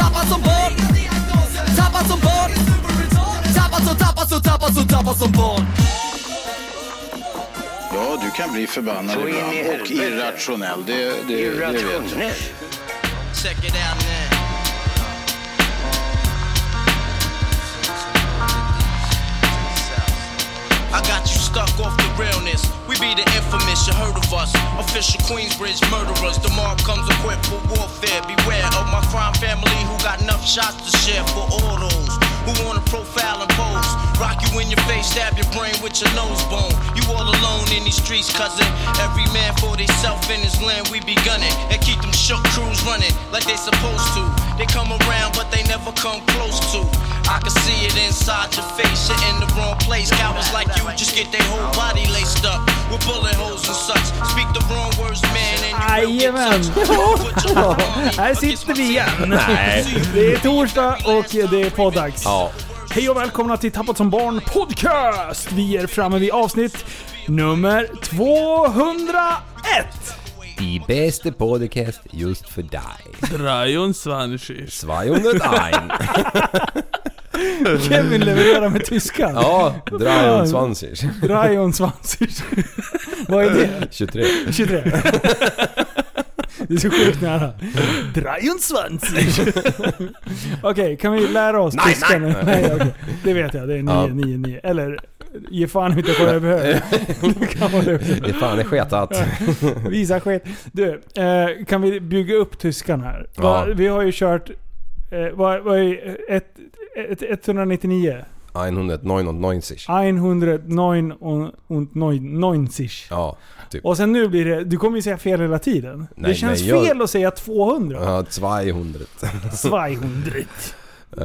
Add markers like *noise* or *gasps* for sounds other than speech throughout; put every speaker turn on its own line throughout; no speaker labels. Tappad som barn Tappad som barn Tappad som, tappad som, tappad som, tappad som barn
Ja, du kan bli förbannad
Så in i
ibland och
helvete.
irrationell. Det, det, det vet jag.
Check it out now.
I got you stuck off the realness. We be the infamous, you heard of us. Official Queensbridge murderers. The mob comes equipped for warfare. Beware of my crime family who got enough shots to share for all those who wanna profile and pose. Rock you in your face, stab your brain with your nose bone. You all alone in these streets, cousin. Every man for theyself in his land. We be gunning and keep them shook crews running like they supposed to. They come around, but they never come close to. I can see it inside your face. You're in the wrong place. Cowards like you just get their whole body laced up with bullet holes and such. Speak the wrong words, man, and you will
Jajamän!
get touched.
Ja, här sitter vi igen.
Nej.
Det är torsdag och det är poddags.
Ja.
Hej och välkomna till Tappat som barn podcast! Vi är framme vid avsnitt nummer 201!
Die bäste Podcast just för dig.
23.
*laughs*
201.
Kevin levererar med tyskan.
Ja, 23.
Rajon Svansers. Vad är det?
23.
23. *laughs* Det är så sjukt nära. Drajon Svansers. *laughs* Okej, kan vi lära oss
Nej,
tyskan?
nej.
okej. Det vet jag. Det är 9,
Ja.
9, 9. Eller ge fan inte på *laughs* överhög. Det kan vara det.
Det är fan är sketat.
Visa skit. Du, eh, kan vi bygga upp tyskan här? Va,
Ja.
vi har ju kört... Eh, vad, vad är ett, ett, 199?
199.
109 und 90.
Ja, typ.
Och sen nu blir det, du kommer ju säga fel hela tiden.
Nej,
det känns
nej, jag-
fel att säga 200.
Ja, 200. *laughs*
200.
Eh,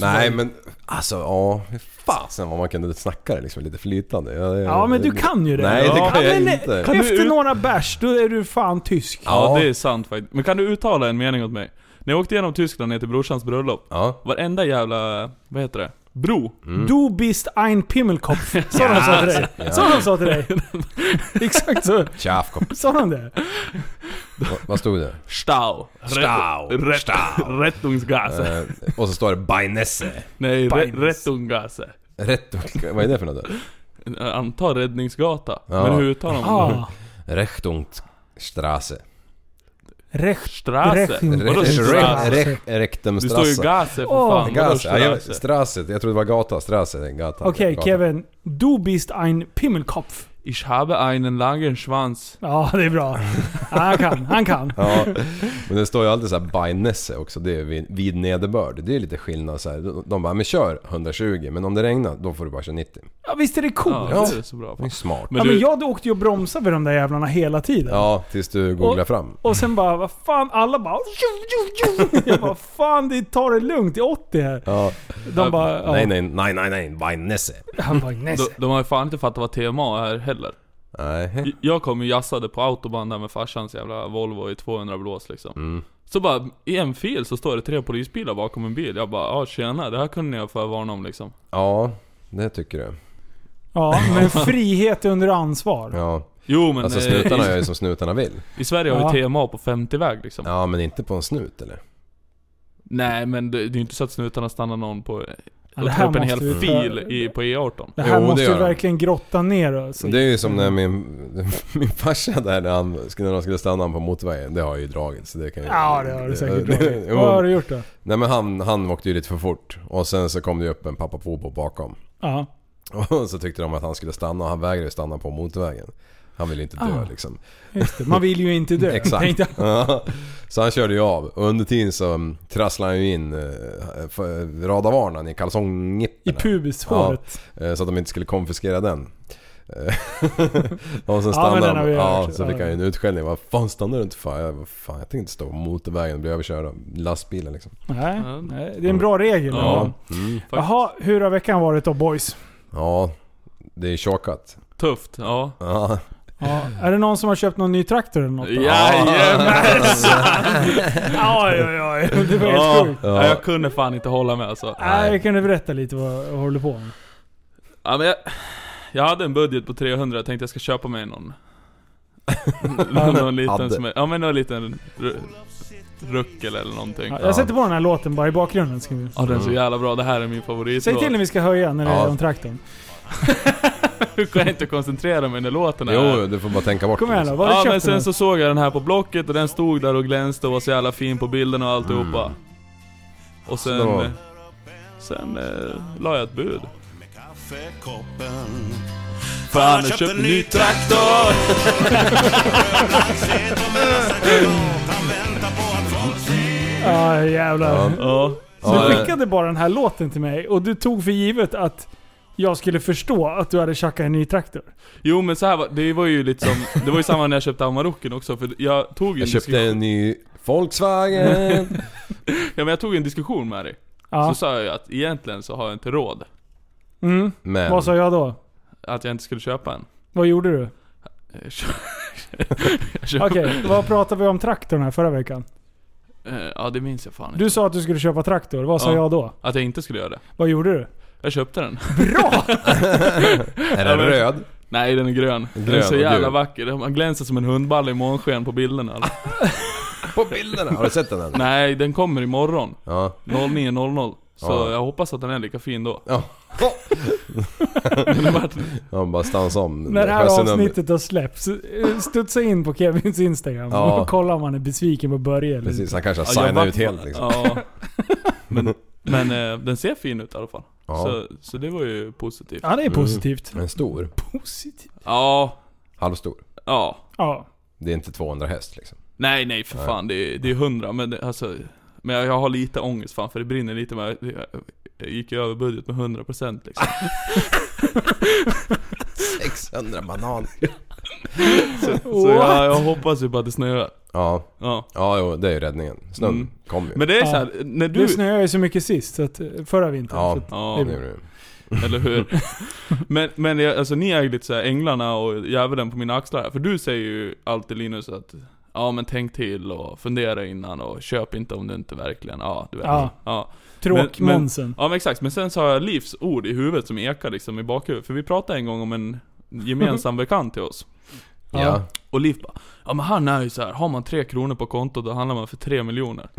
nej men alltså ja, hur fasen vad man kunde snacka det liksom lite flytande. Ja, det-
Ja men du kan ju det.
Nej det
Ja.
kan jag
men,
inte.
kan-
Efter
du ut-
några bärs, då är du fan tysk.
Ja.
Ja, det är sant faktiskt. Men kan du uttala en mening åt mig? När jag åkte genom Tyskland ner till brorsans bröllop,
Ja.
varenda jävla, vad heter det? Bro.
Mm.
Du bist
*laughs*
ein Pimmelkopf. Sa de så till dig? Sa de så till dig? Exakt så.
Tjafkopp.
Sa de det?
Va- Vad stod
*laughs*
det?
Stau. Rätt-
Stau.
Rätt,
Stau.
Rättungsgase.
Eh, och så står det Beinesse.
Nej, re,
Bajs.
rättungsgase.
Rätt... Vad är det för något? då?
Anta räddningsgata.
Ja.
Men hur uttalar man det?
Mm.
Ah.
Rechtungsstraße.
Recht.
Strasse.
Rechtung.
Vadå
Strasse?
Rech-
strasse? Det står ju
Rektumstrasse.
gase för
Åh.
fan. Vadå
Gas. Ja, jag,
strasse?
strasse. Jag trodde det var gata. Strasse är en gata.
Okej
Gata.
Kevin. Du bist ein Pimmelkopf.
Ich habe einen langen Schwanz.
Ja det
*laughs*
är bra. Ja, Han kan, han kan.
Ja, men det står ju alltid så här Beinesse också. Det är vid, vid nederbörd. Det är lite skillnad så här. De- De bara, men kör 120. Men om det regnar, då får du bara köra 90.
Ja, visst är det
Ja,
coolt?
Ja.
det är så bra.
Det är smart.
Men
Ja, men
du,
jag åkte ju och bromsade vid de där jävlarna hela tiden.
Ja, tills du googlar fram.
Och sen bara, vad fan, alla bara... Jo, jo, jo. Jag *laughs* bara, fan det tar det lugnt, det är 80 här.
Ja.
De bara, ja.
Nej, nej, nej, nej, nej. Beinesse.
Han bara, nej.
de, de har ju fan inte fattat vad TMA är heller.
Nej.
J- Jag kom ju jassade på autobahn där med farsans jävla Volvo i 200 blås liksom.
Mm.
Så bara, i en fil så står det tre polisbilar bakom en bil. Jag bara, ja tjena, det här kunde jag förvarna om liksom.
Ja, det tycker du.
Ja, men frihet under ansvar.
Ja.
Jo men
Alltså
eh,
snutarna gör
i,
ju som snutarna vill.
i Sverige har ju
Ja.
TMA på 50-väg liksom.
Ja, men inte på en snut eller?
Nej men det, det är ju inte så att snutarna stannar någon på...
Ja,
och
det
tar
här
upp en
måste
hel
vi ta-
fil i, på E E18.
Det här
Jo, det
måste
gör
vi
de.
verkligen grotta ner oss i.
Det är ju som när
Mm.
min, *laughs* min farsa där när han skulle, när han skulle stanna på motorvägen. Det har jag ju dragit så det kan ju...
Ja, det har du säkert dragit.
*laughs* Jo.
Vad har du gjort då?
Nej men han, han åkte ju lite för fort. Och sen så kom det ju upp en pappa Popo bakom. *laughs*
Ja.
Och så tyckte de att han skulle stanna och han vägrade ju stanna på motorvägen. Han ville inte dö
Ah.
liksom.
Just det. Man vill ju inte dö.
Exakt.
Tänkte
*laughs*
jag.
Ja. så han körde ju av. Och under tiden så mm, trasslade han ju in eh, för- radarvarnaren i
I
kalsongnipporna.
pubishåret.
Eh, Så att de inte skulle konfiskera den. Eh, *laughs* Någon som
Ja, men
stannade.
den har vi
ja,
hört.
så fick
Ja.
han ju en utskällning. Vad fan stannar du inte för? Jag, vad fan, jag tänkte inte stå på motorvägen och bli överkörd av lastbilen liksom.
Nej,
Ja.
nej, det är en bra regel.
Ja.
Mm.
Jaha, hur har veckan varit då boys?
ja det är chokat.
Tufft, ja.
Ja.
Ja, är det någon som har köpt någon ny traktor eller något? då?
Jajamensan!
Oj, oj, oj. *laughs* Det var helt
Ja,
sjukt.
Ja.
jag kunde fan inte hålla med alltså.
Nej, kan du berätta lite vad jag håller på med?
Ja, men jag, jag hade en budget på 300, jag tänkte jag ska köpa mig *laughs* någon. någon
Hade.
liten som är, ja men någon liten ru- ruckel eller någonting. Mm.
Ja, jag sätter på den här låten bara i bakgrunden. Ska vi.
Ja den är så jävla bra, det här är min favoritlåt.
Säg till när vi ska höja när det
Ja.
är om traktorn.
Nu kan jag inte koncentrera mig när låten är.
Jo, du får bara tänka bort
Kom
det,
igen då,
liksom.
vad har
Ja
du
men
köpt den?
sen så såg jag den här på Blocket och den stod där och glänste och var så jävla fin på bilden och alltihopa. Och sen...
Bra.
eh, Sen eh, la jag ett bud.
Kaffekoppen
Fan jag köpte en ny traktor!
Han väntar på att folk
Ja, jävlar.
Ja.
Så
Ja,
du
eh.
skickade bara den här låten till mig och du tog för givet att jag skulle förstå att du hade tjackat en ny traktor.
Jo men så här var, det var ju lite som, det var ju samma när jag köpte Amaroken också för jag tog ju
Jag
en
köpte
diskussion-
en ny
*laughs*
Volkswagen.
Ja men jag tog en diskussion med dig.
Ja.
Så sa jag ju att egentligen så har jag inte råd.
Mm.
Men...
Vad sa jag då?
Att jag inte skulle köpa en.
Vad gjorde du?
Eh, kö- *laughs* jag köpte-
Okej, vad pratade vi om traktorn här förra veckan?
Eh, Ja det minns jag fan inte.
Du sa att du skulle köpa traktor. Vad sa
Ja.
jag då?
Att jag inte skulle göra det.
Vad gjorde du?
Jag köpte den. *laughs*
Är den
men-
röd?
Nej den är grön. den är
Grön
så
och
jävla
gul.
vacker. Den glänser som en hundballe i månsken på bilderna. Alltså.
*laughs*
På bilderna! Har du sett den än?
Nej den kommer imorgon.
Ja.
09.00. Så
Ja.
jag hoppas att den är lika
*laughs*
fin då.
Ja.
Den har varit-
Ja, bara stansa om.
När det här
Sjösund-
avsnittet har släppts, eh, studsa in på Kevins Instagram
Ja.
och kolla om han är besviken på Börje eller
Precis,
inte.
han kanske har
Ja, jag
signat
var-
ut helt liksom.
*laughs*
Ja. Men, men eh, den ser fin ut i alla fall.
Ja.
Så, så det var ju positivt.
Ja, det är
Mm.
positivt.
Men stor.
Positivt?
Ja,
Halvstor.
ja.
Ja.
Det är inte 200 häst liksom.
Nej nej för fan, det är, det är 100 men det, alltså men jag, jag har lite ångest fan för det brinner lite men jag, jag, jag gick ju över budget med 100% liksom.
600 bananer.
Så jag, jag hoppas ju på att det snöar.
Ja,
Ja.
ja jo, det är ju räddningen. Snön
Mm.
kom ju.
Men det är
Ja.
så här, när
Du
du...
snöade ju så mycket sist, så att, eh, förra vintern.
Ja.
Så att,
Ja,
det gjorde det.
eller hur? Men, men jag, alltså ni är ju lite så här änglarna och djävulen på mina axlar här. För du säger ju alltid Linus att Ja men tänk till och fundera innan och köp inte om du inte verkligen, ja du vet.
Ja.
ja. Men-
Tråkmånsen.
Ja men exakt, men sen så har jag Livs ord i huvudet som ekar liksom i bakhuvudet. För vi pratade en gång om en
*laughs*
gemensam bekant till oss.
Ja.
Och Liv bara, ja men han är ju så här, har man tre kronor på kontot då handlar man för tre miljoner.
*laughs*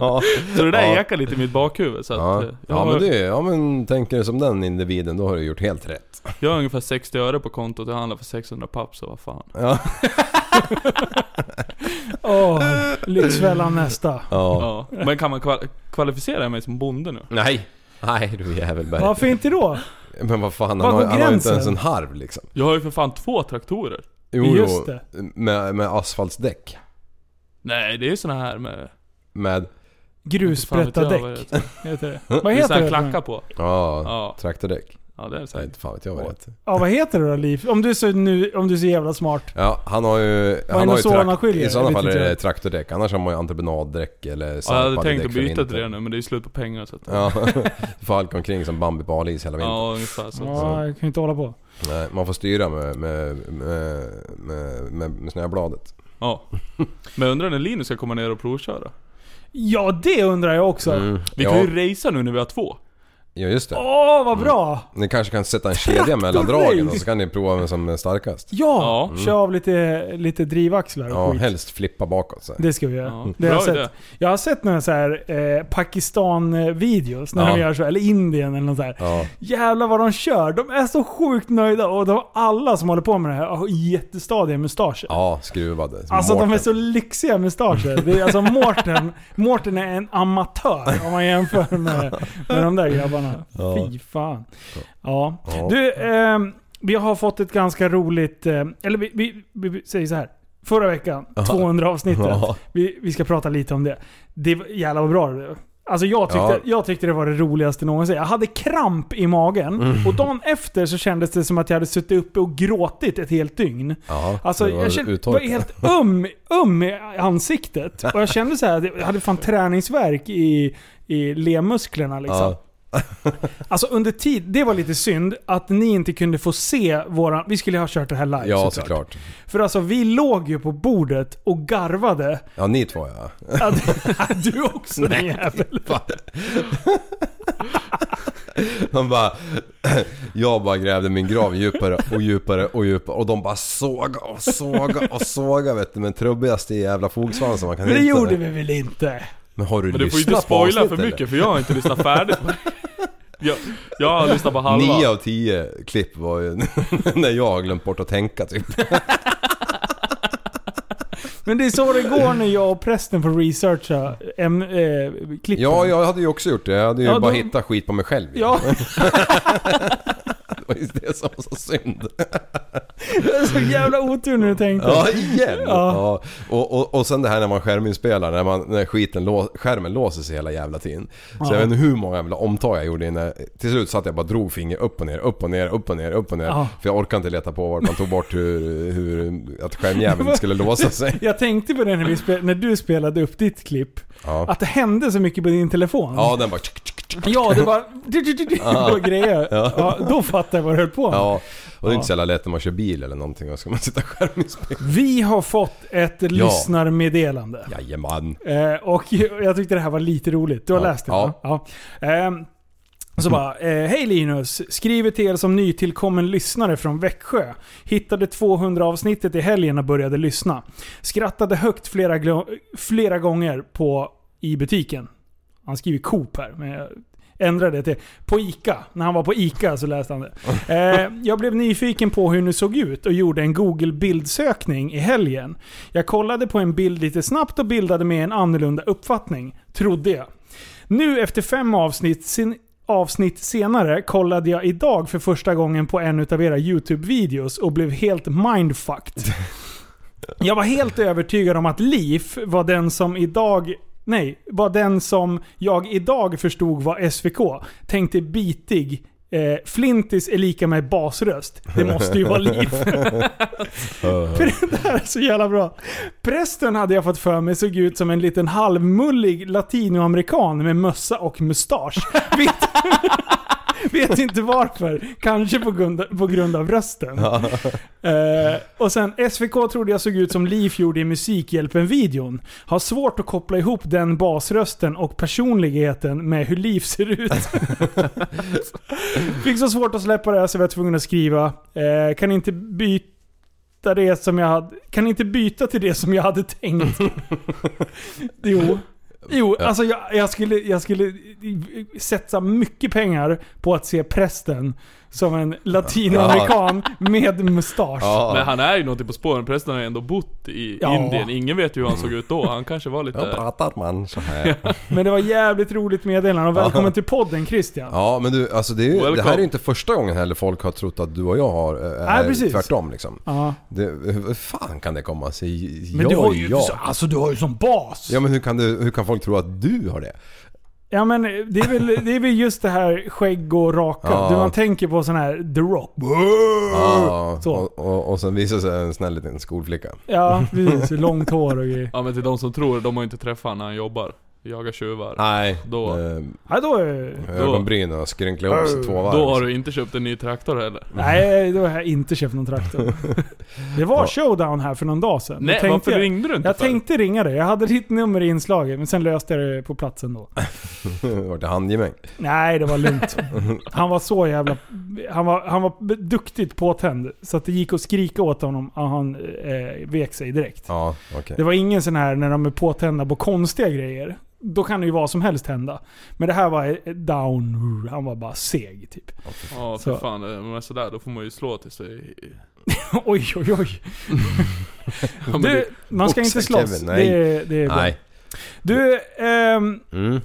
Ja.
Så det där
Ja.
ekar lite i mitt bakhuvud. Så att,
Ja.
eh, jag,
ja,
har,
men det, ja men tänker du som den individen då har du gjort helt rätt.
jag har ungefär 60 öre på kontot och jag handlar för 600 papp så vad fan.
Ja.
Åh, Lyxfällan nästa.
ja.
Ja. Men kan man kval- kvalificera mig som bonde nu?
Nej. Nej du jävelberg.
Varför inte då?
Men vad fan,
Var
han, har,
går
han har ju inte
gränsen?
ens en harv liksom.
Jag har ju för fan två traktorer.
Jo,
Just
jo,
det.
Med, med asfaltsdäck.
Nej det är ju såna här med...
Med,
Fan vet jag
Grussprätta
vad det
däck.
heter.
Heter det. Vad
Det är
heter
såna här
det?
klackar på.
ja,
Ja.
traktordäck.
Ja det är
Nej,
säkert.
inte fan vet jag vad det heter.
Ja, vad heter det då Liv? Om du är så, nu, om du är så jävla smart.
Ja, han har ju... Han har
är
ju
det så han
trakt-
skiljer?
I sådana
Jag
fall
vet
är
inte
det
jag.
traktordäck, annars har man ju entreprenaddäck eller
Ja, jag hade
salpade
tänkt
däck
att
för
byta till det
vintern.
nu men det är ju slut på pengar så att...
*laughs* Ja, får halka omkring som Bambi på hal is hela vintern.
Ja ungefär så.
Ja, jag kan ju inte hålla på.
Nej, man får styra med, med, med, med, med, med snöbladet.
Ja. Men jag undrar när Linus ska komma ner och provköra?
Ja, det undrar jag också. Åh,
Vi
ja,
kan ju racea nu när vi har två.
ja, just det.
vad bra!
Ni kanske kan sätta en kedja mellan dragen och så kan ni prova vem som är starkast.
Ja,
Ja.
kör av lite, lite drivaxlar och
Mm. Ja,
skit.
helst flippa bakåt så. här.
Det ska vi göra.
Ja.
Det har jag,
Bra idé.
sett. jag har sett några så här eh, Pakistan-videos när
Ja.
de gör så, eller Indien eller något så här.
Ja.
Jävlar vad de kör. De är så sjukt nöjda och de, alla som håller på med det här har jättestadiga mustascher.
Ja, skruvade. Som
Alltså de är
Mårten.
så lyxiga mustascher. Det är, alltså Mårten, Mårten är en amatör om man jämför med, med de där grabbarna. Fy fan. Ja.
Ja.
Du, ehm, vi har fått ett ganska roligt... Eh, eller vi, vi, vi, vi säger så här. Förra veckan, 200 avsnittet.
Ja.
Vi, vi ska prata lite om det. det var- jävlar vad bra det var. Alltså jag tyckte,
Ja.
jag tyckte det var det roligaste någonsin. Jag hade kramp i magen
Mm.
och dagen efter så kändes det som att jag hade suttit uppe och gråtit ett helt dygn.
Ja,
Alltså
det var
jag kände, var
uttorkat.
helt öm, öm i
*laughs*
ansiktet. Och jag kände så här, att jag hade fan träningsvärk i, i lemmusklerna liksom.
Ja.
Alltså under tid, det var lite synd att ni inte kunde få se våran... Vi skulle ha kört det här live
Ja, såklart.
För alltså vi låg ju på bordet och garvade.
Ja, ni två ja. *laughs*
Att, du också den jävel.
De bara... Jag bara grävde min grav djupare och djupare och djupare och de bara såga och såga och såga vet du. Men trubbigaste jävla fogsvansen man kan
Men det
hitta.
gjorde vi väl inte?
Men har du
Men du får ju inte
lyssnat på
spoila för
avsnittet,
mycket för jag har inte lyssnat färdigt. Jag, jag har lyssnat på halva.
eller? Nio av tio klipp var ju *laughs* när jag har glömt bort att tänka typ.
Men det är så det går när jag och prästen får researcha äm, eh, klippen.
Ja, jag hade ju också gjort det. Jag hade ju
Ja,
bara
de-
hittat skit på mig själv. ju.
Ja, *laughs*
Det var ju det som var så synd.
det är så jävla otur när du tänkte.
Ja, igen!
*laughs* Ja.
Ja. Och, och, och sen det här när man skärminspelar, när, man, när skiten lå, skärmen låser sig hela jävla tiden. Så jag vet inte hur många jävla omtag jag gjorde innan. Till slut satt jag bara och drog finger upp och ner, upp och ner, upp och ner, upp och ner.
Ja.
För jag orkade inte leta på vart man tog bort hur, hur att skärmjäveln skulle låsa sig.
Jag tänkte på det när, vi spel, när du spelade upp ditt klipp.
Ja,
Att det hände så mycket på din telefon.
ja den bara... tsk, tsk, tsk.
Ja, det var... Du, du, du, du, och grejer. Ja. då fattade jag vad du höll på med.
Ja, och det är
Ja.
inte så jävla lätt när man kör bil eller någonting och ska man sitta och skärminspela.
Vi har fått ett lyssnarmeddelande.
Jajamän.
Eh, och *laughs* jag tyckte det här var lite roligt. Du har
Ja.
läst det
Ja.
va? Ja. Ehm, så bara, eh, hej Linus! Skriver till er som nytillkommen lyssnare från Växjö. Hittade 200 avsnittet i helgen och började lyssna. Skrattade högt flera, glo- flera gånger på, i butiken. Han skriver Coop här, men jag ändrade det till på ICA. När han var på ICA så läste han det. Eh, jag blev nyfiken på hur ni såg ut och gjorde en Google-bildsökning i helgen. Jag kollade på en bild lite snabbt och bildade mig en annorlunda uppfattning, trodde jag. Nu efter fem avsnitt, sin, avsnitt senare kollade jag idag för första gången på en utav era YouTube-videos och blev helt mindfucked. Jag var helt övertygad om att Liv var den som idag Nej, var den som jag idag förstod var SVK. Tänkte bitig. Eh, flintis är lika med basröst. Det måste ju vara Liv. *laughs* För det här är så jävla bra. Prästen hade jag fått för mig såg ut som en liten halvmullig latinoamerikan med mössa och mustasch. Vet, *laughs* vet inte varför. Kanske på grund, på grund av rösten. Eh, och sen SVK trodde jag såg ut som Liv gjorde i Musikhjälpen-videon. Har svårt att koppla ihop den basrösten och personligheten med hur Liv ser ut. Fick så svårt att släppa det här så var jag tvungen att skriva. Eh, kan inte byta det som jag hade... Kan inte byta till det som jag hade tänkt? jo. Jo, alltså jag, jag, skulle, jag skulle sätta mycket pengar på att se prästen som en latinoamerikan med mustasch.
Men
Ja,
han är ju någonting på spåren. Prästen har ju ändå bott i
Ja.
Indien. Ingen vet ju hur han såg ut då. Han kanske var
jag
lite...
pratar man så här.
Men det var jävligt roligt meddelande och välkommen till podden Christian.
Ja men du, alltså det, är ju, det här är
Welcome.
ju inte första gången heller folk har trott att du och jag har... eh,
Nej,
är
precis.
Tvärtom liksom.
Ja.
Det, hur fan kan det komma sig?
Men
jag
du har ju,
ja.
alltså du har ju som bas.
ja men hur kan, du, hur kan folk tro att du har det?
Ja men det är väl, det är väl just det här skägg och raka.
Ja.
Du, man tänker på sån här The Rock.
Ja,
Uh, Så.
och, och, och sen visar sig en snäll liten skolflicka.
Ja precis, långt hår och grejer.
Ja men till de som tror, de har ju inte träffat när han jobbar. Jagar tjuvar.
Nej.
Då-
Eh,
Ja, då är,
ögonbrynen har skrynklat ihop sig två varv.
Då har du inte köpt en ny traktor heller.
nej, då har jag inte köpt
*laughs*
någon traktor. Det var showdown här för någon dag sedan. Då
Nej,
tänkte
varför
jag,
ringde du inte
Jag
för?
tänkte ringa dig. Jag hade ditt nummer i inslaget, men sen löste jag det på platsen då.
*laughs* Vart det handgemäng?
Nej, det var lugnt. Han var så jävla... Han var, han var b- duktigt påtänd. Så att det gick att skrika åt honom och han eh, vek sig direkt.
Ja, okej.
Det var ingen sån här när de är påtända på konstiga grejer. Då kan det ju vad som helst hända. Men det här var eh, down. Han var bara seg typ. *laughs*
Ja för
Så.
fan, men sådär då får man ju slå till sig.
Oj, oj, oj.
Ja, men
Du,
det-
man ska inte
Boxa,
slåss.
Kevin, nej.
Det, är- det är bra.
Nej.
Du, ehm,
Mm.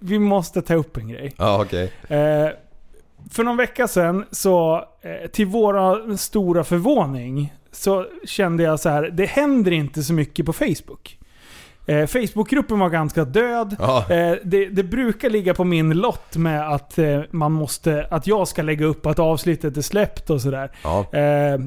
vi måste ta upp en grej.
Ja, okej.
Eh, för någon vecka sedan så, eh, till våra stora förvåning, så kände jag så här, det händer inte så mycket på Facebook. Eh, Facebookgruppen var ganska död.
Ja.
Eh, det, det brukar ligga på min lott med att, eh, man måste, att jag ska lägga upp att avsnittet är släppt och sådär.
Ja.
Eh,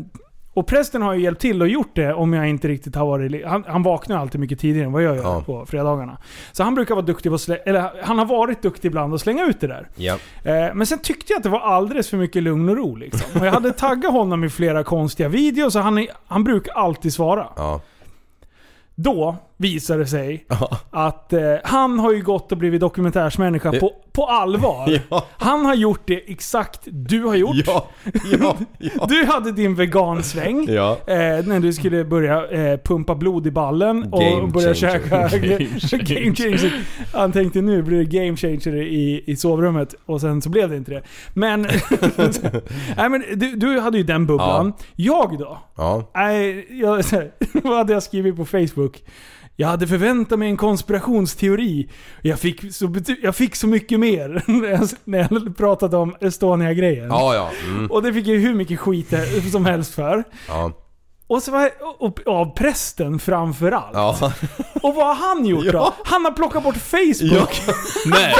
och prästen har ju hjälpt till och gjort det om jag inte riktigt har varit... li- Han, han vaknar ju alltid mycket tidigare än vad jag gör
Ja.
på fredagarna. Så han brukar vara duktig på att slä- Eller han har varit duktig ibland att slänga ut det där.
Ja.
*laughs* Eh, men sen tyckte jag att det var alldeles för mycket lugn och ro liksom. Och jag hade taggat honom i flera konstiga videos och han, är- han brukar alltid svara.
Ja.
Då visar det sig att eh, han har ju gått och blivit dokumentärsmänniska på, på allvar.
Ja.
Han har gjort det exakt du har gjort.
Ja. Ja. Ja.
Du hade din vegansväng.
Ja.
Eh, när du skulle börja eh, pumpa blod i ballen och
*laughs* Game
börja
changer.
käka...
Game changer.
game changer. Han tänkte nu blir det game changer i, i sovrummet och sen så blev det inte det.
*laughs*
Men... *laughs* nej, men du, du hade ju den bubblan. Jag då?
Ja.
Nej, jag, *laughs* vad hade jag skrivit på Facebook? Jag hade förväntat mig en konspirationsteori. Jag fick så, bety- jag fick så mycket mer *laughs* när jag- när jag pratade om Estonia-grejen.
Ja, ja. Mm.
Och det fick jag ju hur mycket skit det- som helst för.
Ja.
Och så var och, och, av prästen framförallt.
Ja.
Och vad har han gjort då?
Ja.
Han har plockat bort Facebook.
Ja.
Nej!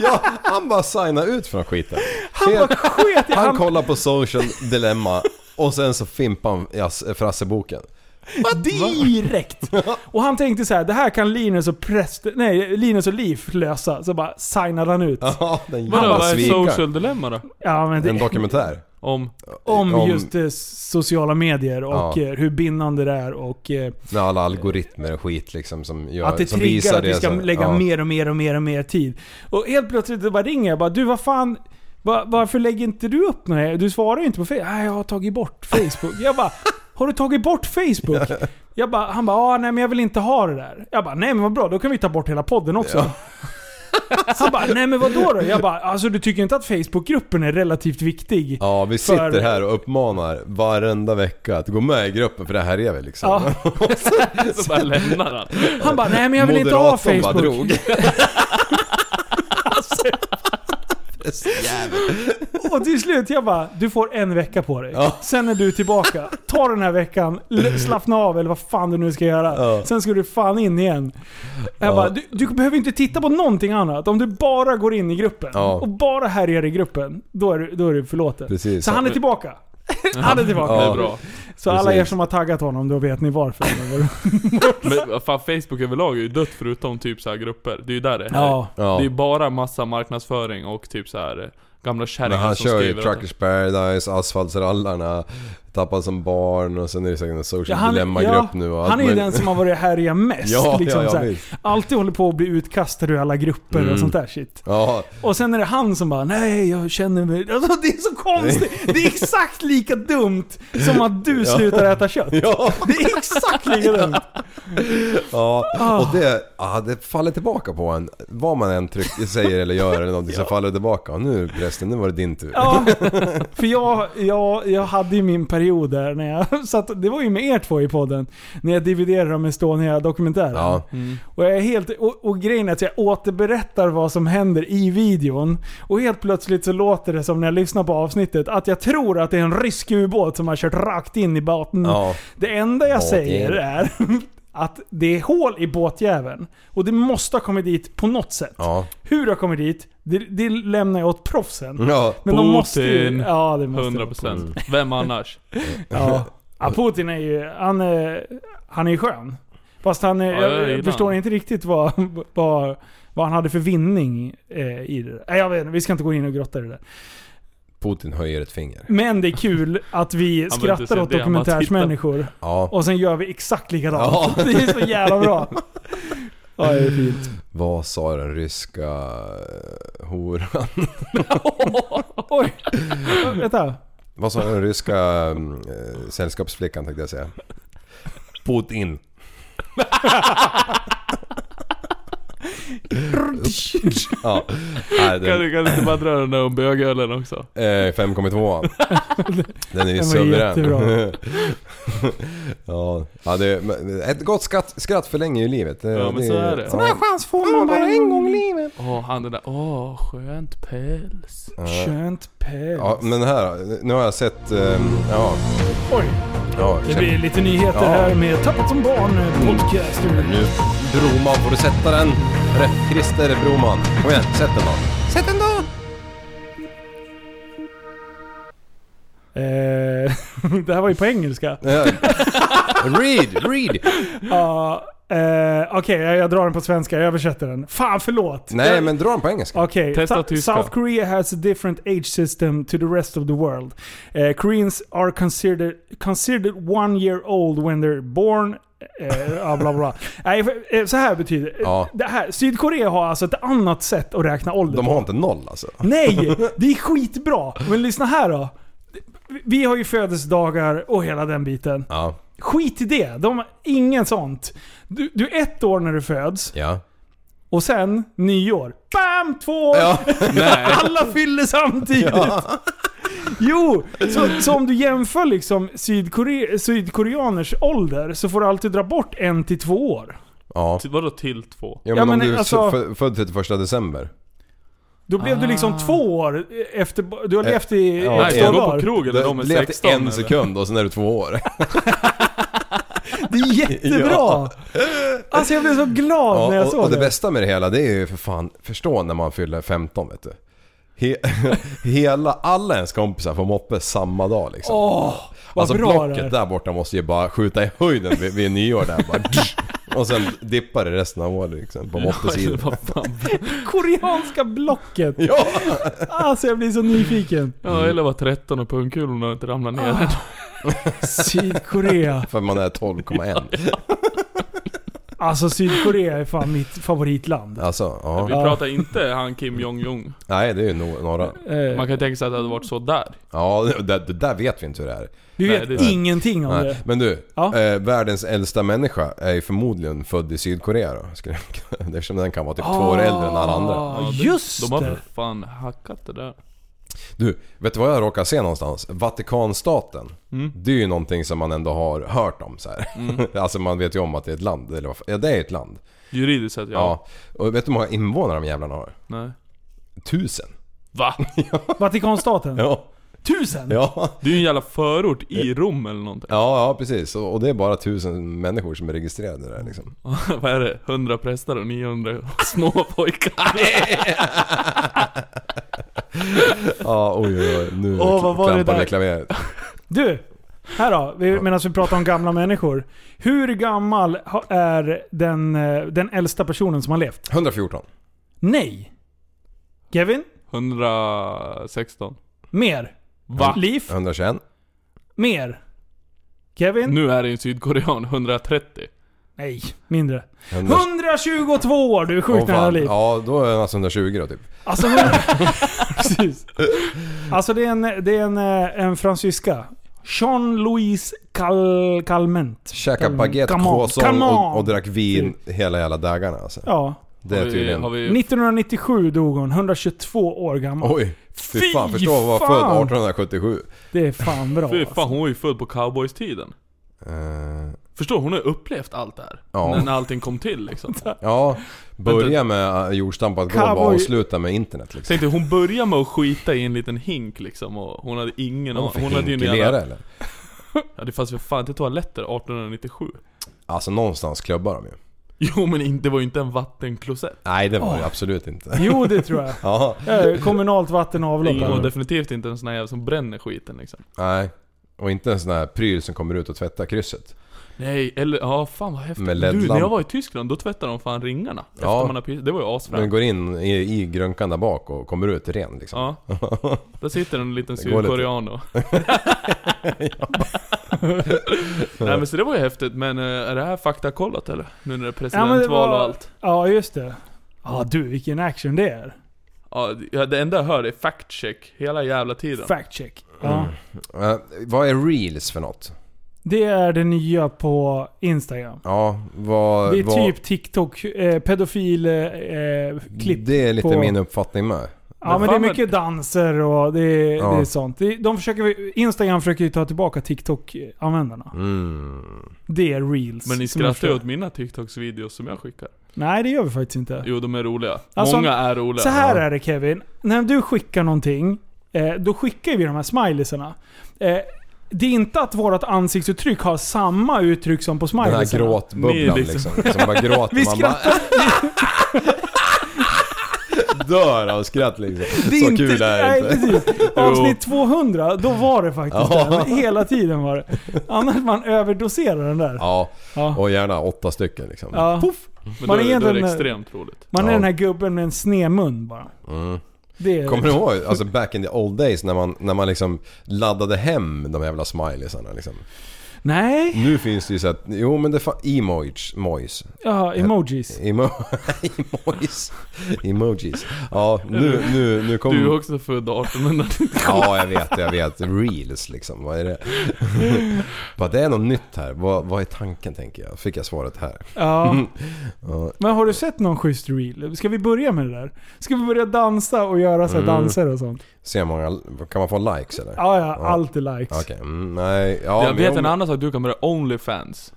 ja. Han bara signar ut från skiten.
Han bara sket i-
Han kollar på social dilemma och sen så fimpar han jas- Frasse-boken.
Direkt! Och han tänkte så här: det här kan Linus och präst, nej, Linus och Liv lösa. Så bara signade han ut.
Ja, den
Vadå,
jävla
*laughs* vad är
svikaren.
social dilemma då?
Ja, men
En
det,
dokumentär.
Om...
om,
om-
just eh, sociala medier och
Ja.
eh, hur bindande det är och eh,
Med alla algoritmer och skit liksom som gör...
att det
som
triggar att vi
det
ska
som-
lägga
ja.
mer och mer och mer och mer tid. Och helt plötsligt det bara ringer jag bara, du vad fan, va- varför lägger inte du upp något? här? Du svarar ju inte på Facebook. Nej, jag har tagit bort Facebook. Jag bara, *laughs* har du tagit bort Facebook? Jag bara, han bara, ah, nej men jag vill inte ha det där. Jag bara, nej men vad bra, då kan vi ta bort hela podden också. *laughs* Han bara, nej men vad då? Jag bara, alltså du tycker inte att Facebookgruppen är relativt viktig?
Ja, vi sitter
För-
här och uppmanar varenda vecka att gå med i gruppen för det här är vi liksom.
Ja.
Så *laughs* bara lämnar han.
Han bara, nej men jag vill inte ha
Moderatorn bara
Facebook.
drog.
Och till slut, jag bara, du får en vecka på dig.
Ja. Mm.
Sen är du tillbaka. Ta den här veckan, l- slappna av eller vad fan du nu ska göra.
Ja.
Sen ska du fan in igen. Jag
Ja.
bara, du, du behöver inte titta på någonting annat. Om du bara går in i gruppen
Ja.
och bara härjar i gruppen, då är du, då är du förlåten.
Precis.
Så han är tillbaka. Han är tillbaka.
Det
Ja.
är bra.
Så alla er
precis.
som har taggat honom, då vet
*laughs*
ni varför.
Men vad fan, Facebook överlag är ju dött förutom typ så här grupper. Det är ju där det är.
ja.
Ja.
Det är ju bara massa marknadsföring och typ så här eh, gamla
Men
kärringar
han
som
kör ju
skriver.
Truckers Paradise, Asfaltsrallarna, Tappad som barn och sen är det säkert en social dilemma-grupp nu och allt
han är ju
möjligt.
den som har varit härja
*laughs*
mest.
Ja,
liksom,
ja, ja,
så här.
visst. Mm.
Alltid håller på att bli utkastad ur alla grupper och sånt där shit.
Ja,
Och sen är det han som bara nej jag känner mig... Alltså, det är så konstigt. Det är exakt lika dumt som att du slutar äta kött.
ja,
Det är exakt lika dumt.
Ah.
ja. Och det, ja, det faller tillbaka på en. Vad man än trycker, säger eller gör eller någonting så faller det tillbaka. Och nu prästen, nu var det din tur.
Ja, *laughs* för jag, jag, jag hade ju min period där när jag *laughs* satt, det var ju med er två i podden, när jag dividerade om Estonia-dokumentären.
Ja.
Och, jag är helt, och, och grejen är att jag återberättar vad som händer i videon. Och helt plötsligt så låter det som när jag lyssnar på avsnittet att jag tror att det är en rysk ubåt som har kört rakt in i båten.
Ja.
Det enda jag
Båtjäveln.
säger är *laughs* att det är hål i båtjäveln. Och det måste ha kommit dit på något sätt.
Ja.
Hur det har kommit dit, det, det lämnar jag åt proffsen.
Ja.
Men de måste ju...
Putin.
Ja, det måste
Mm.
100%. Vem annars?
Ja. ja, Putin är ju... Han är, han är ju skön. Fast han är,
Ja, jag
jag,
gillar
förstår
han.
inte riktigt vad, vad, vad han hade för vinning eh, i det där. Nej, jag vet inte, vi ska inte gå in och grotta i det där.
Putin höjer ett finger.
Men det är kul
*laughs*
att vi
inte se
skrattar åt
det, han bara tittar.
dokumentärsmänniskor
Ja,
och sen gör vi exakt likadant.
Ja.
*laughs* Det är så jävla bra. Ja, det är fint.
vad sa den ryska eh, horan?
*laughs*
*laughs*
Oj! Vänta.
Vad sa den ryska eh, sällskapsflickan tänkte jag säga?
*laughs*
Putin. Ja. Nej, *laughs*
Kan
den,
du, kan du inte bara dra den där om bögölen också?
eh,
*laughs*
5,2. Den är ju
Den var
suverän.
jättebra.
*laughs* ja, ja det, men ett gott skratt, skratt förlänger ju livet. Det-
Ja, men så är det.
Ja.
Sån
chans får man bara en gång i livet.
Åh, han den där. Åh, skönt päls.
Skönt päls.
Ja, men här, nu har jag sett... ehm, Ja,
Oj,
ja.
det blir lite nyheter
Ja. Mm.
här med Tappat som barn eh, podcast.
Nu, Broman, får du sätta den? Rätt, Christer Broman. Kom igen, sätt den då. Sätt den då!
Eh, *laughs* det här var ju på engelska.
Ja. Eh, read, read!
Ja, eh, Okej, jag, jag drar den på svenska. Jag översätter den. Fan, förlåt.
Nej, men dra den på engelska.
Okay,
Testa
Sou-
tyska.
South Korea has a different age system to the rest of the world. Uh, Koreans are considered considered one year old when they're born. Eh, ja,
*laughs*
bla bla. Nej, för- eh, så här betyder eh,
Ja.
det. Här, Sydkorea har alltså ett annat sätt att räkna ålder
De
på.
har inte noll alltså.
Nej! Det är skitbra! Men lyssna här då. Vi har ju födelsedagar och hela den biten.
Ja,
Skit i det. De har ingen sånt. Du, du är ett år när du föds
ja.
och sen nyår. Bam! Två år!
Ja,
Nej.
*laughs* Alla fyller samtidigt! Jo, så, så om du jämför liksom Sydkore sydkoreaners ålder så får du alltid dra bort en till två år.
ja.
Till- Vadå till två?
Ja, men
Ja,
om
men
du är
alltså-
fö- född 31 december.
Då blev du liksom två år efter... Du har
Eh,
levt
ja,
i ja,
Nej,
ett
två
ska jag
år.
gå
dagar.
på krog eller de är
Du levt
16
en
eller?
sekund och sen är du två år.
Det är
*laughs*
jättebra! Alltså jag blev så glad när jag
Ja, och,
såg
och det
det.
bästa med det hela det är ju för fan, förstå när man fyller 15 vet du. He, *laughs* hela, alla ens kompisar får moppe samma dag liksom.
Åh, vad
alltså
bra det
blocket
är.
där borta måste ju bara skjuta i höjden vid, vid nyår där bara. Och sen dippar det resten av året liksom på
*laughs*
*laughs*
moppesidan.
Vad fan?
Koreanska blocket!
Ja!
Alltså jag blir så nyfiken.
Ja, eller var 13 och pungkulorna har inte ramlat ner än.
Sydkorea.
För man är 12,1.
Alltså Sydkorea är fan mitt favoritland. Eh,
Alltså,
Vi
ja.
pratar inte han Kim Jong-Jong.
Nej det är ju no- några.
Eh,
Man kan tänka sig att det hade varit så där.
Ja, det, det, det där vet vi inte hur det är.
Du
Nej,
vet
det är-
ingenting om
Nej.
det.
Men du,
Ja.
eh, världens äldsta människa är ju förmodligen född i Sydkorea då. skulle jag kunna- *laughs* Eftersom den kan vara typ två år äldre än alla andra.
Ah,
det-
just
De har
det.
för fan hackat det där.
Du, vet du vad jag råkar se någonstans? Vatikanstaten.
Mm.
Det är ju någonting som man ändå har hört om så här. *laughs* alltså man vet ju om att det är ett land. Eller vad, fan- ja, det är ett land.
Juridiskt sett,
Ja.
ja.
Och vet du hur många invånare de jävlarna har?
Nej.
Tusen.
Va?
Vatikanstaten?
Ja.
Tusen?
Ja, *laughs*
Det är ju en jävla förort
Eh.
i Rom eller någonting. *laughs*
ja, ja precis. Och och det är bara tusen människor som är registrerade där liksom.
Vad är det? 100 präster och 900 *laughs*
*laughs*
små pojkar.
Ja, oj oj oj. Nu
Åh, vad var det
klampade
där?
klaveret.
Du! Här då, vi- medan vi pratar om gamla människor. Hur gammal ha- är den, eh, den äldsta personen som har levt?
114.
Nej! Kevin?
116.
Mer?
Va?
Liv?
121.
Mer? Kevin?
Nu är det ju en sydkorean, 130.
Nej, mindre.
100...
122 år! Du är sjukt
Åh,
nära
fan.
liv.
Ja, då är han alltså 120 då typ.
Alltså, hon...
*laughs*
Precis. Alltså det är en, det är en, eh, en fransyska. Jean-Louis Cal Calment.
Käka
Calment.
baguette,
Come on,
croissant
come
och,
on.
och drack vin hela jävla dagarna alltså.
Ja.
Det är
Har vi-
tydligen...
Har vi...
1997 dog hon, 122 år gammal.
Oj! Fy
Fy
fan, förstå att vara
fan.
född 1877.
Det är fan bra.
Fy
alltså.
fan, hon var ju född på cowboys-tiden.
Eh,
Förstår, hon har ju upplevt allt det här.
Ja.
När allting kom till liksom.
ja, börja med eh, jordstampat golv och
Cowboy.
avsluta med internet liksom.
Tänk dig, hon började med att skita i en liten hink liksom och hon hade ingen
Vad var för
aning. Hon hade ju en
hinkig lera,
jävla...
eller?
Ja, det fanns ju fan inte toaletter 1897.
Alltså någonstans klubbar de ju.
*laughs* Jo men in- det var ju inte en vattenklosett.
Nej det var det absolut inte. *laughs*
Jo, det tror jag.
Ja,
Eh, Kommunalt vatten och avlopp.
Och
här.
definitivt inte en sån här jävel som bränner skiten liksom.
nej. Och inte en sån här pryl som kommer ut och tvättar krysset.
Nej, eller ja fan vad häftigt.
Med
Du,
LED-lamp.
när jag var i Tyskland då tvättade de fan ringarna. Efter
Ja.
man har pissat. Det var ju
Den
asfränt.
går in i, i grönkan där bak och kommer ut ren liksom.
Ja. Där sitter en liten
Det går lite.
sydkorean *laughs* och... Nej men så det var ju häftigt, men eh, är det här faktakollat eller? Nu när det är
men
presidentval
det var-
och allt.
Ja, just det. Ja, du vilken action det är.
Ja, det- det enda jag hör är fact check hela jävla tiden.
Fact check. Ja.
*laughs* Eh, vad är reels för något?
Det är det nya på Instagram.
Ja, vad...
Det är
vad,
typ TikTok, eh, pedofil eh, klipp.
Det är lite
på-
min uppfattning med.
Ja men det är mycket danser och det är,
Ja.
det är sånt. Det- De försöker, Instagram försöker ju ta tillbaka TikTok-användarna.
Mm.
Det är reels.
Men ni
som jag
skrattar ju
förstår.
åt mina TikToks-videos som jag skickar.
Nej det gör vi faktiskt inte.
Jo, de är roliga.
Alltså,
Många är roliga.
Så här är det Kevin. När du skickar någonting eh, då skickar vi de här smileysarna. Eh, det är inte att vårt ansiktsuttryck har samma uttryck som på
Den här
smileysarna.
gråtbubblan
Ni
liksom.
liksom.
Som bara gråter.
*laughs* Vi
man bara- *laughs* Dör av skratt liksom.
Det är
Så
inte,
kul är det
nej,
inte. *laughs*
Precis. Avsnitt 200, då var det faktiskt
Ja.
det. Hela tiden var det. Annars man överdoserar den där.
Ja,
Ja.
och gärna åtta stycken liksom.
Ja.
Men
Man
då,
är
är, eh, då är det
egentligen-
extremt roligt.
Man är
Ja. Mm.
den här gubben med en snemun bara. Det är,
Kommer du ihåg alltså back in the old days när man, när man liksom laddade hem de jävla smileysarna liksom.
Nej,
Nu finns det ju så att, jo men det fanns emojis. Mojs.
jaha, emojis.
Emo, *laughs* emojis. Emojis. Ja, nu, nu, nu kommer...
Du är också född 1800.
Ja, jag vet, jag vet. Reels liksom, vad är det? *laughs* Bara, det är något nytt här. Vad, vad är tanken tänker jag? Fick jag svaret här.
Ja.
*laughs* Ja.
Men har du sett någon schysst reel? Ska vi börja med det där? Ska vi börja dansa och göra så här
Mm.
danser och sånt?
Se hur många, kan man få likes eller?
Ja, ja, allt är likes.
Okej, mm, nej. Ja,
jag
men
vet
om-
en annan sak, du kan börja Onlyfans.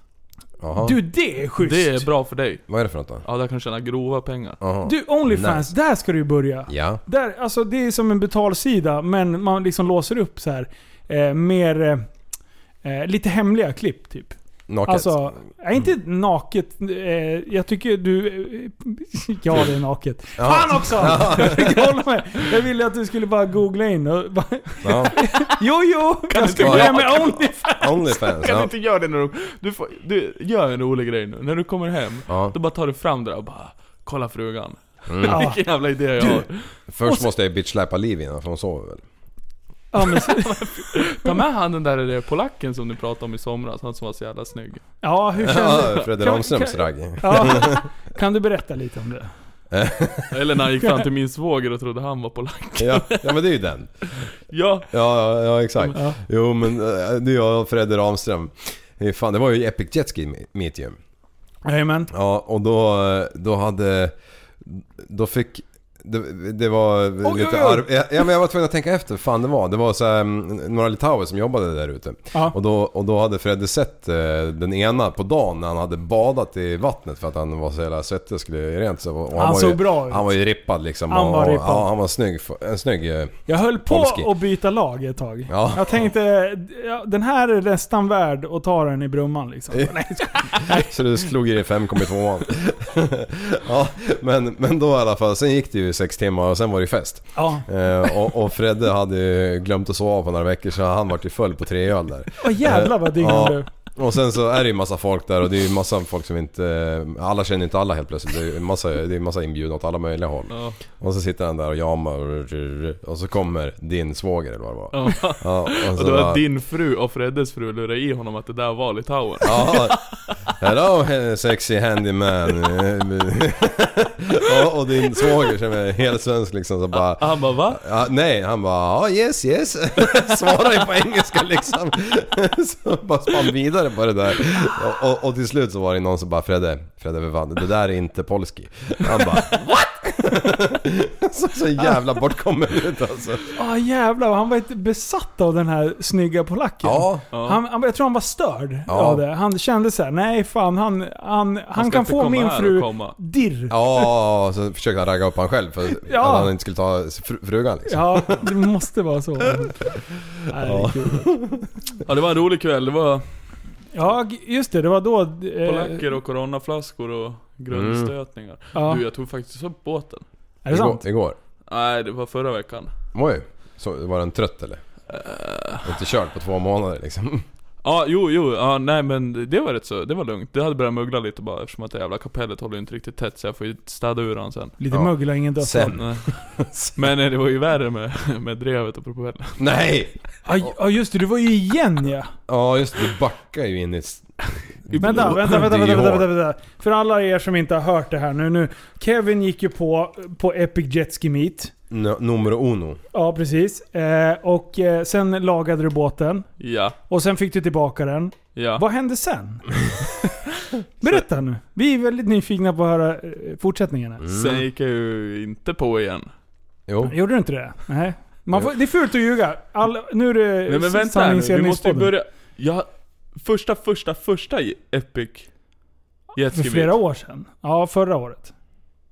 Jaha.
Du, det är schysst!
Det är bra för dig.
Vad är det för något då?
Ja, där kan du tjäna grova pengar.
Jaha.
Du, Onlyfans, där ska du ju börja.
Ja.
Där, alltså det är som en betalsida, men man liksom låser upp så här eh, mer... Eh, lite hemliga klipp typ.
Naket.
Alltså, är inte
Mm.
naket. Eh, jag tycker du... Eh, *laughs* ja, det är naket.
Ja.
Fan också! *laughs* Jag fick hålla mig. Jag ville att du skulle bara googla in och bara, *laughs*
Ja.
Jo, jo! jag ska
inte
börja
jag-
med Onlyfans.
Onlyfans.
Kan du
Ja.
inte göra det när du... Du, får, du gör en rolig grej nu. När du kommer hem,
Ja.
då bara tar du fram det där och bara... Kolla frugan.
Ja,
Vilken jävla idé jag har.
Först måste jag bitchsläpa Liv innan för hon sover väl?
ja, men, så-
Ta med han den där eh, polacken som ni pratade om i somras, han som var så jävla snygg.
ja hur känns det?
Ja, Fredrik
Kan-
Ramströms
kan-
ragg. *laughs*
Ja. Kan du berätta lite om det?
Eller när han gick fram till min svåger och trodde han var polack.
Ja, ja men det är ju den.
Ja,
Ja, ja, ja exakt.
Ja.
Jo men eh, det är jag och Fredde Ramström. Eh, Fan, det var ju Epic Jetski Meet ju.
Jajamän.
Ja, och då, eh, då hade... Då fick... Det, det var lite
oj, oj.
arv... Ja, ja, men jag var tvungen att tänka efter fan det var. Det var så här, mm, några litauer som jobbade där ute.
Ja.
Och, då, och då hade Fredde sett eh, den ena på dagen när han hade badat i vattnet för att han var så jävla svettig och skulle rent sig. Och
Han
var
såg
ju,
bra ut.
Han var ju rippad liksom.
Han
och,
var
och-
rippad.
Ja, han var snygg. f- En snygg... eh,
Jag höll på
Polski.
att byta lag ett tag.
Ja.
Jag tänkte, ja, den här är nästan värd att ta den i brumman liksom. Nej,
Så du slog i dig
*laughs*
5,2an. *laughs* ja, men, men då i alla fall. Sen gick det ju sex timmar och sen var det ju fest.
ja.
Eh, och, och Fredde hade ju glömt att sova på några veckor så han vart ju full på tre öl där.
Åh jävlar vad dygn han
Ja.
blev.
Och sen så är det ju massa folk där och det är ju massa folk som inte... eh, Alla känner inte alla helt plötsligt. Det är ju massa, det är massa inbjudna åt alla möjliga håll.
Ja.
Och så sitter han där och jamar och så kommer din svåger eller vad det var.
Ja.
Ja, och så
*laughs* Och det var
bara-
din fru och Freddes fru lurade i honom att det där var Litauen.
Ja. Hello he- sexy handyman.
*laughs*
*laughs* ja, och din svåger som är helt svensk liksom så bara...
Han bara va?
Ja, nej, han bara ja yes yes. *laughs* Svarar ju på engelska liksom. *laughs* så bara spann vidare på det där. Och, och, och till slut så var det någon som bara Fredde, Fredde för fan, det där är inte polski. Han bara *laughs* what? så, så jävla bortkommen ut alltså.
Åh jävlar, han var inte besatt av den här snygga polacken.
Ja.
Han, han, jag tror han var störd
Ja.
av det. Han kände så här: nej fan, han, han, han,
ska
kan
inte
få
komma
min
här och
fru
komma.
dirr.
Ja, så försökte han ragga upp han själv för
Ja.
att han inte skulle ta fr- frugan liksom.
Ja, det måste vara så. Herregud.
Ja det var en rolig kväll, det var
Ja, g- just det. Det var då... Eh,
polacker och coronaflaskor och
Mm.
grundstötningar.
ja.
Du jag tog faktiskt upp båten.
Är det sant?
Igår. igår.
Nej det var förra veckan.
Oj, så var den trött eller?
Eh.
Inte kört på två månader liksom.
Ja jo jo, ja, nej men det var rätt så, det var lugnt. Det hade börjat mögla lite bara eftersom att det jävla kapellet håller ju inte riktigt tätt så jag får ju städa ur han sen.
Lite
Ja.
mögla, ingen dödsfall.
Sen.
*laughs*
Nej. Men eh, det var ju värre med, med drevet och propellen.
Nej!
Ja, j- Ja just det, du var ju igen ja.
Ja just det, du backar ju in i... s-
*laughs* Vänta,
i-
vänta,
i
vänta, vänta,
hål.
vänta, vänta. För alla er som inte har hört det här nu. nu Kevin gick ju på, på Epic Jetski Meet.
No, numero uno.
Ja, precis. Eh, och eh, sen lagade du båten.
Ja,
Och sen fick du tillbaka den.
ja.
Vad hände
*laughs*
sen? Berätta nu. Vi är väldigt nyfikna på att höra eh, fortsättningen. här.
Sen gick jag ju inte på igen.
Jo.
Mm.
Gjorde du inte det? Nej. Man får, det är fult att ljuga. All, nu är det
Nej men vänta här nu, vi måste ju
sanningsenlighetspodden.
börja... Ja, första, första, första i- Epic
För
Jetski
flera
Meet.
år sedan. Ja, förra året.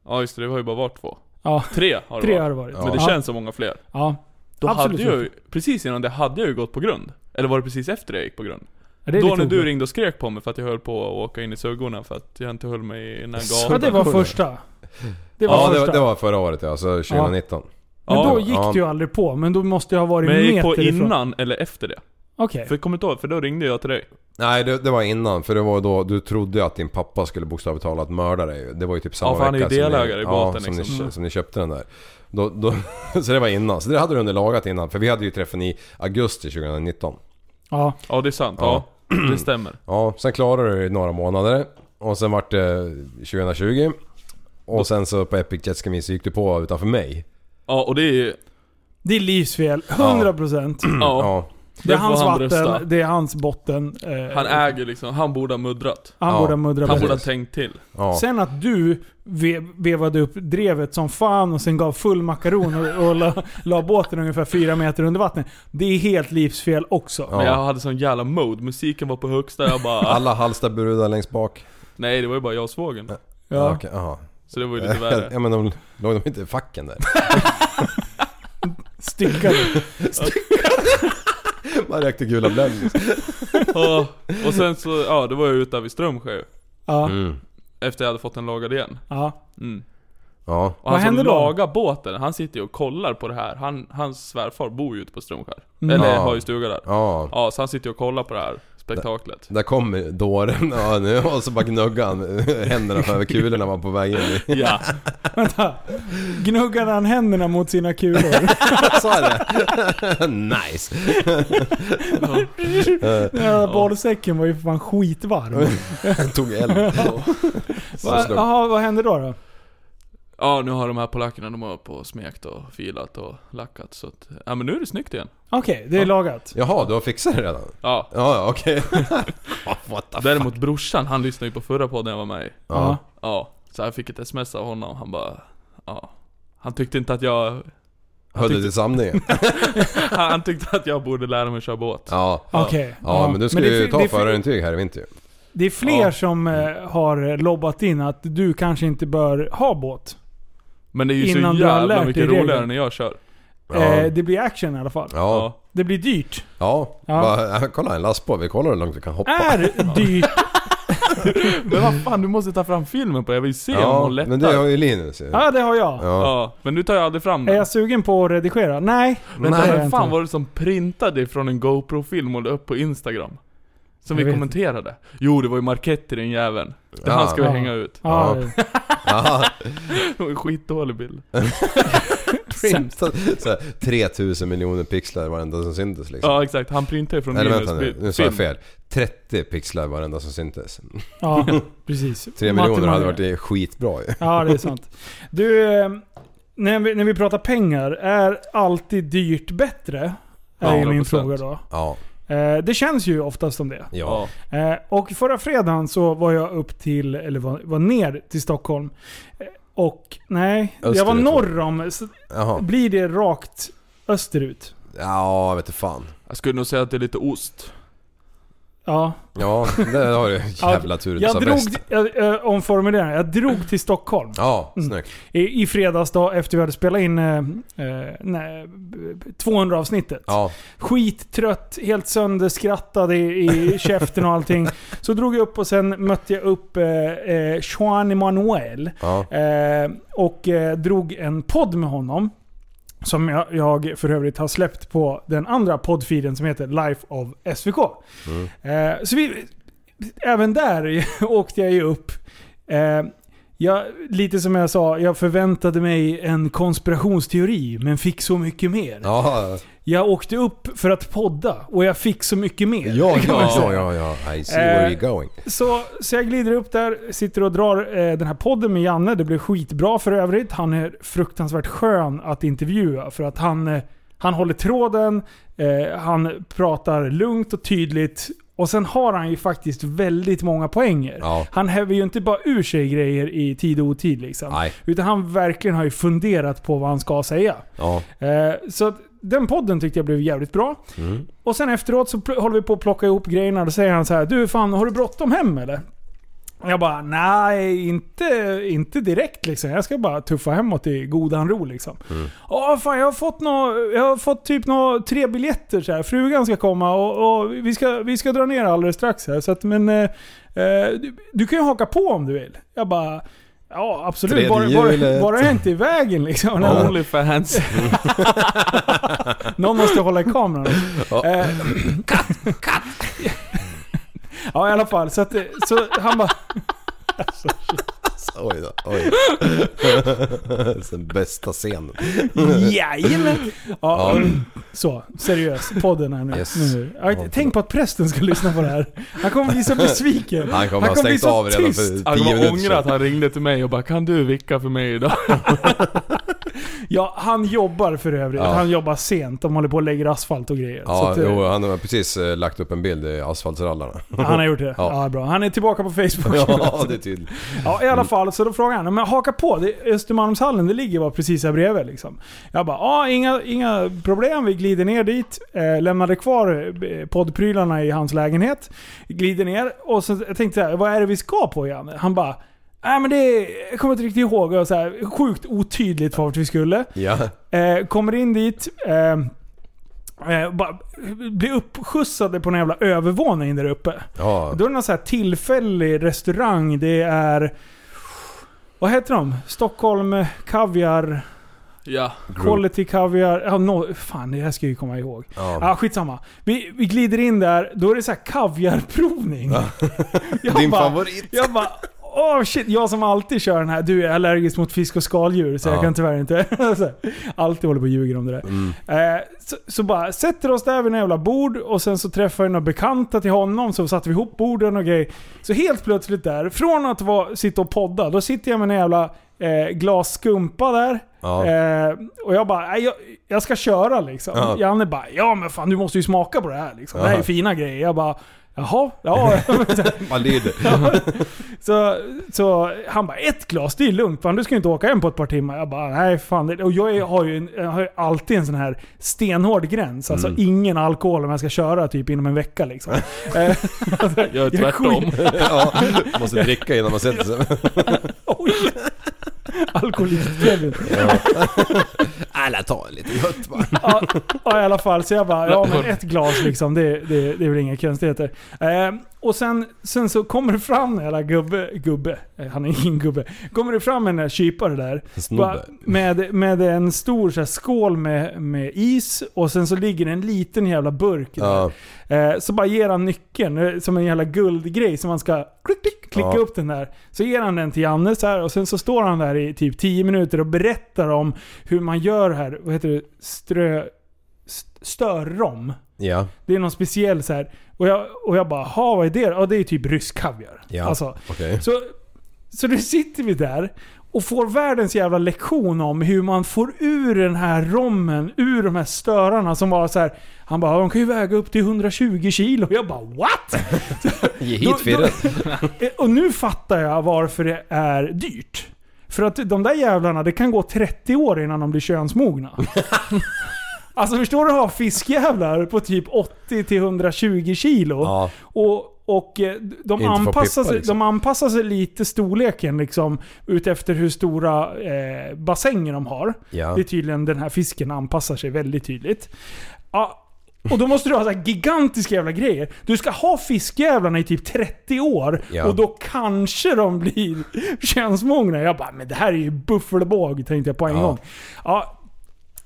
Ja just det, det har ju bara varit två.
Ja,
Tre har det
tre
varit.
har det varit.
Men det
ja.
känns som många fler.
Ja.
Då
Absolut
hade jag
inte.
ju, precis innan det hade jag ju gått på grund. Eller var det precis efter jag gick på grund?
Ja, det är
Då
lite
när du
oklart.
ringde och skrek på mig för att jag höll på att åka in i suggorna för att jag inte höll mig i den här
Så
gatan.
det var första. Det var
Ja, det
första.
var, det var förra året ja, så 2019.
Men
Ja,
då gick
ja.
du ju aldrig på, men då måste jag ha varit
Men jag gick
meter
på
ifrån.
innan eller efter det.
Okej.
För jag kommer inte ihåg, för då ringde jag till dig.
Nej, det, det var innan. För det var då du trodde att din pappa skulle bokstavligt talat mörda dig. Det var ju typ samma
Ja, för han är ju
vecka som ni-
delägare i båten,
som,
liksom.
ni,
Mm.
som ni köpte den där. Då, då, *laughs* så det var innan. Så det hade du underlagat innan. För vi hade ju träffen i augusti 2019.
Ja.
Ja, det är sant. Ja. Det stämmer.
Ja, sen klarade du det i några månader. Och sen vart det 2020. Och sen så på Epic Jet Ski Meet så gick du på utanför mig.
Ja, och det är ju...
Det är livsfel. 100%.
Ja,
Ja.
Det är
där får
hans
han rösta.
vatten, det är hans botten. eh,
Han äger liksom, han borde ha muddrat.
Han
Ja,
borde ha muddrat
Han
bättre.
borde ha tänkt till.
ja.
Sen att du ve- vevade upp drevet som fan och sen gav full makaron och, och la, la båten ungefär fyra meter under vattnet. Det är helt livsfel också.
Ja.
Men jag hade sån jävla mode, musiken var på högsta, jag bara...
Alla Hallstabrudar längst bak.
Nej, det var ju bara jag och svågern.
Ja.
okej, aha.
Så det var ju lite värre.
*laughs* Ja men de låg de inte i facken där?
Styckade.
Man rökte gula Blend. liksom.
Ja, och sen så, ja, då var jag ute vid Strömsjö.
Ja.
Mm.
Efter jag hade fått den lagad igen.
ja.
Mm.
Ja.
Och
Vad
han som
hände då?
lagar båten, han sitter ju och kollar på det här. Han, hans svärfar bor ju ute på Strömskär.
Mm.
Eller
Ja.
har ju stuga där.
Ja.
Ja, så han sitter ju och kollar på det här spektaklet.
Där kommer dåren ja, nu, och så bara gnuggade han händerna över kulorna man var på väg in
*laughs*
i.
Ja.
Vänta. Gnuggade han händerna mot sina kulor?
Sa jag det? *laughs* nice!
Den här badsäcken var ju för fan skitvarm.
Tog eld. *laughs* Så
Va-
slog-
Jaha, vad hände då? då?
ja, nu har de här polackerna, de har upp och smekt och filat och lackat. Så att, ja men nu är det snyggt igen.
Okej, det är lagat.
Jaha, du har fixat det redan?
Ja.
Ja, ja, okej. What the fuck?
Däremot brorsan, han lyssnade ju på förra podden jag var med i.
Ja.
Ja.
Ja. Så jag fick ett sms av honom, han bara, ja. Han tyckte inte att jag, *laughs*
Höll du till samlingen?
han, han tyckte att jag borde lära mig att köra båt.
Ja. ja.
Okej.
men du ska
det är
ju
fi- det
ta
är fi-
förarintyg här i vinter ju.
Det är fler
Ja.
som
Mm.
eh, har lobbat in att du kanske inte bör ha båt.
Men det är ju
Innan
så
du har lärt
jävla mycket
dig
roligare
reglerna.
när jag kör.
Ja.
Eh, det blir action i alla fall.
Ja.
Det blir dyrt.
Ja.
Ja. Äh,
Bara, äh, kolla en lastbåt, vi kollar hur långt vi kan hoppa.
Är
*laughs*
dyrt.
Men vad fan, du måste ta fram filmen på det. Jag vill se om
Ja,
hon lättar.
men det har ju Linus ju.
Ja, det har jag.
Ja.
Ja, men du tar ju aldrig fram
Mm.
Är
den.
jag sugen på att redigera? Nej.
Vänta,
Nej,
vem fan
inte.
var det som printade från en GoPro-film och la upp på Instagram?
Jag
Som vi
vet
kommenterade. Jo, det var ju Marketti den jäveln. Det
Ja.
han ska vi
Ja.
hänga ut.
Ja,
Ja. Ja. *laughs*
Det var en skitdålig bild.
Printat. Såhär, 3000 miljoner pixlar varenda som syntes liksom.
Ja, exakt. Han printade ju från
Eller
Linus
vänta nu,
bild-
nu sa jag
film.
fel. 30 pixlar varenda som syntes. *laughs*
ja precis.
3
Matte
miljoner hade
Maria.
varit skitbra ju.
Ja, det är sant. Du, eh, när vi, när vi pratar pengar, är alltid dyrt bättre? Är ju min
100%.
fråga då.
Ja,
Eh, det känns ju oftast som det.
ja.
Ja.
Eh, och förra fredagen så var jag upp till, eller var, var ner till Stockholm. Eh, Och nej, jag var
Österut,
norr om, så
Jaha.
blir det rakt österut.
Ja, vet du fan.
Jag skulle nog säga att det är lite ost.
Ja,
Ja, det har du jävla tur att du sa
jag drog,
alltså väst.
jag, jag omformulerar, jag drog till Stockholm.
Ja,
Mm.
snyggt.
I, I fredags då, efter vi hade spelat in eh, eh, nej, 200 avsnittet.
Ja,
Skittrött, helt sönderskrattad i,
*laughs*
i käften och allting. Så drog jag upp och sen mötte jag upp eh, eh, Juan Emanuel.
ja.
Eh, och eh, drog en podd med honom. Som jag, jag för övrigt har släppt på den andra poddfeeden som heter Life of SVK.
Mm.
Eh, så vi, även där *laughs* åkte jag ju upp. Eh, jag, lite som jag sa, jag förväntade mig en konspirationsteori men fick så mycket mer.
Ja,
Jag åkte upp för att podda och jag fick så mycket mer.
*laughs* ja,
kan man
ja,
säga.
ja, ja. I see
Eh,
where you're going.
Så, så jag glider upp där, sitter och drar eh, den här podden med Janne. Det blev skitbra för övrigt. Han är fruktansvärt skön att intervjua för att han, eh, han håller tråden, eh, han pratar lugnt och tydligt och sen har han ju faktiskt väldigt många poänger.
Ja.
Han häver ju inte bara ur sig grejer i tid och otid liksom.
Nej.
Utan han verkligen har ju funderat på vad han ska säga.
Ja,
Eh, så att den podden tyckte jag blev jävligt bra.
Mm.
Och sen efteråt så pl- håller vi på att plocka ihop grejerna. Då säger han så här, Du fan, har du bråttom hem eller? Jag bara, nej inte, inte direkt liksom. Jag ska bara tuffa hemåt i godan ro liksom.
Mm.
Ja, fan jag har fått, nå, jag har fått typ nå, tre biljetter så här. Frugan ska komma och, och vi, ska, vi ska dra ner alldeles strax här. Så att, men, eh, eh, du, du kan ju haka på om du vill. Jag bara, ja absolut.
Tredje
Bara, bara,
hjulet.
bara jag inte är i vägen liksom.
*laughs*
Onlyfans.
Någon måste hålla i kameran.
Ja.
Eh, ja i alla fall. Så, att, eh, så han bara...
Oj då, oj. *laughs* Den bästa scenen.
Jajamän! Ja,
Ja.
Så, seriös. Podden här nu.
Yes.
nu. Ja, tänk på att prästen ska lyssna på det här. Han kommer
*laughs*
bli så besviken.
Han kommer ha stängt av redan för 10
Han kommer
minuter
ångra att
sedan.
han ringde till mig och bara 'Kan du vicka för mig idag?' *laughs*
Ja, han jobbar för övrigt.
Ja.
Han jobbar sent. De håller på och lägger asfalt och grejer. så
Ja,
att, eh,
jo, han har precis eh, lagt upp en bild i asfaltsrallarna.
*laughs* han har gjort det. Ja.
Ja.
bra. Han är tillbaka på Facebook. *laughs*
Ja, det är tydligt.
Ja, i alla fall. Så då frågade han, men haka på. Det, Östermalmshallen, det ligger bara precis här bredvid. Liksom. Jag bara, ja inga, inga problem. Vi glider ner dit. Eh, lämnade kvar eh, poddprylarna i hans lägenhet. Glider ner. Och så jag tänkte jag vad är det vi ska på igen? Han bara, nej men det är, jag kommer inte riktigt ihåg. Och så här, sjukt otydligt vart vi skulle.
Ja.
Eh, kommer in dit. Eh, Eh, bara, blir uppskjutsade på en jävla övervåning där uppe.
Ja.
Då är det någon så här tillfällig restaurang. Det är... Vad heter de? Stockholm Kaviar,
Ja.
Quality Kaviar... Ja, no, fan, det här ska jag ju komma ihåg.
ja.
Ah, skitsamma. Vi, vi glider in där, då är det så här kaviarprovning. *laughs* Jag
Din
bara-
favorit.
Jag bara... Åh shit, jag som alltid kör den här. Du jag är allergisk mot fisk och skaldjur så jag
Ja. Mm.
kan tyvärr inte. *laughs* så här, alltid håller på och ljuger om det där. Eh, så, så bara sätter oss där vid några jävla bord och sen så träffar jag några bekanta till honom så satte vi ihop borden och grejer. Så helt plötsligt där, från att vara, sitta och podda, då sitter jag med en jävla eh, glas skumpa där.
Ja.
Eh, och jag bara, "Nej, jag, jag ska köra liksom.
Ja.
Janne bara, ja men fan du måste ju smaka på det här liksom. Det här är
Ja.
fina grejer. Jag bara, jaha, ja. *laughs*
Man lider.
Så, så han bara ett glas, det är lugnt fan du ska ju inte åka hem på ett par timmar. Jag bara nej fan. det- Och jag är- har ju, en, jag har ju alltid en sån här stenhård gräns. Alltså
Mm.
ingen alkohol om jag ska köra typ inom en vecka
*laughs*
liksom. Eh,
Jag är
*laughs* Jag är
tvärtom.
Ja, måste dricka innan man sätter sig.
*laughs* oj. Alkoholist-Kevin.
Alla tar lite gött bara.
*laughs* Ja, ja, i alla fall. Så jag bara, ja men ett glas liksom, det, det, det är väl inga konstigheter. Eh, och sen, sen så kommer det fram en jävla gubbe, gubbe, eh, han är ingen gubbe. Kommer det fram en där kypare där. Bara
Snubbe.
Med, med en stor så här, skål med, med is och sen så ligger det en liten jävla burk
Ja.
där. Eh, Så bara ger han nyckeln eh, som en jävla guldgrej som man ska klick, klick, klicka
Ja.
upp den där. Så ger han den till Janne så här och sen så står han där i typ 10 minuter och berättar om hur man gör här, vad heter det, strö... st- Störrom.
Ja.
Det är någon speciell så här. Och jag, och jag bara, ha vad är det? Ja det är typ rysk kaviar.
Ja.
Alltså,
Okej.
så, så nu sitter vi där och får världens jävla lektion om hur man får ur den här rommen, ur de här störarna som var så här. Han bara, de kan ju väga upp till 120 kilo. Jag bara, what?
Ge
Då-
hit firret.
då- *laughs* och nu fattar jag varför det är dyrt. För att de där jävlarna, det kan gå 30 år innan de
*laughs*
blir könsmogna. alltså förstår du att ha fiskjävlar på typ 80-120 kilo?
Ja.
Och, och eh, de,
få
anpassar
pippa,
sig,
liksom.
de anpassar sig lite storleken liksom, utefter hur stora eh, bassänger de har.
Ja.
Det är tydligen den här fisken anpassar sig väldigt tydligt. Ja, och då måste du ha så här gigantiska jävla grejer. Du ska ha fiskjävlarna i typ 30 år
Ja.
och då kanske de blir *laughs* könsmogna. Jag bara, men det här är ju buffelbåg tänkte jag på en
Ja.
gång. Ja,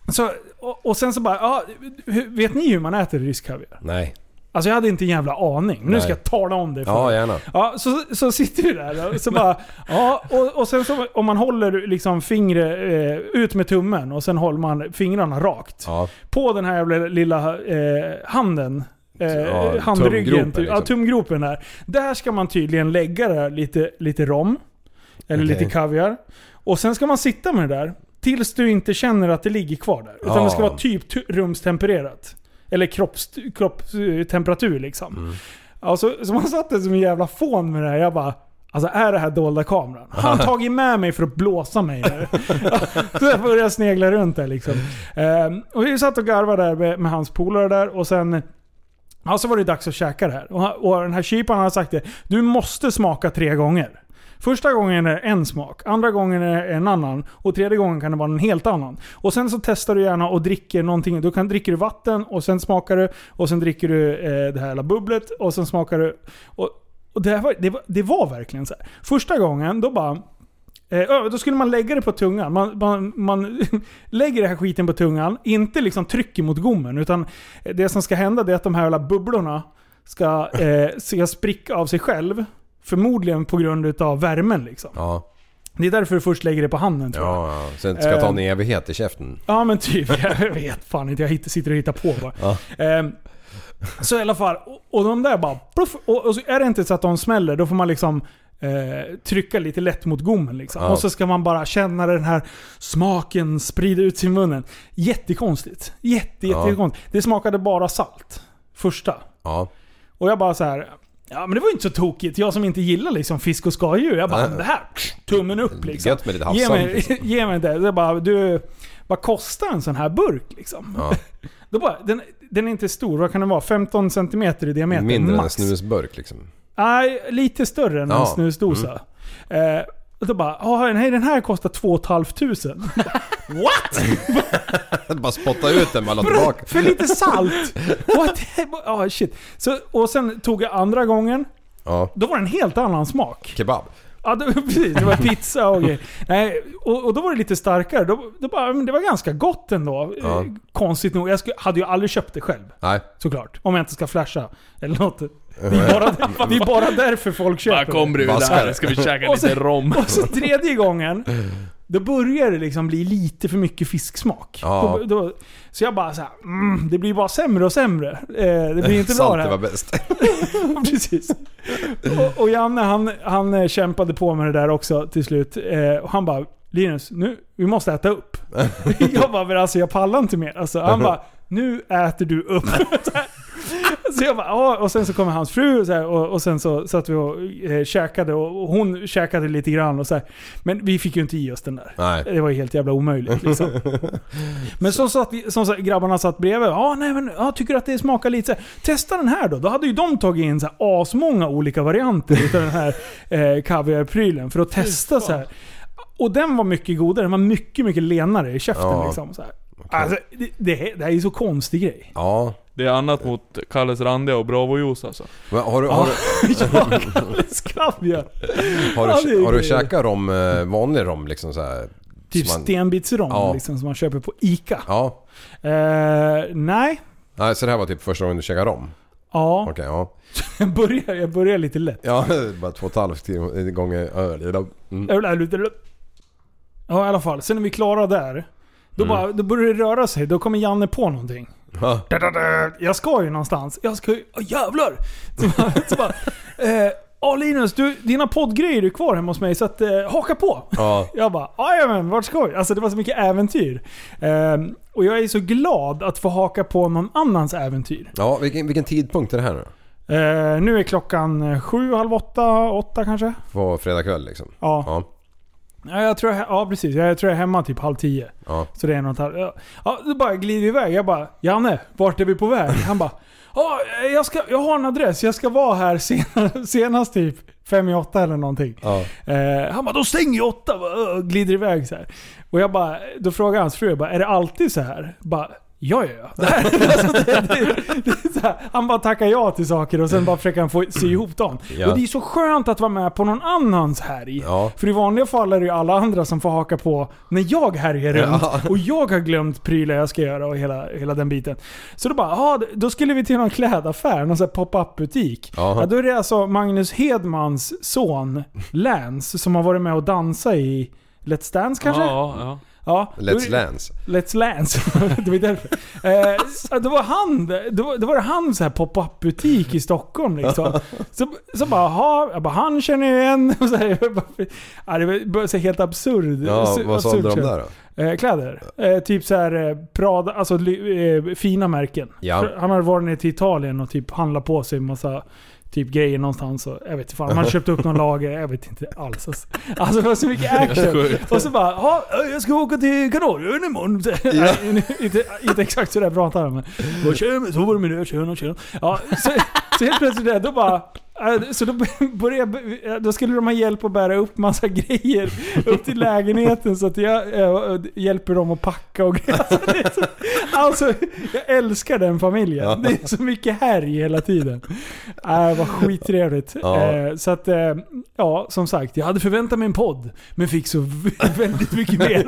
så, och, och sen så bara, ja, hur- vet ni hur man äter rysk kaviar?
Nej.
Alltså jag hade inte en jävla aning. Nu
Nej.
ska jag tala om det för
Ja,
dig.
gärna.
Ja, så, så sitter vi där och så bara... Ja, och, och sen så, om man håller liksom fingret eh, ut med tummen och sen håller man fingrarna rakt.
Ja.
På den här jävla lilla eh, handen. Eh,
Ja,
handryggen.
tumgropen,
Typ. Ja,
liksom.
tumgropen där. Där ska man tydligen lägga det här, lite, lite rom. Eller
Okej.
lite kaviar. Och sen ska man sitta med det där. Tills du inte känner att det ligger kvar där. Utan
Ja.
det ska vara typ tu- rumstempererat. Eller kropps, kroppstemperatur liksom. Alltså, så man satt där som en jävla fån med det här. Jag bara... Alltså är det här dolda kameran? Har han tagit med mig för att blåsa mig nu? *laughs* så jag började snegla runt där liksom. Ehm, och vi satt och garvade där med, med hans polare där och sen Ja, så var det dags att käka det här. Och, han- och den här kyparen hade sagt det. Du måste smaka tre gånger. Första gången är det en smak, andra gången är det en annan och tredje gången kan det vara en helt annan. Och sen så testar du gärna och dricker någonting. Då kan, dricker du vatten och sen smakar du och sen dricker du eh, det här jävla bubblet och sen smakar du. Och, och det, här var, det, var, det var verkligen så här. Första gången, då bara... Eh, ö, då skulle man lägga det på tungan. Man, man, man *laughs* lägger den här skiten på tungan, inte liksom trycker mot gommen. Utan det som ska hända det är att de här jävla bubblorna ska, eh, ska spricka av sig själv. Förmodligen på grund utav värmen liksom.
Ja,
Det är därför du först lägger det på handen tror jag. Ja,
ja, ja. Så det inte ska ta
Ehm.
en evighet i käften.
men typ. *laughs* Jag vet fan inte. Jag hitt- sitter och hittar på bara.
Ja.
Ehm, så i alla fall. och- Och de där bara... Pluff, och, och så är det inte så att de smäller, då får man liksom eh, trycka lite lätt mot gommen. Liksom.
Ja.
Och så ska man bara känna den här smaken sprida ut sin munnen. Jättekonstigt. Jätte,
Ja.
jättekonstigt. Det smakade bara salt. Första.
Ja.
Och jag bara så här. Ja men det var ju inte så tokigt. Jag som inte gillar liksom fisk och skaldjur. Jag bara
Nej.
det här. Tummen upp liksom.
Gött med lite
Ge
havssand.
mig,
liksom.
*laughs* ge mig det. Jag bara, du, vad kostar en sån här burk liksom?
Ja.
Då bara, den, den är inte stor, vad kan den vara? 15 cm i diameter
Mindre än en
max?
snusburk liksom.
Nej, lite större än
Ja. Mm.
en snusdosa. Eh, och då bara, "Ja, nej den här kostar 2 500. What?
Bara spotta ut den med alla tillbaka.
*laughs* För lite salt? What? *laughs* Oh, shit. Så, och sen tog jag andra gången,
Ja.
då var det en helt annan smak.
Kebab.
Ja, det, *laughs* precis. Det var pizza och grejer. Nej, och, och då var det lite starkare. Då, då bara, men det var ganska gott ändå.
Ja.
Eh, Konstigt nog. Jag skulle, hade ju aldrig köpt det själv.
Nej.
Såklart. Om jag inte ska flasha. Eller något. Det är bara, det är bara därför folk
Bara
köper
kom brudar,
Vaskar.
här ska
*laughs*
vi käka
Och så-
lite rom.
det. Och så tredje gången, då börjar det liksom bli lite för mycket fisksmak.
Ja.
Då, då, så jag bara såhär, mm, det blir bara sämre och sämre. Eh, det
*laughs*
blir inte bra
Salt, det
det här.
var bäst.
Ja, *laughs* Precis. Och, och Janne han, han eh, kämpade på med det där också till slut. Eh, och han bara Linus, nu, vi måste äta upp. jag bara, men alltså jag pallar inte mer. Alltså, han bara, nu äter du upp. *laughs* så, här. så jag bara, ja. Och sen så kommer hans fru och, så här, och, och sen så satt vi och eh, käkade och, och hon käkade lite grann och så här. Men vi fick ju inte i oss den där.
Nej.
Det var ju helt jävla omöjligt liksom. Men så satt, vi- som sagt, grabbarna satt bredvid. Ja, nej men jag tycker att det smakar lite så här. Testa den här då. Då hade ju de tagit in så här asmånga olika varianter utav den här eh, kaviarprylen för att testa så här. Och den var mycket godare. Den var mycket, mycket lenare i käften
Ja.
liksom. Så här. Alltså, det, det, det här är ju så konstig grej.
Ja.
Det är annat mot Kalles randiga och Bravo-juice alltså.
Men har du, har du,
*laughs* Ja, Kalles kaviar.
har
Ja, det
du,
är
har du
grejer.
käkat rom, eh, vanlig rom liksom så här?
Typ
Som man-
stenbitsrom
Ja.
liksom, som man köper på ICA.
Ja.
Eh, nej.
Nej, så det här var typ första gången du käkade rom?
Ja,
Okej, ja.
*laughs* jag börjar, jag börjar lite lätt.
Ja, *laughs* bara två och ett halvt till- gånger öl. i dem. Mm.
Ja i alla fall, sen när vi är klara där. Då, bara, då börjar det röra sig, då kommer Janne på någonting.
Ja.
Jag ska ju någonstans. Jag ska ju... Åh, jävlar! Så bara, *laughs* så bara, eh, "Ja, Linus, du, dina poddgrejer är kvar hemma hos mig så att, eh, haka på!
Ja.
Jag bara jajamän, vart ska vi? Alltså det var så mycket äventyr. Ehm, och jag är så glad att få haka på någon annans äventyr.
Ja, vilken, vilken tidpunkt är det här nu
Eh, nu är klockan eh, sju, halv åtta, åtta kanske?
På fredag kväll liksom?
Ja.
Ja.
Ja, jag tror, jag- ja precis. Jag tror jag är hemma typ halv tio.
Ja.
Så det är något halv... Ja, ja då bara glider vi iväg. Jag bara Janne, vart är vi på väg? Han bara Ja, jag, ska, jag har en adress. Jag ska vara här senast, *laughs* senast typ fem i åtta eller någonting.
Ja.
Eh, han bara då stänger ju åtta va? Ö, och glider iväg så här. Och jag bara, då frågar hans fru jag bara, är det alltid så här? Bara, Ja, ja, ja. *laughs* Det här, alltså, det, det, det, är så här. Han bara tackar ja till saker och sen bara försöker han få sy ihop dem.
Ja.
Och det är så skönt att vara med på någon annans härj.
Ja.
För i vanliga fall är det ju alla andra som får haka på när jag härjar runt
Ja.
och jag har glömt prylar jag ska göra och hela, hela den biten. Så då bara, ja, då skulle vi till någon klädaffär, någon sån här pop-up butik.
Jaha.
Ja, då är det alltså Magnus Hedmans son Lance som har varit med och dansat i Let's Dance kanske?
Ja, ja.
Ja, då är
Let's
det-
Lance.
Let's Lance. *laughs* det var därför. Eh, så då var han, då var, då var det han så här pop-up butik i Stockholm liksom. Så, så bara, aha, jag bara, han känner jag igen. *laughs* Och så här, jag bara, ja, det var så här helt absurd.
Ja,
absurd-
vad sålde de
absurd
där då?
Eh, kläder. Eh, typ så här eh, Prada, alltså ly- eh, fina märken.
Ja.
För Han hade varit nere till Italien och typ handlat på sig massa typ grejer någonstans. Och, jag vet inte fan, man hade köpt upp någon lager, jag vet inte alls. Alltså, alltså det var så mycket action.
Sjukt.
Och så bara, ja, jag ska åka till Kanarieön imorgon. *laughs* Nej, inte, inte exakt så där pratar han men. Bara, "Tjena, Så var det med det, tjena, tjena. Ja, så, så helt plötsligt där, då bara... eh, Så då, började, jag- då skulle de ha hjälp att bära upp massa grejer upp till lägenheten så att jag eh, hjälper dem att packa och grejer. alltså, det är så, alltså, jag älskar den familjen.
Ja.
Det är så mycket härj hela tiden. Äh, vad skittrevligt.
Ja.
Eh, så att, eh, ja, som sagt. Jag hade förväntat mig en podd, men fick så väldigt mycket mer.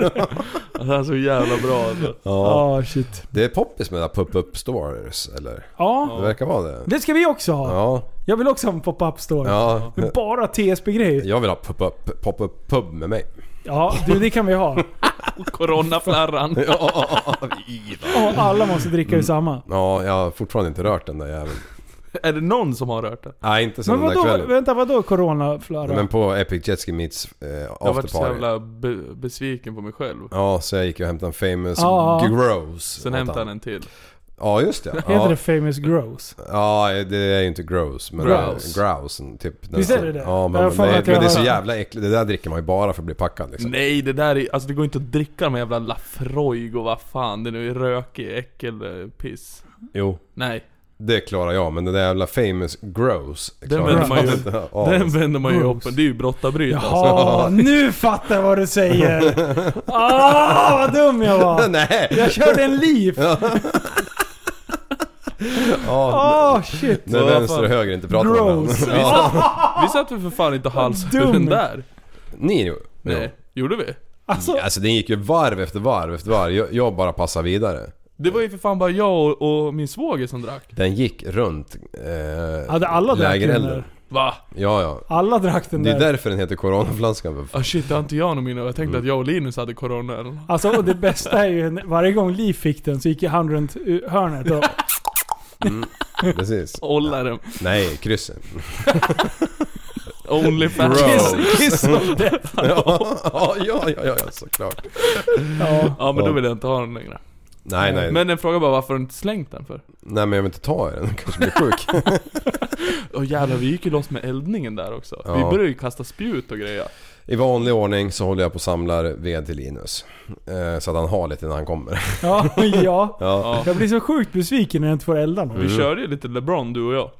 Det här är så jävla bra alltså.
Ja.
Ja, shit.
Det är poppis med pop-up stores, eller?
Ja,
Det verkar vara det.
det ska vi också ha.
Ja.
Jag vill också ha en pop-up store.
Ja.
Men bara TSB-grejer.
Jag vill ha pop-up pop pub med mig.
Ja, du det kan vi ha. *laughs*
Coronaflärran.
Och alla måste dricka ur samma.
Ja, jag har fortfarande inte rört den där jäveln.
*laughs* Är det någon som har rört det?
Nej, inte sen
Men
den där
vadå,
kvällen.
vänta vadå coronaflöra?
Men på Epic Jetski Meets eh,
Jag varit så
afterparty.
jävla be- besviken på mig själv.
Ja, så jag gick och hämtade en famous
Ja.
gross.
Sen
åt
hämtade
han.
han en till.
Ja, just det.
Heter
Ja.
det famous gross?
Ja, det är ju inte gross, men
Grouse.
grouse. grouse typ. Den
Visst är
som-
det det?
Ja, men,
Jag har
men,
för mig
det,
att jag
men det är
har-
så jävla äckligt. Det där dricker man ju bara för att bli packad liksom.
Nej det där är, alltså det går inte att dricka de här jävla Lafroig och vad fan det nu är rökig äckelpiss.
Jo.
Nej,
Det klarar jag, men den där jävla famous gross
den
klarar
vänder
jag
man ju,
inte av.
den vänder man ju upp.
Gross.
Det är ju brottarbryt alltså.
Jaha, nu fattar jag vad du säger! *laughs* Ah, vad dum jag
*laughs*
var!
Nej!
Jag körde en liv!
Ja,
Ah, shit!
när
Så
vänster
fan.
och höger inte pratar med *laughs* varandra.
Gross!
Vi satt väl för fan inte hals
Vad dum.
den där?
Ni jo.
Nej, gjorde vi?
Alltså,
Jo. Alltså den gick ju varv efter varv efter varv. Jag, jag bara passade vidare.
Det var ju för fan bara jag och, och min svåger som drack.
Den gick runt eh,
hade alla drack den
lägerelden.
där?
Va?
Ja, ja.
Alla drack den
Det är
där.
därför den heter coronaflaskan. för fan.
Ah shit, det har inte jag någon minne av. Jag tänkte
Mm.
att jag och Linus hade corona eller nåt.
Alltså, och det bästa är ju när- varje gång Liv fick den så gick ju han runt eh, hörnet och...
Precis.
*laughs* Olla den.
Nej, krysset.
Only *laughs*
Gross.
fashion.
Kiss of death.
ja, *laughs* ja, ja, ja, ja, såklart.
Ja.
Ja men då vill jag inte ha den längre.
Nej, nej.
Men en fråga bara, varför har du inte slängt den för?
Nej, men jag vill inte ta i den. Den kanske blir sjuk.
Åh jävlar, vi gick ju loss med eldningen där också.
Ja.
Vi började ju kasta spjut och grejer.
I vanlig ordning så håller jag på och samlar ved till Linus. Eh, så att han har lite när han kommer. *laughs*
Ja, ja.
Ja.
Ja. Mm.
Jag blir så sjukt besviken när jag inte får elda
Vi
Mm.
nu.
körde ju lite LeBron du och jag.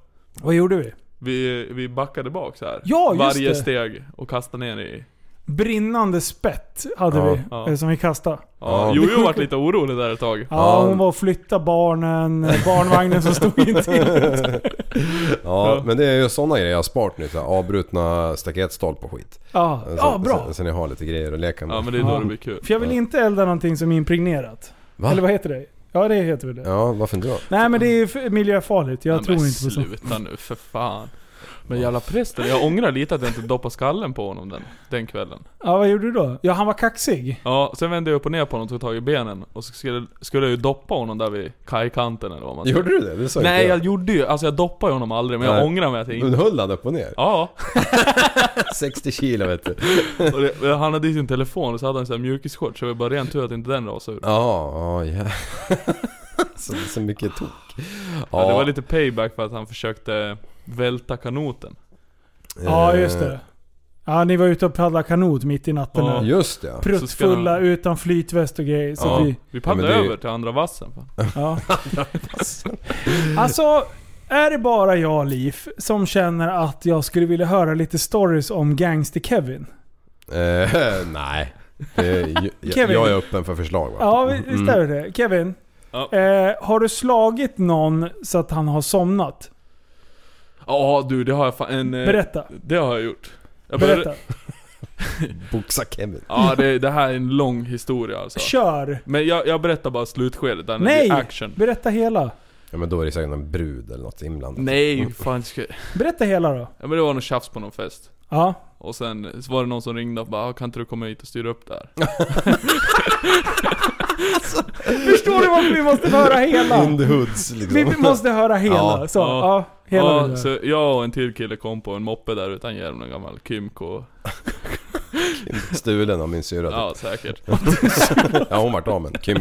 Vad gjorde vi?
Vi, vi backade bak så här.
Ja, just
Varje
det.
steg och kastade ner i...
Brinnande spett hade
Ja,
vi,
ja.
eh, som vi kastade.
Ja.
Ja.
Jojo vart lite orolig där ett tag.
Ja,
Ja.
hon var och flyttade
*laughs*
barnen, barnvagnen som stod intill.
ja, men det är ju sådana grejer jag har sparat nu. så här, Avbrutna staketstolpar och skit.
Ja,
Så,
ja bra.
Så, så ni har lite grejer att leka med.
Ja men det är då
Ja.
det blir kul.
För jag vill inte elda någonting som är impregnerat.
Va?
Eller vad heter det? Ja, det heter väl det.
Ja, varför inte då?
Nej men det är ju f- miljöfarligt. Jag
Nej,
tror
men
inte på sånt.
sluta nu för fan. Men jävla prästen, jag ångrar lite att jag inte doppade skallen på honom den, den kvällen.
Ja, vad gjorde du då? Ja, han var kaxig.
Ja, sen vände jag upp och ner på honom och tog tag i benen. Och så skulle, skulle jag ju doppa honom där vid kajkanten eller vad man
Gjorde du det? Det sa
Nej
inte
jag gjorde ju, alltså jag doppade ju honom aldrig men jag
Nej.
ångrar mig att jag
Men
inte...
höll han upp och ner?
Ja,
60 kilo vet du.
och det, han hade i sin telefon och så hade han en sån här mjukisshorts så det var bara ren tur att inte den rasade ur.
Ja, ja, ja. *laughs* Så, så mycket tok.
Ja, det var lite payback för att han försökte välta kanoten.
Ja,
Eh.
just det. Ja, ni var ute och paddlade kanot mitt i natten
Ja.
där.
Just det.
Så ska de-
Pruttfulla, utan flytväst och grejer. Så
Ja.
vi,
Vi
men
paddlade
det är ju-
över till andra vassen. Fan.
ja. Alltså, är det bara jag, Liv, som känner att jag skulle vilja höra lite stories om Gangster-Kevin?
Eh, *laughs* nej. Det, jag,
Kevin.
jag är öppen för förslag va?
Ja, vi-
Mm.
visst är det det. Kevin,
Ja.
eh, har du slagit någon så att han har somnat?
Ja du, det har jag fan... En, eh,
Berätta.
Det har jag gjort. Jag började-
Berätta.
Boxa Kevin.
Ja det, det här är en lång historia alltså.
Kör.
Men jag, jag berättar bara slutskedet där när det
Nej!
blir action.
Berätta hela.
Ja men då är det säkert någon brud eller något inblandat. *laughs*
Nej, fan ska... Ja
Berätta hela då.
men det var någon tjafs på någon fest.
Ja.
Och sen så var det någon som ringde och bara "Ah, 'Kan inte du komma hit och styra upp det här?'
Förstår du varför vi måste höra hela?
In the hoods liksom. *laughs*
Vi måste höra hela.
Ja.
så, ja.
Ja.
hela det där.
ja, så jag och en till kille kom på en moppe där utan hjälm, en gammal Kymco.
Stulen av min syrra. typ.
Ja säkert.
*laughs* Ja hon vart av med en Kim.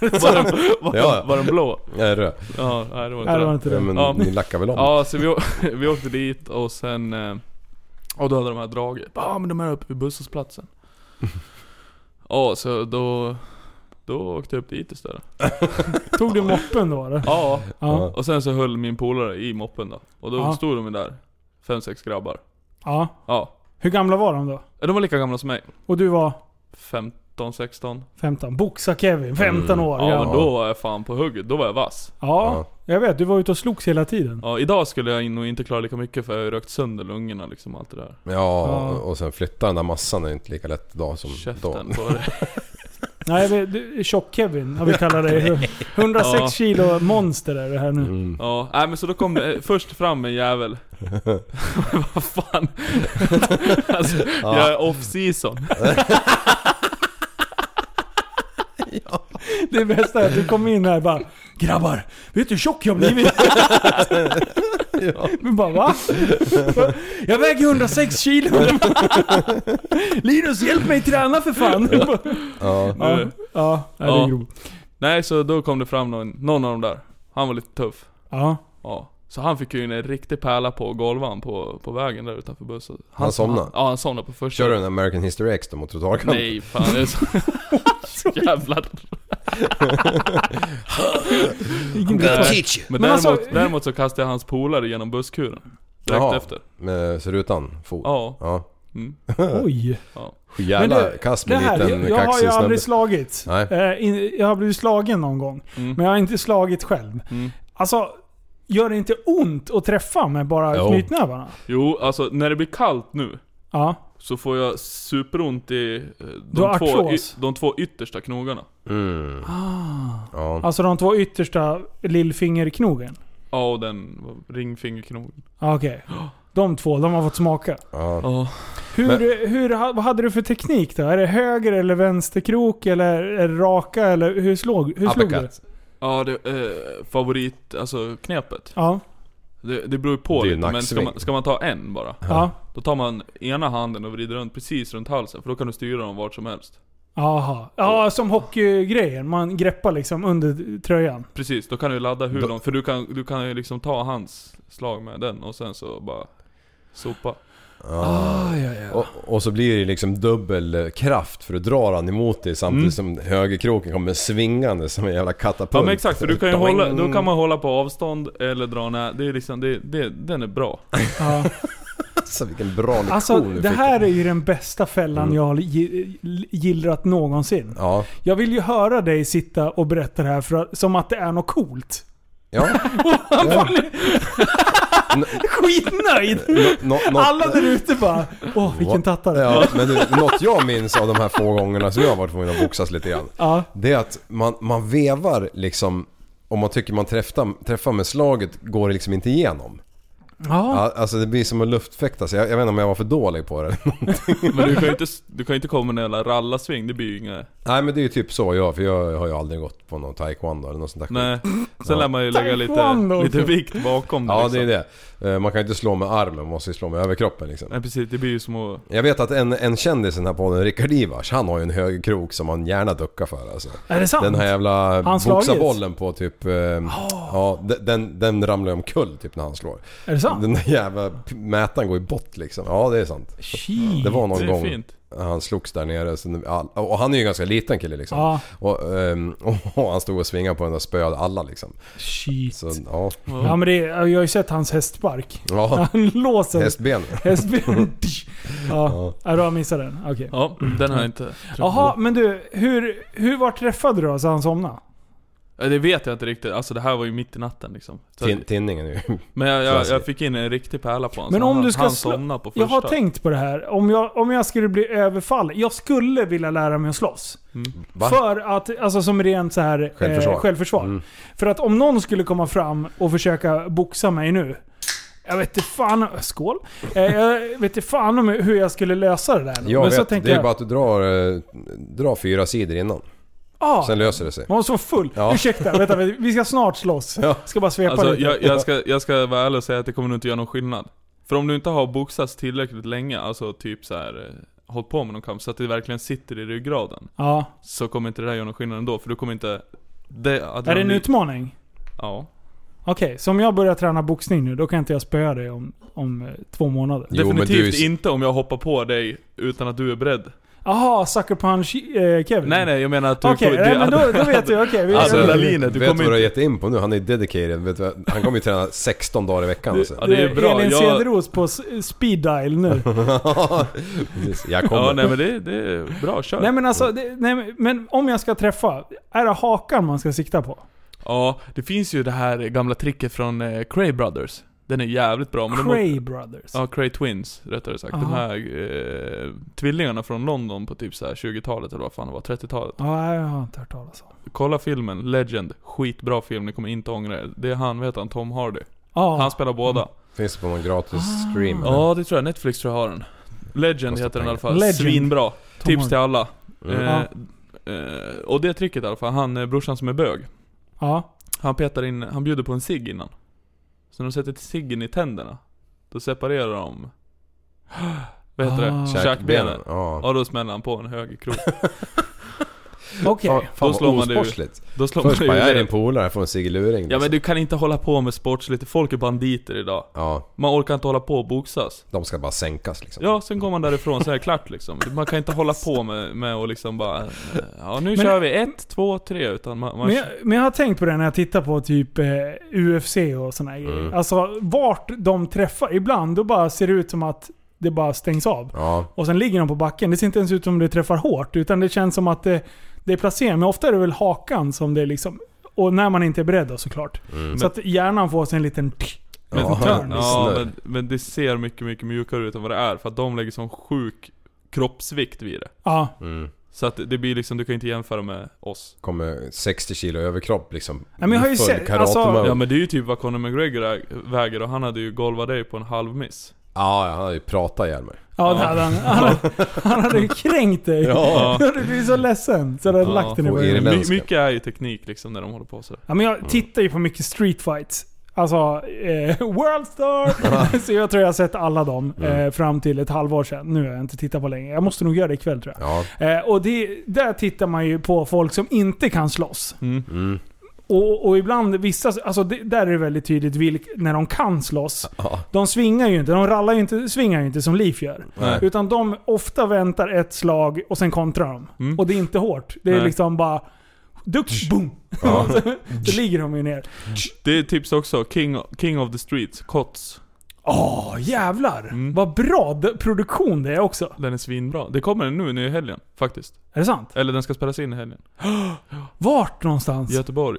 Var den, var,
Ja.
var den blå?
Nej, röd.
Ja, nej det var inte
Nej, det var
den.
inte
Ja,
det.
men
Ja.
ni lackar väl om?
Ja, så vi, å- *laughs* vi åkte dit och sen... eh, Och då hade de här dragit. Ja ah, men de är uppe vid busshållplatsen. Ja, så då... Då åkte jag upp dit istället.
Tog du moppen då eller?
Ja,
Ja.
och sen så höll min polare i moppen då. Och då
Ja.
stod de ju där. Fem, sex grabbar.
ja.
Ja.
Hur gamla var de då?
De var lika gamla som mig.
Och du var
15, 16.
15? Boxa-Kevin, 15
Mm.
år.
Ja,
Ja,
men då var jag fan på hugget. Då var jag vass.
ja, jag vet. Du var ute och slogs hela tiden.
Ja, idag skulle jag nog inte klara lika mycket för jag har ju rökt sönder lungorna liksom och allt det där.
Ja,
Ja.
och sen flytta den där massan är inte lika lätt idag som då.
Käften på det.
Nej, men du- tjock-Kevin har vi kallat dig. 106
Ja.
kilo monster är det här nu.
Mm.
Ja, nej men så då kom det eh, först fram
*laughs*
en jävel. *laughs* Vad fan. alltså, jag är off season.
Det bästa är att du kom in här och bara Grabbar, vet du hur tjock
*laughs*
jag blivit? Vi bara va? Jag väger
*laughs*
106 kilo. Linus hjälp mig träna för fan. *laughs*
Ja.
Ja, ja, ja det är
Ja.
grovt.
Nej, så då kom det fram någon, någon av dem där. Han var lite tuff.
Ja.
Ja. Så han fick ju in en riktig pärla på golvan på, på vägen där utanför bussen.
Han somnade?
ja, han somnade på första.
Kör du en American History X då mot trottoarkanten?
Nej, fan det är så...
*laughs*
Jävlar.
Vilken bra.
Men,
Men
däremot,
alltså-
däremot så kastade jag hans polare genom busskuren. Direkt
Jaha.
efter.
Med rutan? Fot?
Ja.
Ja.
Mm.
Oj.
Jävla
det-
kast
Det
med
här,
liten
jag, jag har ju
kaxig snubbe.
aldrig slagit.
Nej.
Eh, in- Jag har blivit slagen någon gång.
Mm.
Men jag har inte slagit själv.
Mm.
Alltså, gör det inte ont att träffa med bara
Jo.
knytnävarna?
Jo, alltså när det blir kallt nu.
Ja.
Så får jag superont i eh,
Du har
de, två, y,
artros.
de två yttersta knogarna.
Mm. Ja.
Alltså de två yttersta lillfingerknogen?
Ja, och den ringfingerknogen.
Ja, Okej. De två, de har fått smaka.
ja.
Ja.
Hur, hur, ha- vad hade du för teknik då? Är det höger eller vänsterkrok eller är det raka eller hur slog, hur slog du?
Uppercut.
Ja, det, eh, favorit, alltså knepet.
Ja,
Det, det beror ju på
Det är
lite, men ska
nacksving.
man, ska man ta en bara?
ja.
Då tar man ena handen och vrider runt precis runt halsen, för då kan du styra dem vart som helst.
Aha. Ja, som hockeygrejen. Man greppar liksom under tröjan.
Precis, då kan du ladda hur
Då-
långt, för du kan, du kan ju liksom ta hans slag med den och sen så bara sopa.
Och, och så blir det liksom dubbel eh, kraft för du drar han emot dig samtidigt som högerkroken kommer svingande som en jävla katapult.
Ja men exakt, för du kan ju
Doing.
hålla, då kan man hålla på avstånd eller dra nä. Det är liksom, det, det, den är bra.
Ja.
Alltså vilken bra lektion
Alltså,
du
det
fick. Mm.
här är ju den bästa fällan jag har gi- gillrat någonsin.
Ja.
Jag vill ju höra dig sitta och berätta det här för att, som att det är något coolt.
Ja. *laughs*
Skitnöjd!
Nå- nå- nå-
Alla där ute bara Åh, vilken tattare. Ja.
Ja, men du, något jag minns av de här få gångerna som jag har varit tvungen att boxas lite grann.
Ja.
Det är att man, man vevar liksom, om man tycker man träffar, träffar med slaget går det liksom inte igenom. Ja, alltså det blir som att luftfäktas. Jag, jag vet inte om jag var för dålig på det. *laughs*
Men du kan ju inte, du kan ju inte komma med en jävla rallarsving, det blir ju inget.
Nej men det är ju typ så jag, för jag har ju aldrig gått på någon taekwondo eller något sånt där skit.
Nej. Sen lär man ju lägga lite,
Taekwondo
lite
också.
vikt bakom
Ja
liksom.
det är det. Eh, Man kan ju inte slå med armen, man måste ju slå med överkroppen liksom.
Nej precis, det blir ju som att...
Jag vet att en, en kändis i den här podden, Rickard Ivars, han har ju en hög krok som han gärna duckar för alltså.
Är det sant?
Den här jävla
han slagit?
boxarbollen på typ... Eh, Ja, de- den, den ramlar ju omkull typ när han slår.
Oh. Är det sant?
Den där jävla p- mätaren går ju bort liksom. Ja, det är sant.
Shit.
Det var någon
Det är
gång
fint.
han slogs där nere. Så, nu- all- och han är ju en ganska liten kille liksom.
Ja.
Och, ehm, *laughs* och han stod och svingade på den där spöade alla liksom.
Shit.
Så
*laughs*
ja,
Ja, men det, är- jag har ju sett hans hästspark.
Mm. ja
*laughs* Han låser
hästben.
hästben.
*laughs*
ja. ja, du har missat den. Okej.
Ja, den har jag inte träffat.
Jaha, men du. Hur, hur var träffade du då så han somnade?
Ja, Det vet jag inte riktigt, alltså det här var ju mitt i natten liksom. Så,
Tin- Tinningen är ju...
men jag, jag,
Klassiker.
jag fick in en riktig pärla på honom,
Men
så
om
han,
du ska
han
slå-
somnade på första.
Jag har tänkt på det här. Om jag, om jag skulle bli överfallen. Jag skulle vilja lära mig att slåss.
Mm.
Va?
För att, alltså som rent så här
Självförsvar. Mm.
Eh, självförsvar. För att om någon skulle komma fram och försöka boxa mig nu. Jag vet inte fan, skål. Eh, jag vet inte fan om hur jag skulle lösa det där.
Jag
Men
vet,
så
det är
tänker
ju
jag,
bara att du drar, eh, drar fyra sidor innan.
ah,
Sen löser det sig.
man var så full.
Ja.
Ursäkta, vänta, vi ska snart slåss.
Ja.
Ska bara svepa
Alltså
lite.
jag, jag, ska, jag ska vara ärlig och säga att det kommer nog inte göra någon skillnad. För om du inte har boxats tillräckligt länge, alltså typ så här eh, hållit på med någon kamp, så att det verkligen sitter i ryggraden.
Ja.
Så kommer inte det där göra någon skillnad ändå, för du kommer inte Det, att
Är det en
blir-
utmaning?
Ja.
Okej, så om jag börjar träna boxning nu, då kan inte jag spöa dig om, om eh, två månader?
Jo, men
Definitivt
du är ju-
inte om jag hoppar på dig utan att du är beredd.
Jaha, sucker punch eh, Kevin?
Nej nej, jag menar att du...
Okej,
du-
nej, men då, då vet jag. Okej, vi-
Alltså,
vi-
Berlin- Linet, du
vet
kommer
vad du har
inte-
gett in på nu? Han är dedicated. Vet du, vad? han kommer ju träna 16 dagar i veckan.
Ja,
Alltså.
det är bra.
Elin
Jag-
Cederos på s- speed dial
*laughs*
nu.
*laughs* Precis. Jag kommer.
Ja nej men det, det är bra, kör.
nej men alltså, det, nej, men- men om jag ska träffa, är det hakan man ska sikta på?
Ja, det finns ju det här gamla tricket från eh, Cray Brothers. Den är jävligt bra. Men de har-
Cray Brothers.
Ja, Cray Twins, rättare sagt. De
Aha.
här eh, tvillingarna från London på typ så här 20-talet eller vad fan det var, 30-talet.
Ja, jag har inte hört talas om.
Kolla filmen, Legend. Skitbra film, ni kommer inte ångra er. Det är han, vad heter han? Tom Hardy.
Ja. Mm.
Han spelar båda.
Finns det på någon gratis stream? eller?
Ah. Ja, det tror jag. Netflix tror jag har den. Legend
Kostar
heter den i alla fall.
pengar. Legend.
Svinbra.
Tom
Tips till alla.
Mm.
Eh, eh, och det tricket i alla fall, han eh, brorsan som är bög.
Ja.
Han petar in, han bjuder på en cigg innan. Så när de sätter ciggen i tänderna, då separerar de... *gasps* Vad heter
Ah.
det? Käkbenen.
Ja.
Ja, då smäller han på en hög krok.
Okej.
Fan, fan
Då slår
vad
man det ju.
osportsligt.
*laughs* Då slår man
Först
ju
bara, jag är
ner.
din polare, jag får en cigeluring.
Ja men
liksom.
du kan inte hålla på med sportsligt, folk är banditer idag.
ja,
Man orkar inte hålla på och boxas.
de ska bara sänkas liksom.
Ja, sen går man därifrån så är det klart liksom. Man kan inte hålla på med, med och liksom bara... eh, Ja, nu
Men-
kör vi ett, två, tre. Utan man, man,
Men jag, men jag har tänkt på det när jag tittar på typ eh, UFC och såna här grejer. Alltså vart de träffar. Ibland då bara ser det ut som att det bara stängs av.
Ja,
Och sen ligger de på backen. Det ser inte ens ut som det träffar hårt. Utan det känns som att det, det är placerat. Men ofta är det väl hakan som det är liksom... Och när man inte är beredd då såklart. Så att hjärnan får sig en liten...
men,
Ja,
ja,
det snurrar.
men, men det ser mycket, mycket mjukare ut än vad det är. För att de lägger sån sjuk kroppsvikt vid det.
Ja.
Så att det blir liksom, du kan inte jämföra med oss.
Mm. kommer 60 kilo överkropp liksom.
Ja, men jag har ju
Full
sett-
karate
alltså-
mode.
Ja men det är ju typ vad Conor McGregor är- väger och han hade ju golvat dig på en halv miss.
Ja, han har ju pratat ihjäl mig.
Ja, det hade han. Han hade, han hade ju kränkt dig.
Ja.
*laughs* Du blir så ledsen. Så du hade lagt den i
får
början.
irländska.
My, mycket är ju teknik liksom när de håller på sådär.
Ja, men jag tittar ju på mycket street fights. Alltså, eh, Worldstar! *laughs* så jag tror jag har sett alla dem eh, fram till ett halvår sedan. Nu har jag inte tittat på länge. Jag måste nog göra det ikväll tror jag.
Ja,
Eh, och det, där tittar man ju på folk som inte kan slåss.
Mm.
Och, och ibland, vissa, alltså det, där är det väldigt tydligt vilk, när de kan slåss.
ja.
De svingar ju inte, de rallar ju inte, svingar ju inte som Leaf gör.
Nej.
Utan de ofta väntar ett slag och sen kontrar de. Och det är inte hårt. Det är
Mm. Nej. Mm.
liksom bara... Dukt, boom! *laughs*
Ja.
Då ligger de ju ner.
Det är tips också, King, King of the Streets, Kots.
Åh, jävlar!
Mm.
Vad bra d- produktion det är också.
Den är svinbra. Det kommer den nu, nu i helgen faktiskt.
Är det sant?
Eller den ska spelas in i helgen.
Vart någonstans?
I Göteborg.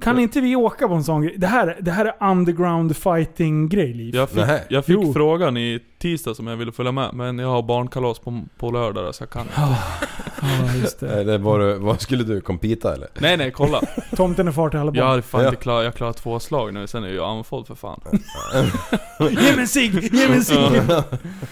Kan inte vi åka på en sån grej? Det här, det här är underground fighting-grej, Liv.
Jag fick,
Nähä.
jag fick
Jo.
frågan i tisdags om jag ville följa med, men jag har barnkalas på, på lördag så jag kan
Ja, just det.
Eller var, du- vad skulle du? Compita eller?
Nej nej, kolla.
Tomten är far till alla
Jag
barn.
har fan
Ja.
inte klarat, jag klarar två slag nu, sen är jag andfådd för fan.
Ge mig en cigg! Ge mig en cigg!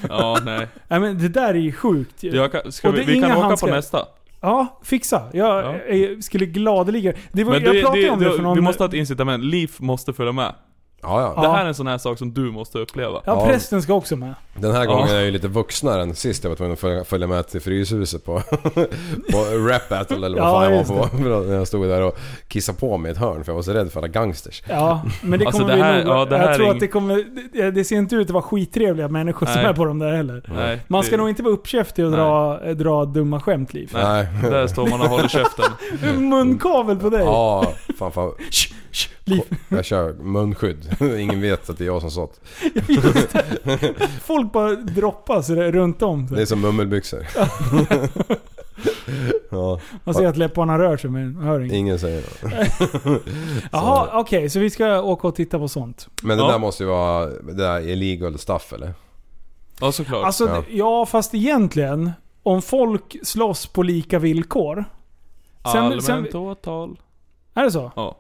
Ja, nej.
Nej men det där är ju sjukt ju.
Jag kan, ska
Och
vi,
det är
vi kan
inga
åka
handskar.
på nästa.
Ja, fixa. Jag
Ja.
eh, skulle gladeligen... Det var,
Men
jag
det,
pratade
det,
om det, för någon...
vi måste ha ett incitament. Liv måste följa med.
Ja, ja.
Ja.
Det här är en sån här sak som du måste uppleva.
Ja,
Ja.
prästen ska också med.
Den här gången
Ja.
är jag ju lite vuxnare än sist jag var tvungen att följa- följa med till Fryshuset på, *laughs* på Rap Battle eller vad
Ja,
fan jag
just
var på. När jag stod där och kissade på mig i ett hörn för jag var så rädd för alla gangsters.
Ja, men det
Alltså,
kommer
det
bli
här-
nog...
ja, det här
jag
är
tror att
ing-
det kommer... Det, det ser inte ut att vara skittrevliga människor som
Nej.
är på de där heller.
Nej,
Man ska
det,
nog inte vara uppkäftig och dra, eh, dra dumma skämt Liv.
Nej,
Nej.
*laughs* där står man och håller käften.
Munkavel på dig.
*laughs* Ja, fan fan.
Sch, sch, Liv.
Jag kör munskydd. *laughs* Ingen vet att det är jag som sått.
Just det. Folk bara droppas r- runt om.
Det är som mummelbyxor. Ja,
Man ser att läpparna rör sig men hör inget.
ingen säger något.
Jaha, okej. så vi ska åka och titta på sånt.
Men det
Ja.
där måste ju vara, det där illegal stuff eller?
Ja, såklart.
Alltså,
Ja.
ja. ja fast egentligen. Om folk slåss på lika villkor. Sen,
Allmänt
sen,
åtal.
är det så?
Ja.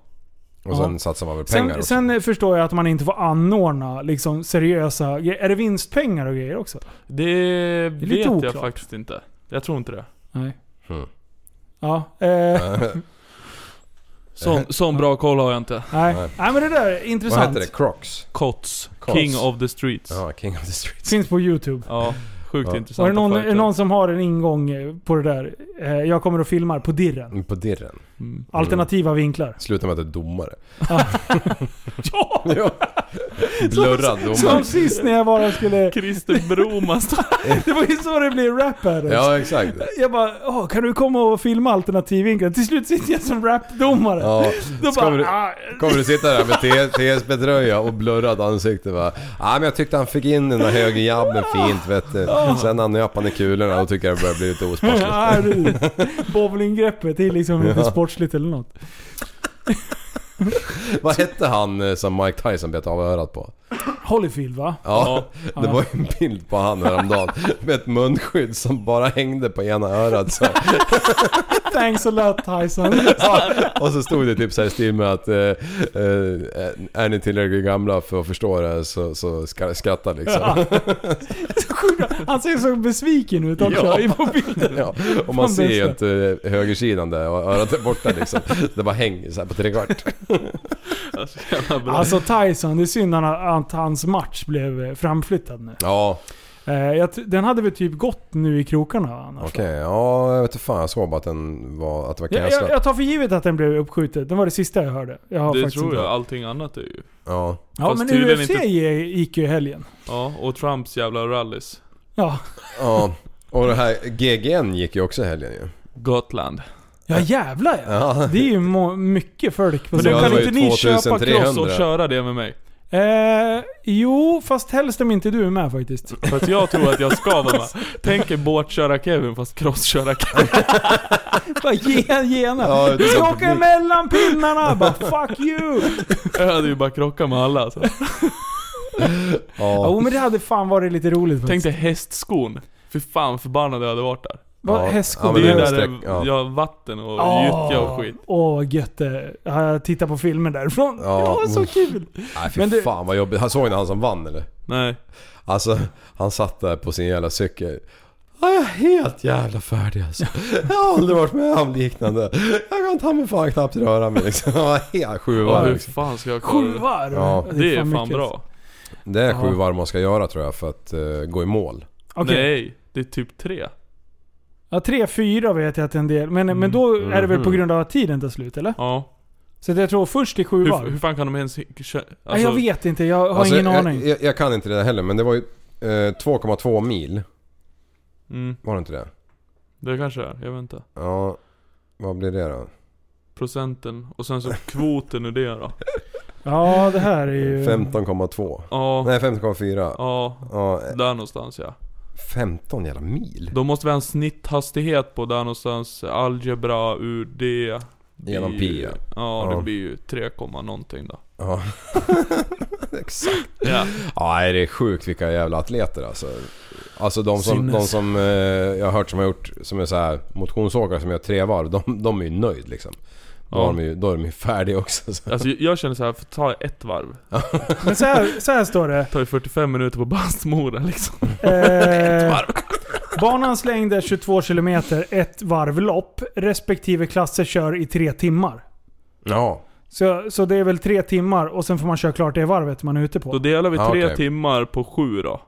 Och sen
Ja.
satsar man väl pengar
Sen,
också.
sen förstår jag att man inte får anordna liksom, seriösa grejer. Är det vinstpengar och grejer också?
Det
lite
vet jag
oklart.
faktiskt inte. Jag tror inte det.
Nej.
Hmm.
Ja, eh,
*laughs*
Sån, sån bra koll har jag inte.
nej.
Nej.
nej men det där är
Vad
intressant.
heter det? Crocs?
Kots.
Kots.
King of the streets. Ja,
Ja, King of the Streets.
Finns på YouTube.
sjukt
Ja.
intressant.
Var det någon, är det någon som har en ingång eh, på det där? Eh, Jag kommer och filmar på dirren.
På dirren.
Mm.
*laughs*
Alternativa vinklar.
Sluta med att det är domare.
Ja!
Ja. Blurrad domare.
Som sist när jag
*laughs*
bara skulle...
Christer Broman står
Det var ju så det blev rap här.
Ja, exakt.
Jag bara, Åh, kan du komma och filma alternativvinklar? Till slut sitter jag som rapdomare.
Ja.
Då
Så
bara,
kommer,
ah,
du, kommer du sitta där med TSB-tröja och blurrat ansikte va? Ja men jag tyckte han fick in den där högerjabben fint vet du. Sen han nöp han i kulorna och tycker jag det börjar bli lite osparsligt.
ja, du. Bowlinggreppet, det är liksom inte sportsligt eller något.
Vad hette han eh, som Mike Tyson bet av örat på?
Holyfield va?
Ja, det var ju en bild på han häromdagen med ett munskydd som bara hängde på ena örat så.
Thanks a
*laughs*
lot Tyson.
Ja, och så stod det typ så här i stil med att eh, eh, är ni tillräckligt gamla för att förstå det här så, så ska- skratta liksom.
Så sjukt. Han ser så besviken ut också
Ja.
i mobilen.
Ja, och man
Fan,
ser ju
bästa.
inte eh, högersidan där och örat är borta liksom. Det bara hänger så här på trekvart.
så jävla bra.
Alltså Tyson, det är synd han- att hans match blev eh, framflyttad nu.
Ja,
Eh, jag t- Den hade väl typ gått nu i krokarna annars. va?
okej. Ja, jag vet inte fan. Jag såg bara att den var, att det var
Jag, jag,
cancellat.
jag tar för givet att den blev uppskjuten. Det var det sista jag hörde. Jag har
Det
faktiskt
tror
inte-
jag, allting annat är ju.
Ja.
Ja
Fast
men
tydligen
UFC
inte-
gick ju i helgen.
Ja, och Trumps jävla rallys.
Ja.
ja. Och det här GGN gick ju också i helgen ju.
Gotland.
Ja jävlar ja.
Ja.
Det är ju må- mycket folk på
Men
det
du,
sådana.
var
kan
ju
inte ni köpa
2300.
cross och Alltså, köra det med mig?
Eh, jo, fast helst om inte du är med
*laughs*
faktiskt.
För att jag tror att jag ska
*laughs*
vara med. Tänk er båtköra Kevin fast crossköra Kevin.
Bara ge gena.
Ja,
du
det
ska
var
åka
publik.
emellan pinnarna! Bara fuck you!
Jag hade ju bara krockat med alla alltså.
Jo
Ja.
men det hade fan varit lite roligt
Tänk
faktiskt.
dig hästskon. Fy fan förbannad jag hade varit där.
Vad
Ja.
hästskor?
Ja,
Det
men
är ju
det
där
sträck-
det,
ja.
ja, vatten och
Åh.
gyttja och skit.
Åh vad gött det är. Har Jag tittar på filmer därifrån.
Ja.
Ja, så kul.
Nej fy
Men det-
fan vad jobbigt. Han såg ni han som vann eller?
Nej.
Alltså, han satt där på sin jävla cykel. Ja, jag är helt jävla färdig alltså. Jag har aldrig varit med om liknande. Jag kan ta mig fan knappt röra mig liksom. Han var helt sju
Ja,
varv.
hur
Liksom.
fan ska jag kolla
Sju
det?
varv.
Ja.
Det är fan
mycket.
bra.
Det är
Ja.
sju varv man ska göra tror jag för att eh, gå i mål.
Okej.
Nej, det är typ tre.
Ja, tre, fyra vet jag att en del. Men, men då är det väl på
Mhm.
grund av att tiden tar slut eller?
Ja.
Så jag tror först i sju
Hur, alltså- eh,
varv.
hur fan kan de ens hi- kö-
Nej, jag vet inte, jag har
Alltså,
ingen
jag,
aning.
Jag, jag kan inte det där heller men det var ju eh, 2,2 mil.
Mm,
Var det inte det?
det kanske är. Jag vet inte.
Ja, vad blir det då?
Procenten. Och sen så kvoten ur det då.
Ja, det här är ju...
15,2.
Ja.
Nej 15,4.
Ja.
Ja,
Där någonstans ja.
15 jävla mil.
Då måste vi ha en snitthastighet på där någonstans. Algebra ur det. blir
Genom
ju-
pi, ja.
Ja,
Ja.
det blir ju 3, komma någonting då.
Ja. *laughs* Exakt.
Ja.
Ja, nej, det är sjukt vilka jävla atleter alltså. Alltså de som,
Sinnes.
de som eh, jag har hört som har gjort, som är så här motionsåkare som gör tre varv, de, de är ju nöjd liksom. Då,
Ja.
har de ju, då är de ju färdiga också. Så.
Alltså jag känner så här, för ta ett varv.
Men så här, så här står
*laughs*
det.
Tar ju 45 minuter på Bastmora liksom.
Eh, banans längd är 22 km, ett varvlopp. Respektive klasser kör i tre timmar.
Ja.
Så, så det är väl tre timmar och sen får man köra klart det varvet man är ute
Då
på.
delar vi
Ja,
tre
okej.
timmar på sju då.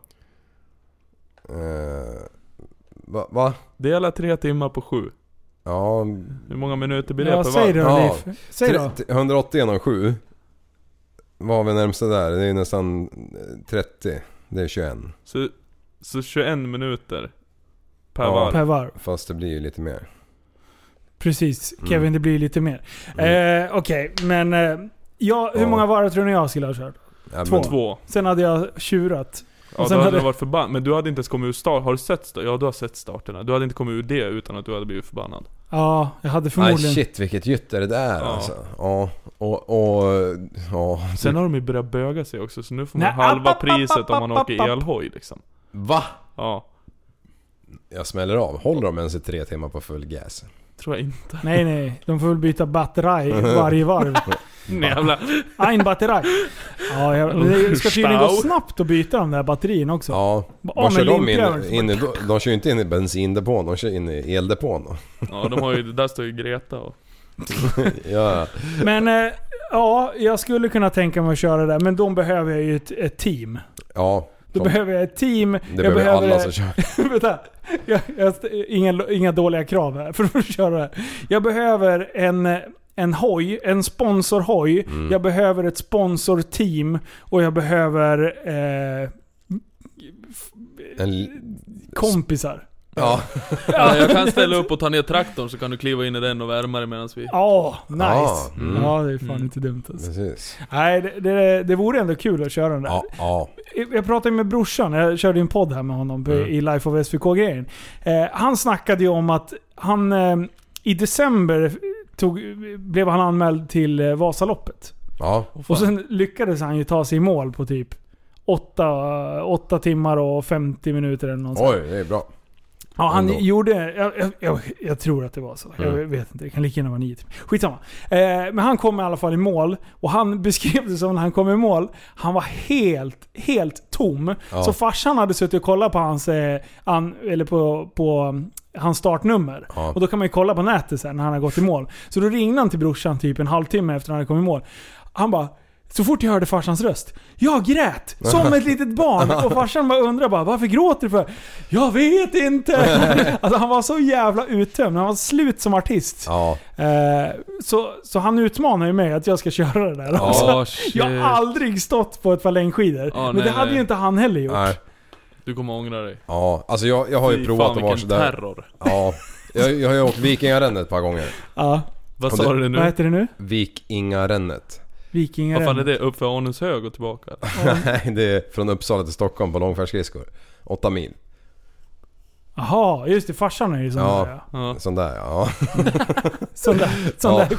Eh, va, va?
Dela tre timmar på sju.
Ja,
Hur många minuter blir det
Ja,
per
säg
varv?
det
Ja.
Leif. Säg då.
180 genom 7 var vi närmsta där. Det är ju nästan 30. Det är 21.
Så, så 21 minuter per
Ja.
varv.
Per varv.
Fast det blir ju lite mer.
Precis. Kevin,
Mm.
det blir lite mer.
Mm.
Eh, Okej, men... Eh, ja, hur
Ja.
många varv tror ni jag skulle ha kört?
Ja,
Två.
Två.
Sen hade jag tjurat. sen
Ja, då hade
hade-
du varit förbannad. Men du hade inte ens kommit ur start. Har du sett start? Ja, du har sett starterna. Du hade inte kommit ur det utan att du hade blivit förbannad.
Ja, jag hade
Nej
förmodligen...
shit vilket gytter det där
Ja.
alltså. Ja. Och, och, ja.
Sen har de ju börjat böga sig också, så nu får man
Nej,
halva
app, app,
priset
app,
om man
app, app.
åker elhoj liksom.
Va?
Ja,
Jag smäller av. Håller de ens i tre timmar på full gas?
tror jag inte. *laughs*
Nej, nej. De får väl byta batteri varje varv.
Nej, jävla.
Ein batteri. Ja, jag, det ska tydligen gå
Stau.
snabbt att byta de där batterierna också.
Mm. Ja.
Bara
Var
av
kör
med
de in,
limpjäveln.
in i, De kör ju inte in i bensindepån, de kör in i eldepån. då.
Ja, de har ju, där står ju Greta och...
Ja,
Men eh, ja, jag skulle kunna tänka mig att köra det där. Men de behöver jag ju ett, ett team.
ja.
Då
Kom.
behöver jag ett team. Det
Det behöver alla som kör.
*laughs* Vänta. Jag, jag, inga, inga dåliga krav här för att köra det här. Jag behöver en, en hoj, en sponsorhoj.
Mm.
Jag behöver ett sponsorteam och jag behöver eh,
En, l-
kompisar.
ja,
Ja, jag kan ställa upp och ta ner traktorn så kan du kliva in i den och värma dig medan vi...
Ja, nice.
Ah, mm.
Ja, det är fan inte dumt alltså.
precis.
Nej, det, det, det vore ändå kul att köra den där.
Ja, ja.
Jag pratade ju med brorsan, jag körde ju en podd här med honom på-
Mm.
i Life of SVK-grejen. Eh, han snackade ju om att han eh, i december tog, blev han anmäld till eh, Vasaloppet.
ja.
Och sen lyckades han ju ta sig i mål på typ 8, 8 timmar och 50 minuter eller något sånt.
Oj, det är bra.
Ja, han
Ändå. Mm.
gjorde... Jag, jag, jag, jag tror att det var så. Jag vet inte. Det kan lika gärna vara nio timmar. Skitsamma. Eh, men han kom i alla fall i mål. Och han *laughs* beskrev det som när han kom i mål. Han var helt, helt tom.
Ja.
Så farsan hade suttit och kollat på hans... Eh, an, eller på, på mm, hans startnummer.
Ja.
Och då kan man ju kolla på nätet sen när han har gått i mål. Så då ringde han till brorsan typ en halvtimme efter han hade kommit i mål. Han bara... Så fort jag hörde farsans röst, jag grät!
*laughs*
Som ett litet barn! Och farsan bara undrade bara, varför gråter du för? Jag vet inte! *laughs* Alltså han var så jävla uttömd, han var slut som artist.
Ja.
Eh, så, så han utmanar ju mig att jag ska köra det där
Ja,
också.
shit.
Jag har aldrig stått på ett par längdskidor.
Ja,
men
nej,
det hade
nej.
ju inte han heller gjort.
Nej.
Du kommer ångra dig.
Ja. Alltså jag, jag har ju
Fy
provat
fan,
att vara
vilken
sådär.
terror.
Ja. Jag, jag har ju åkt Vikingarännet ett par gånger.
Ja.
Vad
Och
sa
det-
du
Vad
nu?
heter det nu?
Vikingarännet.
Vikingar.
Vad fan är det? Upp för Anunshög och tillbaka?
*laughs* Nej, det är från Uppsala till Stockholm på långfärdsskridskor. Åtta mil.
Jaha, just det. Farsan är ju sån
Ja.
där ja.
Ja.
Sån där ja. *laughs*
Sån där, sån
Ja,
där
men-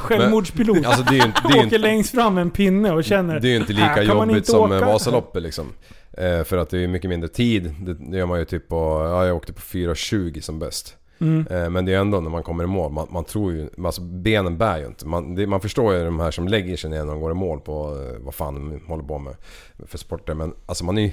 *laughs*
självmordspilot.
Alltså det är ju inte... Det är ju
Åker
inte,
längst fram med en pinne och känner...
det är ju inte
"Här
lika
kan man
jobbigt
inte
som
åka."
eh, Vasaloppet liksom. Eh, för att det är ju mycket mindre tid. Det, det gör man ju typ på... Ja, jag åkte på 4.20 som bäst.
Mm.
Eh, Men det är ändå när man kommer i mål, man, man tror ju, alltså benen bär ju inte. Man, det, man förstår ju de här som lägger sig ner när de går i mål på eh, vad fan de håller på med för sporter. Men alltså man är ju...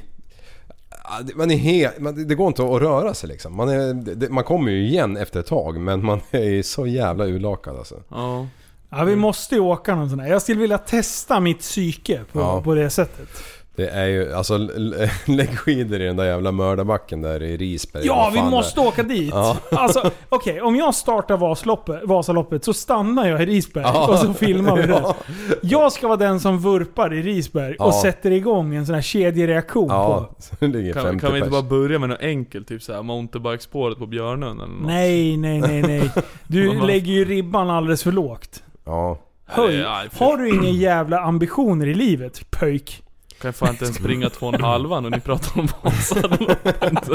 ah, det- Man är helt, man, det- det går inte att röra sig liksom. Man, är, det- det, man kommer ju igen efter ett tag men man är ju så jävla urlakad alltså.
Ja.
Ja, vi måste ju åka någon sån här. Jag skulle vilja testa mitt psyke på,
Ja.
på det sättet.
Det är ju, alltså l- l- *laughs* lägg skidor i den där jävla mördarbacken där i Risberg.
Ja,
Eh, Vad
vi
fan
måste
det
åka dit!
Ja.
Alltså, okej. om jag startar Vasaloppet, Vasaloppet så stannar jag i Risberg
Ja.
och så filmar vi det.
*laughs* Ja.
*laughs* Jag ska vara den som vurpar i Risberg och
Ja.
sätter igång en sån här kedjereaktion
är.
på...
Ja, så *laughs* det ligger 50
Kan, kan vi inte
pers.
bara börja med något enkelt? Typ såhär mountainbikespåret på Björnön eller något?
Nej, nej, nej, nej.
*laughs*
Du
Mamma.
lägger ju ribban alldeles för lågt.
Ja.
Höj.
Nej, för-
Har du inga jävla ambitioner i livet, pöjk?
Kan jag fan inte ens springa två och en halvan och ni pratar om Vasaloppet?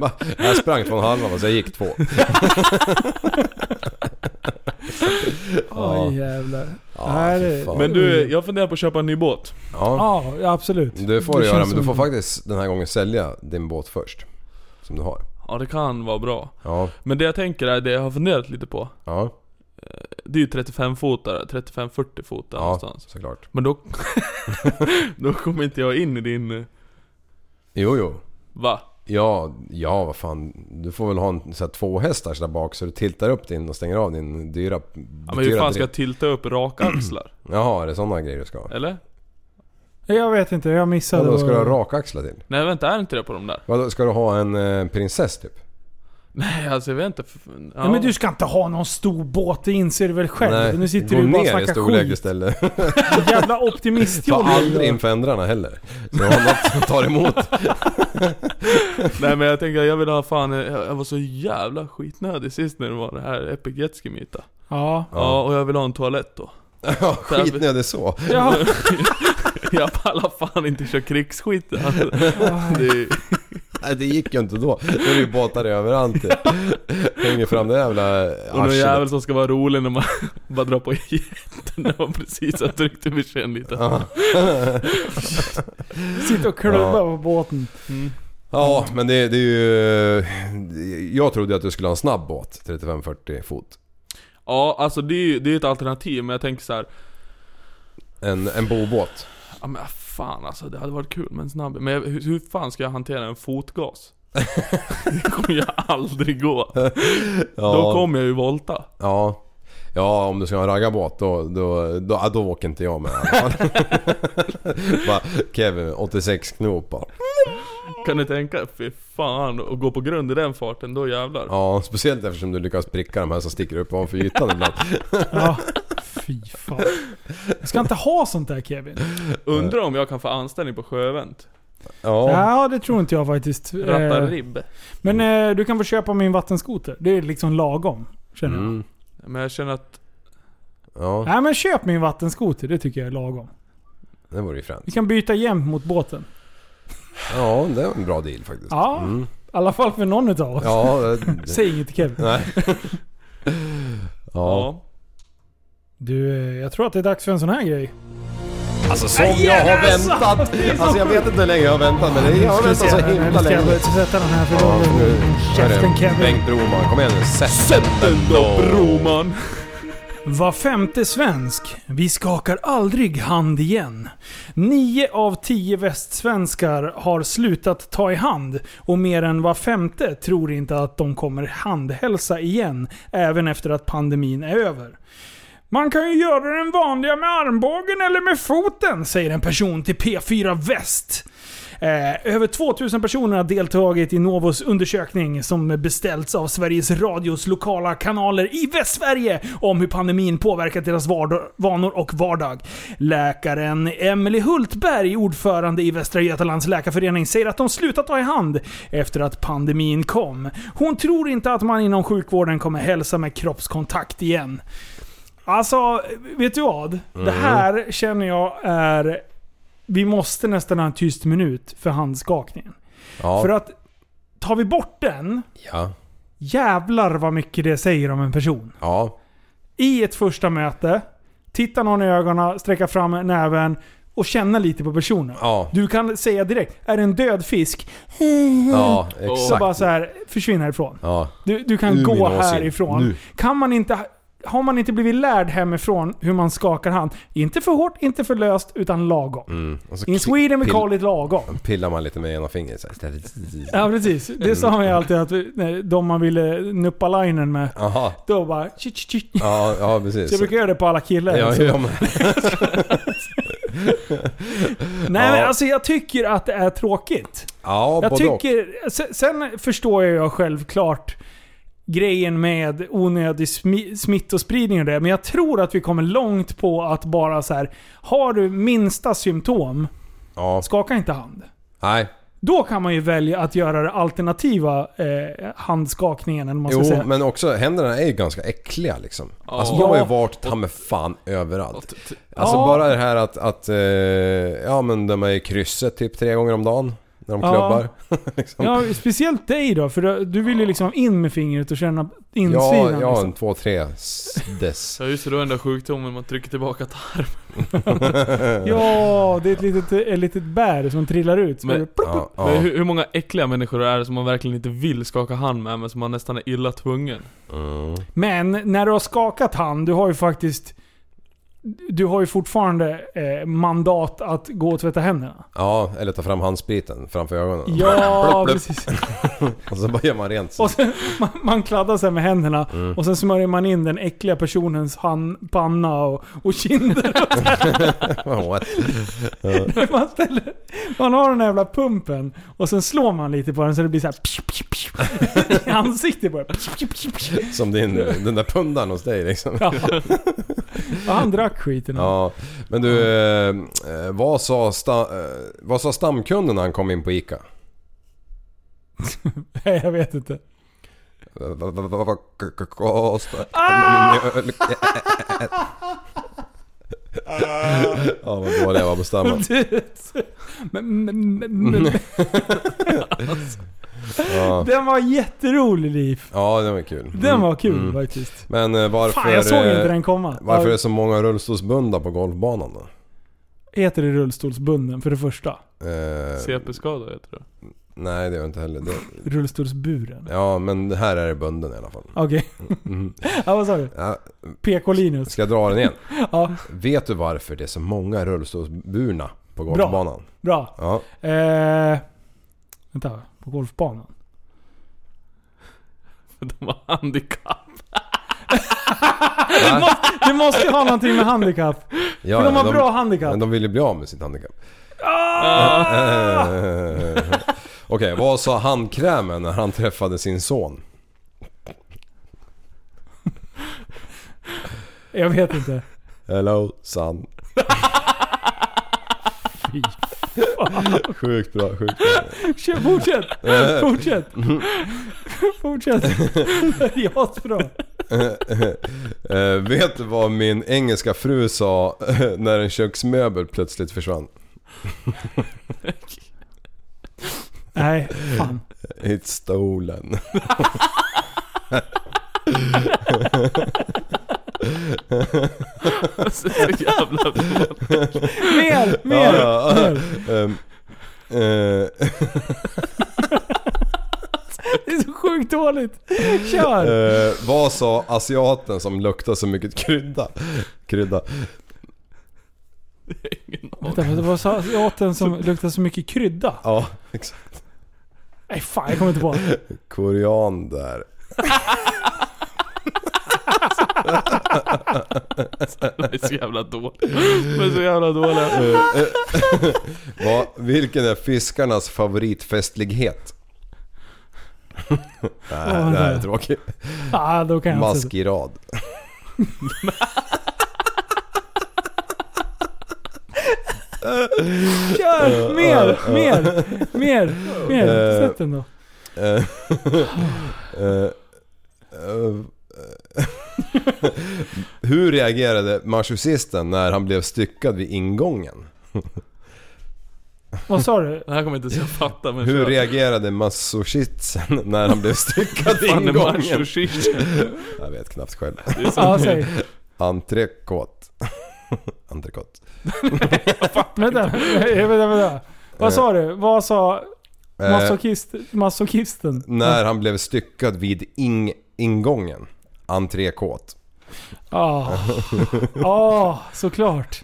Va? Jag sprang två och en halva och så jag gick två.
Åh jävlar.
Ja,
Nej,
fy
det-
fan.
Men du, jag funderar på att köpa en ny båt.
ja.
Ja, absolut.
Det får du
Det
göra
känns
men du
som-
får faktiskt den här gången sälja din båt först. Som du har.
Ja, det kan vara bra.
Ja,
Men det jag tänker är det jag har funderat lite på.
ja,
Det är ju 35-fotare, 35-40 fotar
ja
någonstans.
såklart.
Men då... *laughs* då kommer inte jag in i din... eh,
Jo, jo.
Va?
Ja, ja vad fan. Du får väl ha en sån här två hästar där bak så du tiltar upp din och stänger av din dyra...
Ja, men hur fan ska
dyra-
jag tilta upp raka axlar? *clears throat*
Jaha, är det sådana grejer du ska ha?
Eller?
Jag vet inte, jag
Ja,
missade.
då ska du ha
vad-
rakaxlar till?
Nej vänta, är det inte det på de där? *laughs*
Vadå, ska du ha en eh, prinsess typ?
Nej alltså jag vet inte. f- Ja.
Nej, men du ska inte ha någon stor båt, det inser du väl själv? nu sitter
gå
du bara och
ner i
snackar
storlek
skit.
istället.
Jävla optimistjobb.
Ta aldrig in för ändrarna heller. Så du har något som tar emot.
Nej men jag tänker jag vill ha fan, eh, jag jag var så jävla skitnödig sist när det var det här Epic Jet Ski Meet, då.
*laughs* Ja.
Ja. och jag vill ha en toalett då. *laughs*
Ja, skitnödig så.
ja.
jag pallar fan inte köra krigsskit
*laughs*
alltså. det är,
Nej, det gick ju inte då. Då är det ju båtar överallt. typ.
*laughs*
Hänger fram det jävla
Ah,
Och någon
arslet.
jävel som ska vara rolig när man *laughs* bara drar på jätten när man precis har tryckt ur sig en liten.
Sitta och klubba på båten.
Ja, men det, det är ju... Jag trodde ju att du skulle ha en snabb båt. 35-40 fot.
Ja, alltså det är ju det är ett alternativ, men jag tänker så här.
En, en bobåt.
Ja men fan alltså, det hade varit kul med en snabb. Men jag, hur, hur fan ska jag hantera
*laughs*
en fotgas? det kommer jag aldrig gå.
Ja,
Då kommer jag ju volta.
ja. ja, om du ska ha en raggarbåt då, då, då, ja, då åker *laughs* inte jag med i alla fall. Bara, Kevin, 86 knop bara.
Kan du tänka fy fan, och gå på grund i den farten, då jävlar.
Ja, speciellt eftersom du lyckas pricka de här som sticker upp ovanför ytan ibland.
Ja. Fy fan. Jag ska inte ha sånt där Kevin.
Undrar om jag kan få anställning på Sjövent?
Ja,
Ja, det tror inte jag faktiskt. Eh,
Rattaribb.
Men eh, du kan få köpa min vattenskoter. Det är liksom lagom. Känner jag.
mm.
Men jag känner att,
ja
Nej men köp min vattenskoter, det tycker jag är lagom.
det vore ju fränt.
Vi kan byta jämt mot båten.
Ja, det var en bra deal faktiskt.
Ja,
Mm.
i alla fall för någon utav oss.
Ja, det-
Säg inget till Kevin.
Nej. Ja.
ja.
Du, eh, jag tror att det är dags för en sån här grej.
Alltså som jag har väntat! Alltså jag vet inte hur länge jag har väntat men jag har väntat så himla
Ska jag
länge.
börja sätta den här för
Ja,
dem?
nu är
Käften
det
Kevin.
Bengt Broman, kom igen nu. Sätt den då!
Broman.
Var femte svensk. Vi skakar aldrig hand igen. Nio av tio västsvenskar har slutat ta i hand och mer än var femte tror inte att de kommer handhälsa igen även efter att pandemin är över. Man kan ju göra den vanliga med armbågen eller med foten, säger en person till P4 Väst. Eh, över 2000 personer har deltagit i Novos undersökning som beställts av Sveriges Radios lokala kanaler i Västsverige om hur pandemin påverkat deras vardag, vanor och vardag. Läkaren Emily Hultberg, ordförande i Västra Götalands läkarförening, säger att de slutat ta i hand efter att pandemin kom. Hon tror inte att man inom sjukvården kommer hälsa med kroppskontakt igen. Alltså, vet du vad? Det här känner jag är... Vi måste nästan ha en tyst minut för handskakningen. För
Ja,
att tar vi bort den,
ja,
jävlar vad mycket det säger om en person.
ja.
I ett första möte, titta någon i ögonen, sträcka fram näven och känna lite på personen.
Ja,
Du kan säga direkt, är det en död fisk?
ja
Så bara
exakt.
så här, försvinn härifrån.
Ja,
Du, du kan
Ur
gå
min åsikt.
härifrån.
Nu.
Kan man inte, har man inte blivit lärd hemifrån hur man skakar hand? Inte för hårt, inte för löst, utan lagom.
mm. Och så
In Sweden we
pill-
call it lagom.
pillar man lite med ena fingret så här.
Ja precis. Det sa man ju alltid att när de man ville nuppa linen med.
Jaha.
Då bara... tji, tji, tji.
Ja, ja
Så jag
precis.
brukar göra det på alla killar. liksom.
Ja,
Så-
ja, men,
Nej
ja.
men alltså jag tycker att det är tråkigt.
ja
Jag
både och.
tycker, se- sen förstår jag ju självklart grejen med onödig smi- smittospridning och det. Men jag tror att vi kommer långt på att bara så här. Har du minsta symptom,
Ja,
skaka inte hand.
nej.
Då kan man ju välja att göra den alternativa eh, handskakningen. Eller vad man ska
Jo,
säga.
men också händerna är ju ganska äckliga liksom. Alltså
Ja.
de har ju varit ta med fan överallt. Alltså
Ja.
bara det här att, att eh, ja men de är i krysset typ tre gånger om dagen. När de
Ja.
klubbar. *laughs* liksom.
Ja, speciellt dig då. För du- du vill ju liksom in med fingret och känna
ja,
insidan.
ja
liksom.
en två, tre s-
*laughs*
dess.
Ja just det, då är den där sjukdomen man trycker tillbaka tarmen.
ja, det är ett litet, ett litet bär som trillar ut. Så
Men-
bara plopp.
Ja,
Men
ja.
hur, hur många äckliga människor är det som man verkligen inte vill skaka hand med, men som man nästan är illa tvungen?
Mm.
Men när du har skakat hand, du har ju faktiskt... Du har ju fortfarande eh, mandat att gå och tvätta händerna.
ja, eller ta fram handspriten framför ögonen.
Ja,
Plopp, plopp.
precis. *laughs*
Och så bara gör man rent.
Och sen, man, man kladdar sig med händerna och sen smörjer man in den äckliga personens hand, panna och, och kinder.
*laughs* Ja,
*laughs* man, ställer, man har den här jävla pumpen och sen slår man lite på den så det blir så här psh, psh, psh, *laughs* i ansiktet på den. Psh, psh, psh, psh.
Som din, den där pundan hos dig liksom.
Ja. Ja, Han drack skiten.
Ja, men du, eh, eh, vad, sa sta, eh, vad sa stamkunden när han kom in på ICA?
Nej, jag vet inte.
Vad- vad- vad- vad- vad kostar
Ah!
en mjölk?
*laughs*
Ja, vad dålig jag var på stammen.
*laughs* Men- men- men- *laughs* men-
Ja,
Den var jätterolig Liv.
ja det var kul.
Den var kul
Mm.
faktiskt.
Men eh, varför...
Fan, jag såg
eh,
inte den komma.
Varför är det
Ja,
så många rullstolsbundna på golfbanan då?
Heter det rullstolsbunden för det första?
Eh,
CP-skada heter det.
nej, det är inte heller det.
Rullstolsburen?
Ja, men här är det bunden i alla fall.
Okej.
Mm.
*laughs* Ja, vad sa du?
Ja,
PK-Linus?
ska jag dra den igen?
Ja,
Vet du varför det är så många rullstolsburna på
Bra.
golfbanan?
bra.
Ja.
Eh, vänta, på golfbanan?
*laughs* De har handikapp. *laughs*
Det måste- Det måste ju ha någonting med handikapp.
Ja,
för de
ja,
har bra handikapp.
Ah. Men de vill ju bli av med sitt handikapp.
Ah!
Eh, *laughs* Okej, vad sa handkrämen när han träffade sin son?
Jag vet inte.
Hello son.
Fy.
Sjukt bra, sjukt bra.
Kör, fortsätt!
Eh.
Fortsätt!
*laughs*
Fortsätt! Det är Asbra.
Eh, vet du vad min engelska fru sa eh, när en köksmöbel plötsligt försvann?
Nej, fan.
It's stolen.
Alltså, så jävla bra.
Mer! Mer!
Ja, ja.
mer.
Ehm, eh,
Det är så sjukt dåligt. Kör!
eh,
*laughs*
vad sa asiaten som luktar så mycket krydda? Krydda.
Ingen aning.
Vänta, vänta, vad sa asiaten som luktar så mycket krydda?
Ja, exakt.
Nej fan, jag kommer inte på.
Korean där.
Det är så jävla dåligt. De är så jävla dåliga.
*laughs* Va, Eh, vilken är fiskarnas favoritfestlighet? Nej, det alltså- här är tråkigt.
Ah, då kan jag inte sätta.
Maskerad. Eh,
Kör! Mer! Mer! Mer! Mer! Sätt den då.
Eh, *laughs* eh, eh, *laughs* Hur reagerade marxisten när han blev styckad vid ingången?
Vad sa du?
Det här kommer inte ens jag fatta men
Hur
kör.
reagerade masochisten när han blev styckad vid
Fan är
ingången?
machokyssen?
Jag vet knappt själv.
Ja, säg.
Entrecôte. *laughs* Entrecôte.
Vänta, vänta, vänta. Vad sa du? Vad sa
Eh,
masochist, masochisten?
När han blev styckad vid ing- ingången. Entrecôte. *laughs*
Ja, ja såklart.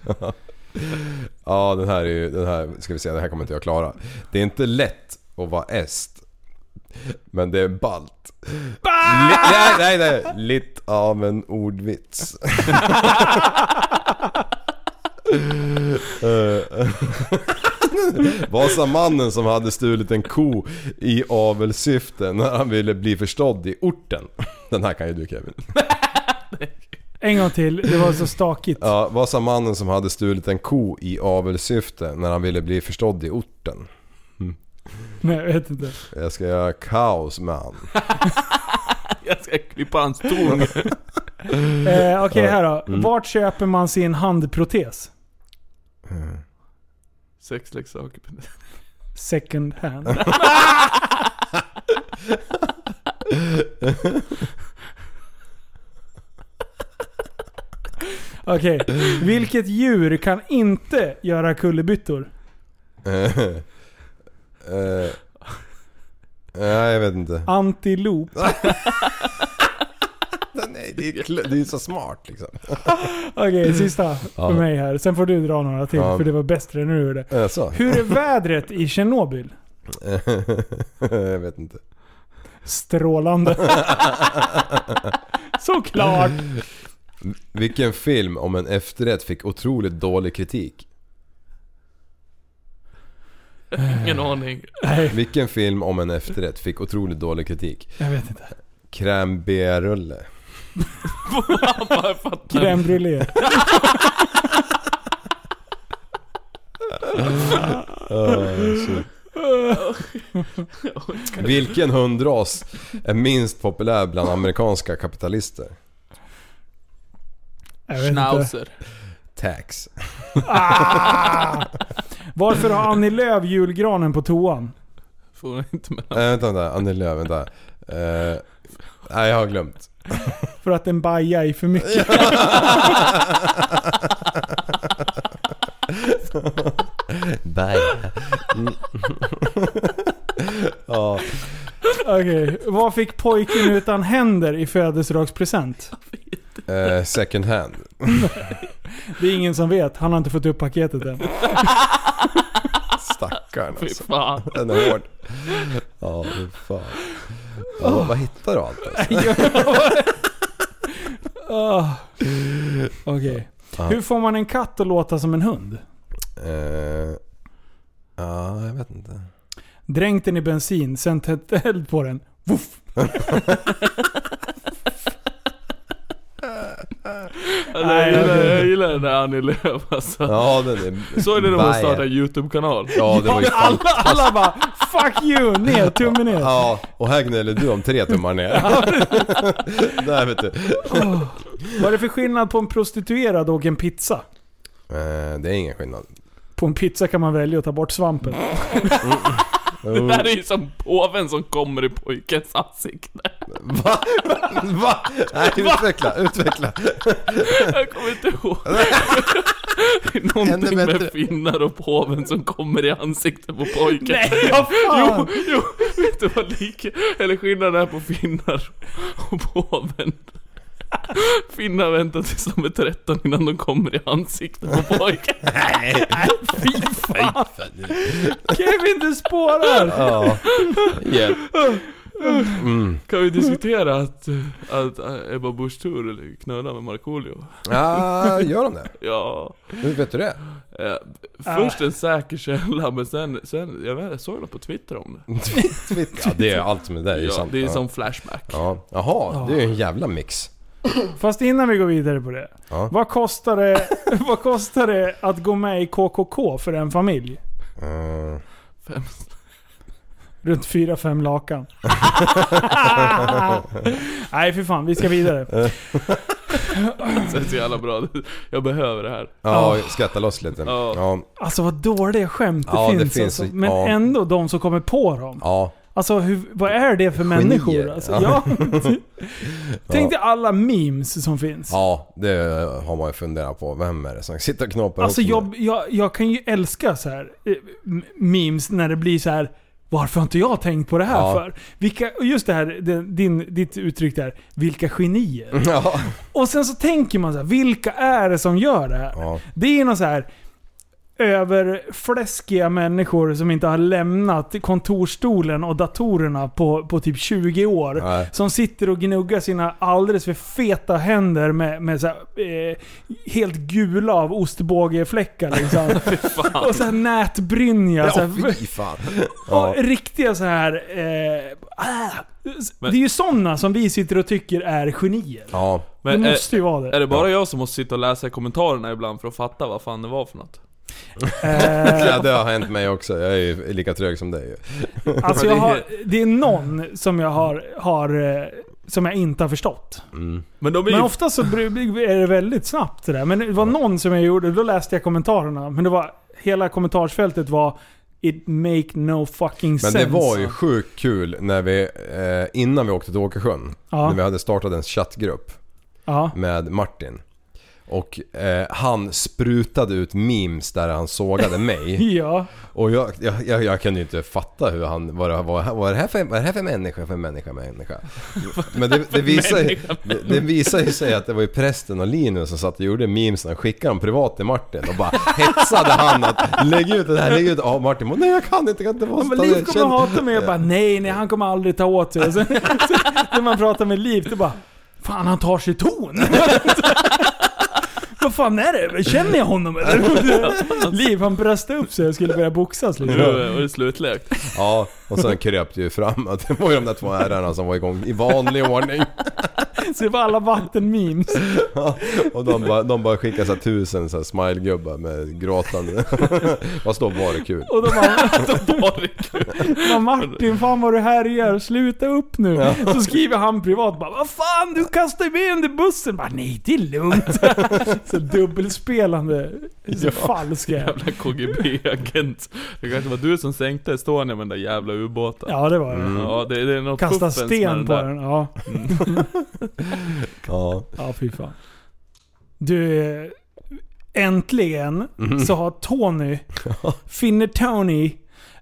Ja, den här är ju... Den här, ska vi se, den här kommer inte jag klara. Det är inte lätt att vara est. Men det är ballt. Li- nej, nej, nej. Lite av en ordvits. *laughs* Eh, Vad sa mannen som hade stulit en ko i avelssyfte när han ville bli förstådd i orten? Den här kan ju du Kevin.
En gång till, det var så stakigt.
Ja, vad sa mannen som hade stulit en ko i avelssyfte när han ville bli förstådd i orten?
Nej, jag vet inte.
Jag ska göra kaos man.
Jag ska klippa hans tång.
Eh, Okej, här då.
Mm.
Vart köper man sin handprotes?
Sexleksaker.
Second
*laughs*
hand. Okej. Vilket djur kan inte göra kullerbyttor?
Eh, eh, Nej, eh, jag vet inte.
Antilop.
Nej, det är, kl- det är så smart liksom.
Okej, sista för mig här. Sen får du dra några till,
Ja.
för det var bättre när du gjorde det.
Eh, Så.
Hur är vädret i Tjernobyl?
*laughs* jag vet inte.
Strålande. Såklart!
Vilken film om en efterrätt fick otroligt dålig kritik?
Ingen aning.
Nej,
Vilken film om en efterrätt fick otroligt dålig kritik?
jag vet inte.
*laughs* Crème
Han bara, jag fattar
Crème brûlée.
Eh, Vilken hundras är minst populär bland amerikanska kapitalister?
Jag vet inte.
Schnauzer.
Tax.
Ah! Varför har Annie Lööf julgranen på toan?
Får hon inte med.
Äh, vänta, vänta. Annie Lööf, vänta. Eh, nej, jag har glömt.
För att den bajar i för mycket.
Bye. ja,
Okej. Vad fick pojken utan händer i födelsedagspresent?
eh, second hand.
Det är ingen som vet. Han har inte fått upp paketet än.
*laughs* Stackarn
Fy
alltså.
fan.
Den är hård. Ja, fy fan. Ja, vad hittar du allt alltså?
Ah. Okej. Hur får man en katt att låta som en hund?
Eh, Ja, jag vet inte.
dränkt den i bensin, sen tänt eld på den. Woof.
Eller, jag, gillar, jag gillar den där Annie Lööf alltså.
Ja, den är...
Såg ni när hon
Bajen.
startade en YouTube-kanal?
Ja, det var ju fan...
Alla, alla bara 'Fuck you!' Ner, tummen ner.
Ja, och här gnäller du om tre tummar ner. Där vet du.
Vad är det för skillnad på en prostituerad och en pizza?
Eh, det är ingen skillnad.
På en pizza kan man välja att ta bort svampen.
Det där är ju som påven som kommer i pojkens ansikte.
Va? Va? Nej, utveckla, utveckla.
Jag kommer inte ihåg. *laughs* Någonting
Ännu bättre.
med finnar och påven som kommer i ansiktet på pojken.
vad
Jo,
fan!
jo, vet du vad lik, eller skillnaden är på finnar och påven? Finnar väntar tills de är 13 innan de kommer i ansiktet på pojken.
Kevin du spårar!
Ja. Hjälp.
Kan vi diskutera att, att eh, Ebba Busch Thor knullar med Markoolio?
Ja, gör de det?
Ja.
Hur vet du det?
Eh, först en säker källa, men sen, sen jag vet inte, jag såg något på Twitter om det.
Ja, det är allt som det där är ju
Ja,
sant.
det är
ja.
som Flashback.
Ja. Jaha, det är ju en jävla mix.
Fast innan vi går vidare på det.
Ja.
Vad, kostar det *laughs* vad kostar det att gå med i KKK för en familj?
Eh,
Fem.
Runt
*laughs*
4-5 lakan. Nej för fan, vi ska vidare.
Det är *laughs* så jävla bra. *laughs* Jag behöver det här.
ja, skratta loss lite.
Ja.
Ja.
Alltså vad dåliga skämt det
Ja, det
finns.
finns
alltså.
ju-
Men
ja.
ändå de som kommer på dem.
Ja.
Alltså hur, vad är det för människor? Alltså, ja.
Ja. *laughs*
Tänk dig alla memes som finns.
Ja, det har man ju funderat på. Vem är det som sitter och knåpar
Alltså
ihop
jag, jag, jag kan ju älska så här eh, m- memes när det blir så här. Varför har inte jag tänkt på det här
Ja.
för? Vilka, och just det här, det- din, ditt uttryck där. Vilka genier.
det? *laughs* Ja.
Och sen så tänker man så här, vilka är det som gör det här?
Ja.
Det är ju någon så här överfläskiga människor som inte har lämnat kontorstolen och datorerna på, på typ 20 år.
Nej.
Som sitter och gnuggar sina alldeles för feta händer med, med så här, eh, helt gula av ostbågefläckar
*laughs*
liksom. och så här nätbrynja. så
Ja,
här,
fy fan.
*laughs* och
Ja.
riktiga så här... Eh, ah, det är ju sådana som vi sitter och tycker är genier.
Ja.
Men
det
är,
måste ju vara
är
eh,
det.
det bara jag som måste sitta och läsa i kommentarerna ibland för att fatta vad fan det var för något?
*laughs*
Eh,
ja, det har hänt mig också. Jag är ju lika trög som dig ju.
Alltså
Ja,
jag
det-
har, det är någon som jag har, har eh, som jag inte har förstått.
Men de är
Men
ju...
ofta så bru- är det väldigt snabbt det där. Men det var någon som jag gjorde, då läste jag kommentarerna. Men det var, hela kommentarsfältet var It make no fucking
Men
sense.
det var ju sjukt kul när vi, eh, innan vi åkte till Åkersjön.
Ja.
När vi hade startat en chattgrupp
Ja.
med Martin. Och eh, han sprutade ut memes där han sågade
*laughs*
mig.
Ja.
Och jag, jag, jag, jag kunde ju inte fatta hur han, vad, det- vad, vad, är det här för, vad är det här för människa, för människa,
*laughs*
människa? Men det, det, visar, ju- det, det visar ju sig att det var ju prästen och Linus som satt och gjorde memes och skickade dem privat till Martin och bara hetsade han att lägg ut det här, lägg ut det. Ja, Martin bara, nej jag kan inte, jag kan inte vara
Men Liv kommer att hata mig. Jag bara nej, nej han kommer aldrig ta åt sig. Och sen, *laughs* när man pratar med Liv, det bara Fan han tar sig ton. *laughs* Vad fan är det? Känner jag honom eller? *laughs* Liv han bröstade upp sig och skulle börja boxas
Nu
liksom.
är *laughs* det *laughs* slutlekt.
Ja, och sen kröp det ju fram att det var ju de där två herrarna som var igång i vanlig ordning.
Så det var alla vattenmemes.
Och de bara, de bara skickade så här tusen så här smilegubbar med gråtande. *laughs* Fast då var det kul.
Och de bara,
Var det kul?
"Men Martin fan vad du härjar, sluta upp nu. Så skriver han privat bara Vad fan du kastar mig under bussen. Bara, Nej det är lugnt. *laughs* Så dubbelspelande. Så falsk jag är.
Jävla KGB-agent. Det kanske var du som sänkte Estonia med den där jävla ubåten.
Ja det var det.
Ja, det, det är något
Kasta
fuffens med
sten
det
på
där.
den. Ja,
Ja.
ja fy fan. Du, eh, äntligen så har Tony, finner Tony,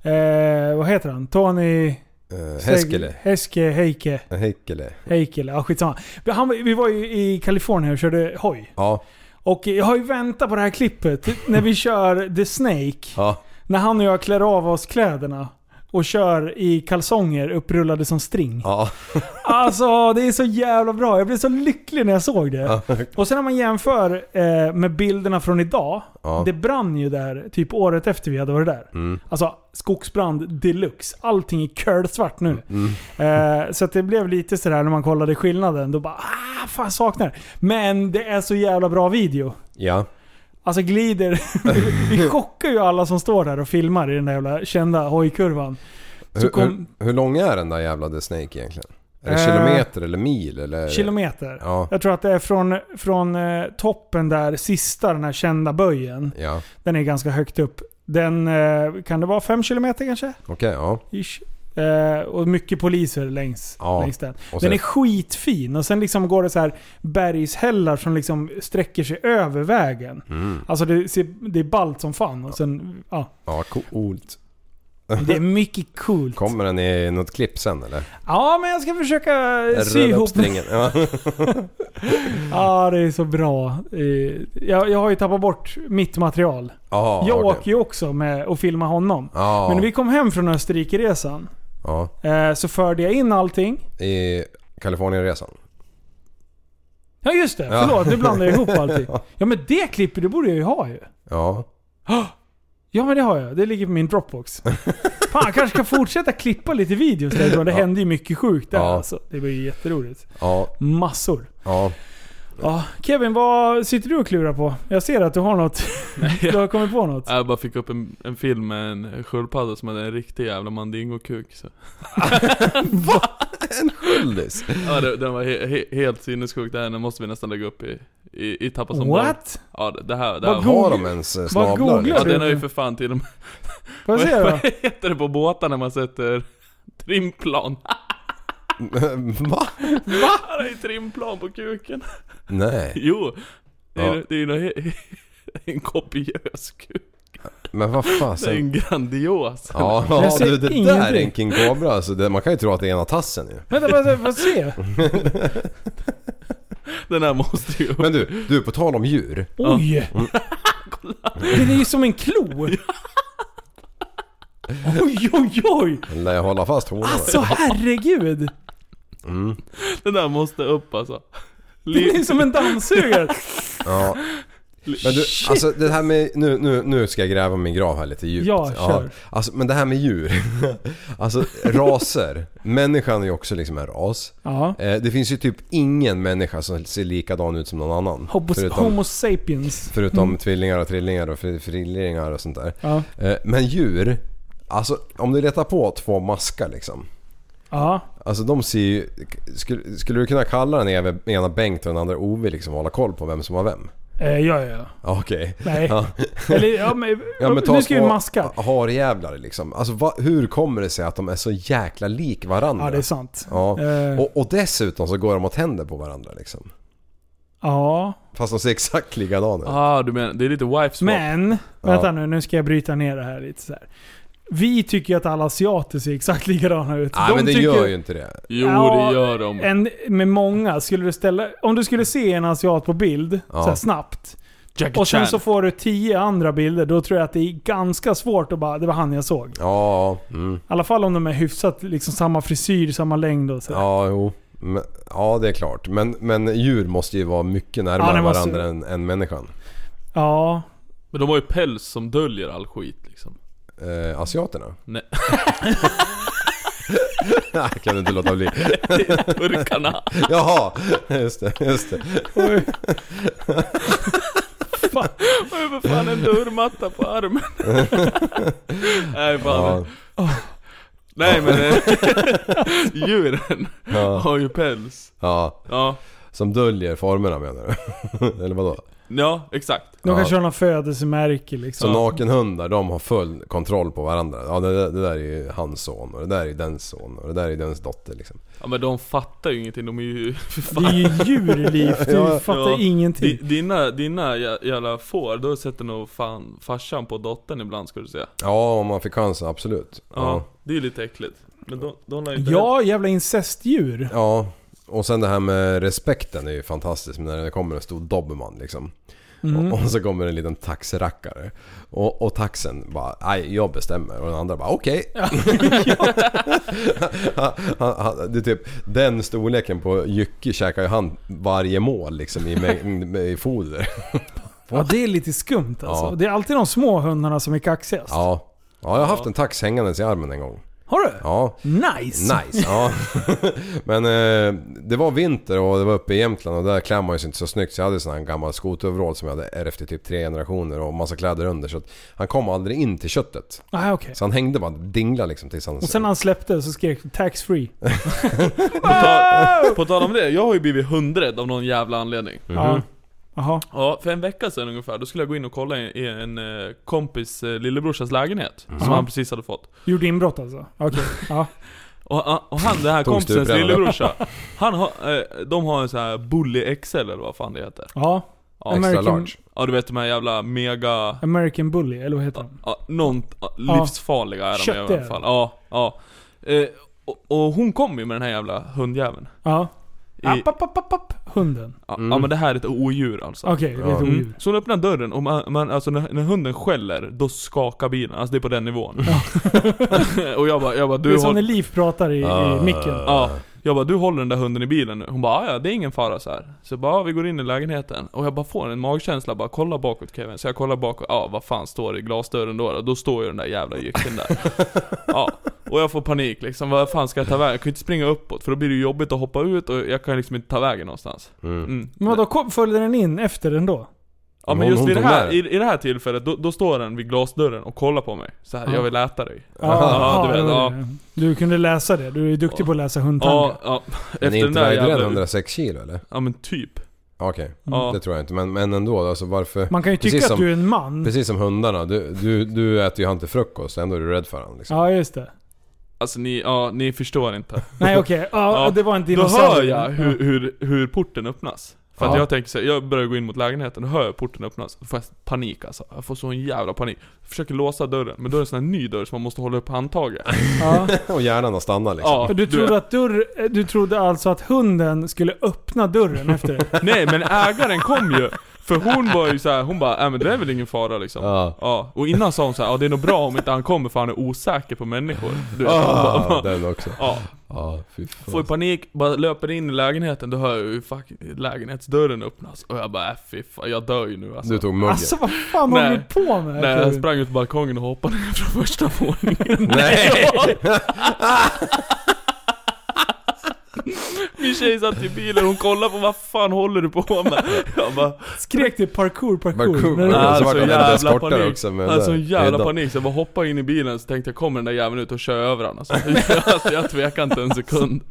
eh, vad heter han? Tony...
Eh, Heskele.
Heske, Heike,
Hekele.
Heikele. Ja skitsamma. Han, var- vi var ju i Kalifornien och körde hoj.
Ja.
Och jag har ju väntat på det här klippet när vi kör The Snake.
Ja.
När han och jag klär av oss kläderna. och kör i kalsonger upprullade som string.
Ja.
Alltså det är så jävla bra. Jag blev så lycklig när jag såg det.
Ja.
Och sen när man jämför eh, med bilderna från idag.
Ja. Mm.
Det brann ju där typ året efter vi hade varit där. Alltså skogsbrand deluxe. Allting är curlsvart nu.
Mm.
Eh, så att det blev lite sådär när man kollade skillnaden. Då bara ah, fan saknar. Men det är så jävla bra video.
Ja.
Alltså glider. *laughs* vi, vi chockar ju alla som står där och filmar i den där jävla kända hojkurvan. Så
Hur,
kom
hur, hur lång är den där jävla The Snake egentligen? Är det
Eh,
kilometer eller mil eller? är det-
kilometer.
Ja.
Jag tror att det är från, från eh, toppen där, sista den här kända böjen.
Ja.
Den är ganska högt upp. Den, eh, kan det vara 5 kilometer kanske?
Okej, ja.
Ish. Eh, och mycket poliser längs,
Ja.
längs den.
Och sen-
Den är skitfin och sen liksom går det så här bergshällar som liksom sträcker sig över vägen.
Mm.
Alltså det, ser, det är ballt som fan. Och sen, ja,
Ja, coolt.
det är mycket coolt.
Kommer den i något klipp sen eller?
Ja, men jag ska försöka Eh, sy
Rulla upp
ihop
stringen.
*laughs*
Ja.
Ja, det är så bra. Eh, Jag, jag har ju tappat bort mitt material.
Ja,
jag
okej.
åker ju också med och filmar honom.
Ja.
Men när vi kom hem från Österrikeresan
Ja.
eh, så förde jag in allting.
I Kalifornienresan.
Ja just det,
Ja.
förlåt. Nu blandar
*laughs*
jag ihop allting. Ja men det klippet, det borde jag ju ha ju.
Ja.
Ja men det har jag. Det ligger på min
*laughs*
Dropbox. Fan, jag kanske kan fortsätta klippa lite videos därifrån. Det hände ju mycket sjukt där
Ja.
alltså. Det var ju jätteroligt.
Ja.
Massor.
Ja.
Ja, Kevin, vad sitter du och klurar på? Jag ser att du har något. Du har kommit på något.
Jag bara fick upp en, en film med en sköldpadda som hade en riktig jävla mandingokuk så.
Sköldis.
Ja, det, den var he, he, helt sinnessjuk, den måste vi nästan lägga upp i, i, i Tappa som barn.
What?
Ja det, det här, det
Vad
här
go-
Har
var...
de ens eh, snablar?
googlar
Ja
liksom?
den har ju för fan till och med...
Får jag se
*laughs* Vad
*laughs*
då?
heter det på båtar när man sätter trimplan?
*laughs* Va?
Va? Han har ju trimplan på kuken.
Nej.
Jo. Det är
Ja.
ju det är ju något he- *laughs* en kopiös kuk.
Men vad
Det är
fasen.
en grandios.
Ja,
Jag
ja
säger
du, det där är
ingenting.
en King Cobra alltså. Det, man kan ju tro att det är ena tassen ju.
Vänta, vänta, får jag se?
Den här måste ju upp.
Men du, du på tal om djur.
Oj! *laughs* Den är ju som en *laughs* klo! Oj, oj, oj!
Den lär jag hålla fast honan.
Alltså herregud!
Den där måste upp alltså.
Den är liksom-
Li-
som en dammsugare!
Ja. Men du, alltså det här med... Nu, nu, nu ska jag gräva min grav här lite djupt.
Ja, kör.
Alltså, men det här med djur. *laughs* Alltså raser. Människan är ju också liksom en ras.
*laughs* Ja.
Eh, det finns ju typ ingen människa som ser likadan ut som någon annan.
Homo,
förutom
homo sapiens.
förutom tvillingar och trillingar och fri- frillingar och sånt där.
Mm. Ja.
Eh, men djur. Alltså om du letar på två maskar liksom.
Ja.
Alltså de ser ju... Skulle, skulle du kunna kalla den eve- ena Bengt och den andra Ove liksom och hålla koll på vem som var vem?
Eh, ja, ja, ja.
Ja, Okej.
Nej.
Ja.
Eller ja, men,
Ja, men ta
nu ska vi
två
maska.
Harjävlar liksom. Alltså va, hur kommer det sig att de är så jäkla lik varandra?
Ja, det är sant.
Ja.
Eh,
Och, och dessutom så går de åt händer på varandra liksom.
ja.
Fast de ser exakt likadana ut.
Ah du menar, det är lite wife swap.
Men, vänta nu, nu ska jag bryta ner det här lite så här. Vi tycker ju att alla asiater ser exakt likadana ut.
Nej
De
men det
tycker-
gör ju inte det.
Jo
Ja,
det gör de.
Mm.
En, med många, skulle du ställa, om du skulle se en asiat på bild
Ja.
så här snabbt.
Jackie
Och sen
Chan.
så får du tio andra bilder, då tror jag att det är ganska svårt att bara, det var han jag såg. I
Ja, mm.
alla fall om de är hyfsat liksom samma frisyr, samma längd och så.
ja jo. Men, ja det är klart. Men, men djur måste ju vara mycket närmare
Ja, det måste-
varandra än, än människan.
Ja.
Men de har ju päls som döljer all skit liksom.
Eh, asiaterna?
Nej.
*laughs* Nej, kan du inte låta bli.
Turkarna.
Jaha, just det. Just det.
Oj.
Vad är för fan en dörrmatta
*laughs*
på armen? Nej fan.
Ja,
Nej
*laughs*
men eh, djuren
ja,
har ju päls.
ja.
Ja,
Som döljer formerna menar du? *laughs* Eller vadå?
ja exakt.
De
Ja.
kanske har någon födelsemärke liksom.
Så nakenhundar, de har full kontroll på varandra. Ja, det, där- det där är ju hans son och det där är ju dens son och det där är dens dotter liksom.
Ja men de fattar ju ingenting, de
*laughs*
är ju för
Det är
fan.
ju djurliv, du
Ja,
fattar
ja. Di-
ingenting.
Dina, dina jä- jävla får, då sätter nog fan farsan på dottern ibland ska du säga.
Ja, om man fick chansen, absolut.
Ja,
Ja.
det är ju lite äckligt. Men de, de har ju inte
Ja, jävla incestdjur.
ja. Och sen det här med respekten är ju fantastiskt när det kommer en stor dobermann liksom. Och, och så kommer en liten taxirackare. Och, och taxen bara, nej jag bestämmer. Och den andra bara, okej. *laughs* Han- han- han- det är typ den storleken på jycke käkar ju han varje mål liksom i, mängd- i foder.
Ja, det är lite skumt alltså.
Ja.
Det är alltid de små hundarna som är kaxigast.
Ja. ja, jag har haft en tax hängandes i armen en gång.
Har du?
Ja,
Nice!
*laughs* Nice, ja. Men eh, det var vinter och det var uppe i Jämtland och där klär man ju sig inte så snyggt så jag hade sån här gammal skoteroverall som jag hade ärvt efter typ tre generationer och massa kläder under så att han kom aldrig in till köttet.
Ah, okej.
Så han hängde bara, dinglade liksom tills han...
Och sen när han släppte så skrek tax free.
På, tal, på tal om det, jag har ju blivit hundrädd av någon jävla anledning.
Ja. Jaha.
Ja, för en vecka sedan ungefär, då skulle jag gå in och kolla i i en eh, kompis eh, lillebrorsas lägenhet. Som han precis hade fått.
Gjorde inbrott alltså? Okej. Ja.
Och, och han, den här
Tog
kompisens
stupröven.
lillebrorsa, han har, eh, de har en sån här Bully XL eller vad fan det heter.
ja.
extra
American,
large.
Ja du vet de här jävla mega...
American Bully, eller vad heter de?
Ja, någon ja, livsfarliga är de i
Kött är
alla fall. Ja, ja. Eh, och, och hon kom ju med den här jävla hundjäveln.
Ja. Ah,
I,
App, app, app, app, app. Hunden.
ja, ja men det här är ett odjur alltså.
Okej, det är ett
Ja.
odjur.
Så hon öppnar dörren och man, man, alltså när, när hunden skäller, då skakar bilen. Alltså det är på den nivån. *laughs* och jag bara, jag bara
Det
du
är som när
håll,
Liv pratar i, i micken.
ja, jag bara, du håller den där hunden i bilen nu. Hon bara, "Ah, "Ja, ja det är ingen fara så här. Så jag bara, "Ja, vi går in i lägenheten. Och jag bara får en magkänsla, bara kolla bakåt Kevin. Så jag kollar bakåt, ja vad fan står det i glasdörren då? Då, då står ju den där jävla jycken där.
*laughs*
Ja, och jag får panik liksom. Vad fan ska jag ta vägen? Jag kan ju inte springa uppåt för då blir det ju jobbigt att hoppa ut och jag kan liksom inte ta vägen någonstans. Mm.
Men vadå, kom- följde den in efter den då?
Ja men
Hon-
just
hon
i det,
tog
här,
med
i, i det här tillfället, då, då står den vid glasdörren och kollar på mig. Så här, jag vill äta dig.
Ja,
du
det
vet,
var
ja.
det. Du kunde läsa det. Du är duktig på att läsa hundtankar.
Ja, ja.
Men
Efter den
inte
där
vägde den
jävla...
106 kilo eller?
Ja men typ.
Okej,
Ja.
det tror jag inte. Men, men ändå, alltså varför...
Man kan ju tycka
precis som,
att du är en man.
Precis som hundarna, du, du, du äter ju han till frukost ändå är du rädd för han liksom.
Ja, just det.
Alltså ni, ja, ni förstår inte.
Nej okej, ja,
Ja.
det var en
Då
dinosaurie.
hör jag hur, hur, hur porten öppnas. För att
Ja.
jag tänker så här, jag börjar gå in mot lägenheten, då hör jag porten öppnas. Då får jag panik alltså. Jag får sån jävla panik. försöker låsa dörren, men då är det en sån här ny dörr som man måste hålla
*laughs*
upp handtaget.
Ja.
Och hjärnan har stannat liksom.
Ja,
Ja. Du, trodde
vet.
att dörr, du trodde alltså att hunden skulle öppna dörren efter dig?
Nej men ägaren kom ju. För hon var ju så här, hon bara äh, men det är väl ingen fara liksom.
Ja.
Ja. Och innan sa hon så här, ja det är nog bra om inte han kommer för han är osäker på människor. Du vet.
Ah, den också.
Ja.
Ja, fy fan.
Får i panik, bara löper in i lägenheten, då hör jag hur fuck, lägenhetsdörren öppnas. Och jag bara äh, fy fan, jag dör ju nu alltså.
Du tog muggen.
Alltså vad fan håller
Nej.
du på med?
Nej, alltså,
tror
jag
du?
sprang ut på balkongen och hoppade *laughs* ner från första våningen.
Nej!
*laughs* Min tjej satt i bilen, hon kollade på vad fan håller du på med? Jag bara,
Skrek du parkour, parkour?
Parkour, *laughs*
Men-
parkour.
alltså
vart han
jävla
alldeles kortare
panik.
också eh, med
alltså
den där
jävla
hyddan.
panik, så jag bara hoppade in i bilen så tänkte jag kommer den där jäveln ut och kör över honom
*laughs*
alltså. alltså, jag tvekade inte en sekund.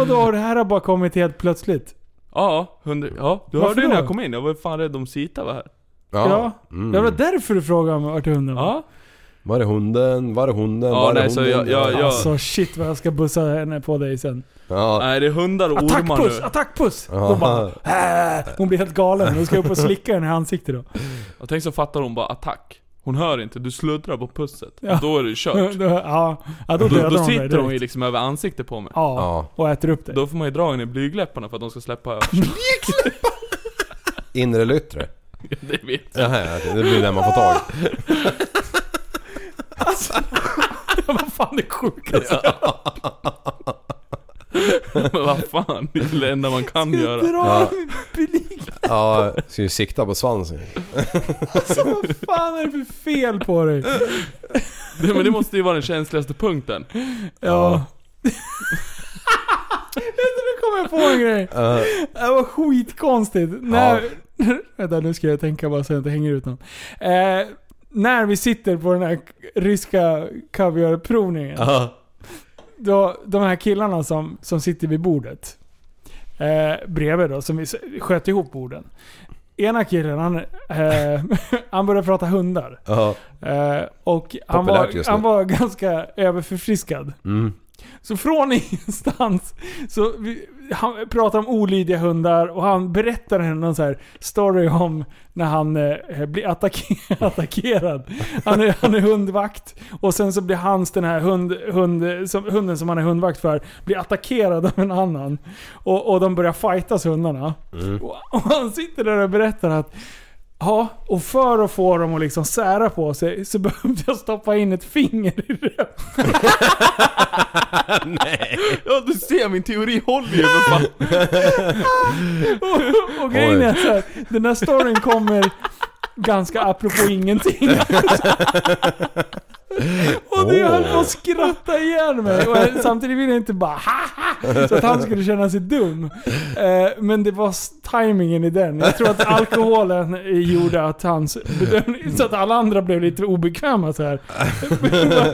Och då har det här bara kommit helt plötsligt?
Ja, hundra, ja du
Varför
hörde ju när
då?
jag kom in, jag var ju fan rädd om Sita var här.
Ja.
Ja.
Det var därför du frågade om vart hunden var?
Ja,
Var är hunden? Var är hunden?
Ja,
var är
nej,
hunden?
så jag- jag- jag-
Alltså shit vad jag ska bussa henne på dig sen.
Ja.
nej det är hundar och ormar
Attackpuss!
nu.
Attackpuss! Då bara, "Äh." Hon blir helt galen. Hon ska upp och slicka henne i ansiktet då.
Och tänk så fattar hon bara attack. Hon hör inte, du sluddrar på pusset.
Ja.
Då är det ju kört.
Då- ja, ja, då
Då,
dödar
då
hon dig
sitter hon ju
direkt.
liksom över ansiktet på mig.
Ja, och äter upp dig.
Då får man ju dra henne i blygläpparna för att de ska släppa
*laughs* Inre eller yttre?
det vet
Jaha, ja, det blir den man får tag i.
*laughs* Vad fan det sjukaste?
jag. Men vad fan, det är det enda man kan göra.
Dra
Ja.
min blick.
Ja, ska ju sikta på svansen.
Alltså vad fan är det för fel på dig?
Det, men det måste ju vara den känsligaste punkten.
Ja. nu kommer *laughs* jag på en grej.
Ja.
Det var skitkonstigt. När, vänta, nu ska jag tänka bara så jag inte hänger ut någon. Eh, när vi sitter på den här ryska kaviarprovningen. Då, de här killarna som, som sitter vid bordet. Eh, bredvid då, som vi s- sköt ihop borden. Ena killen, han, eh, *laughs* han började prata hundar.
Ja.
Eh, och han
Populärt just
var,
nu.
han var ganska överförfriskad.
Mm.
Så från ingenstans så vi, han pratar om olydiga hundar och han berättar en någon så här story om när han eh, blir attacke- *laughs* attackerad. Han är, han är hundvakt och sen så blir hans, den här hund, hund, som, hunden som han är hundvakt för, blir attackerad av en annan. Och, och de börjar fightas hundarna. Och, och han sitter där och berättar att Ja, och för att få dem att liksom sära på sig så *laughs* behövde jag stoppa in ett finger i det.
Ja du ser, min teori håller ju för fan.
*laughs* Och, och grejen är så här, den här storyn kommer ganska apropå ingenting. och det höll på att skratta ihjäl mig. Och jag- samtidigt ville jag inte bara haha, så att han skulle känna sig dum. Eh, men det var s- timingen i den. Jag tror att alkoholen eh, gjorde att hans bedömning, så att alla andra blev lite obekväma så här.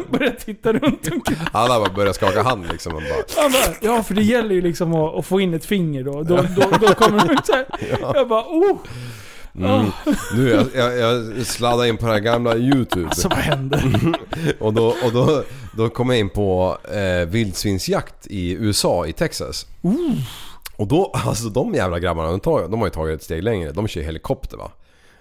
*laughs* Började titta runt omkring.
Alla bara börjar skaka hand liksom och bara...
Han bara, ja för det gäller ju liksom att, att få in ett finger då. Då, då, då kommer de ut såhär. Jag bara oh.
Mm. Nu, jag, jag, jag sladdade in på den här gamla YouTube.
Alltså vad händer?
*laughs* Och då, och då, då kom jag in på eh, vildsvinsjakt i USA, i Texas. Och då, alltså de jävla grabbarna, de, tar, de har ju tagit ett steg längre. De kör helikopter va.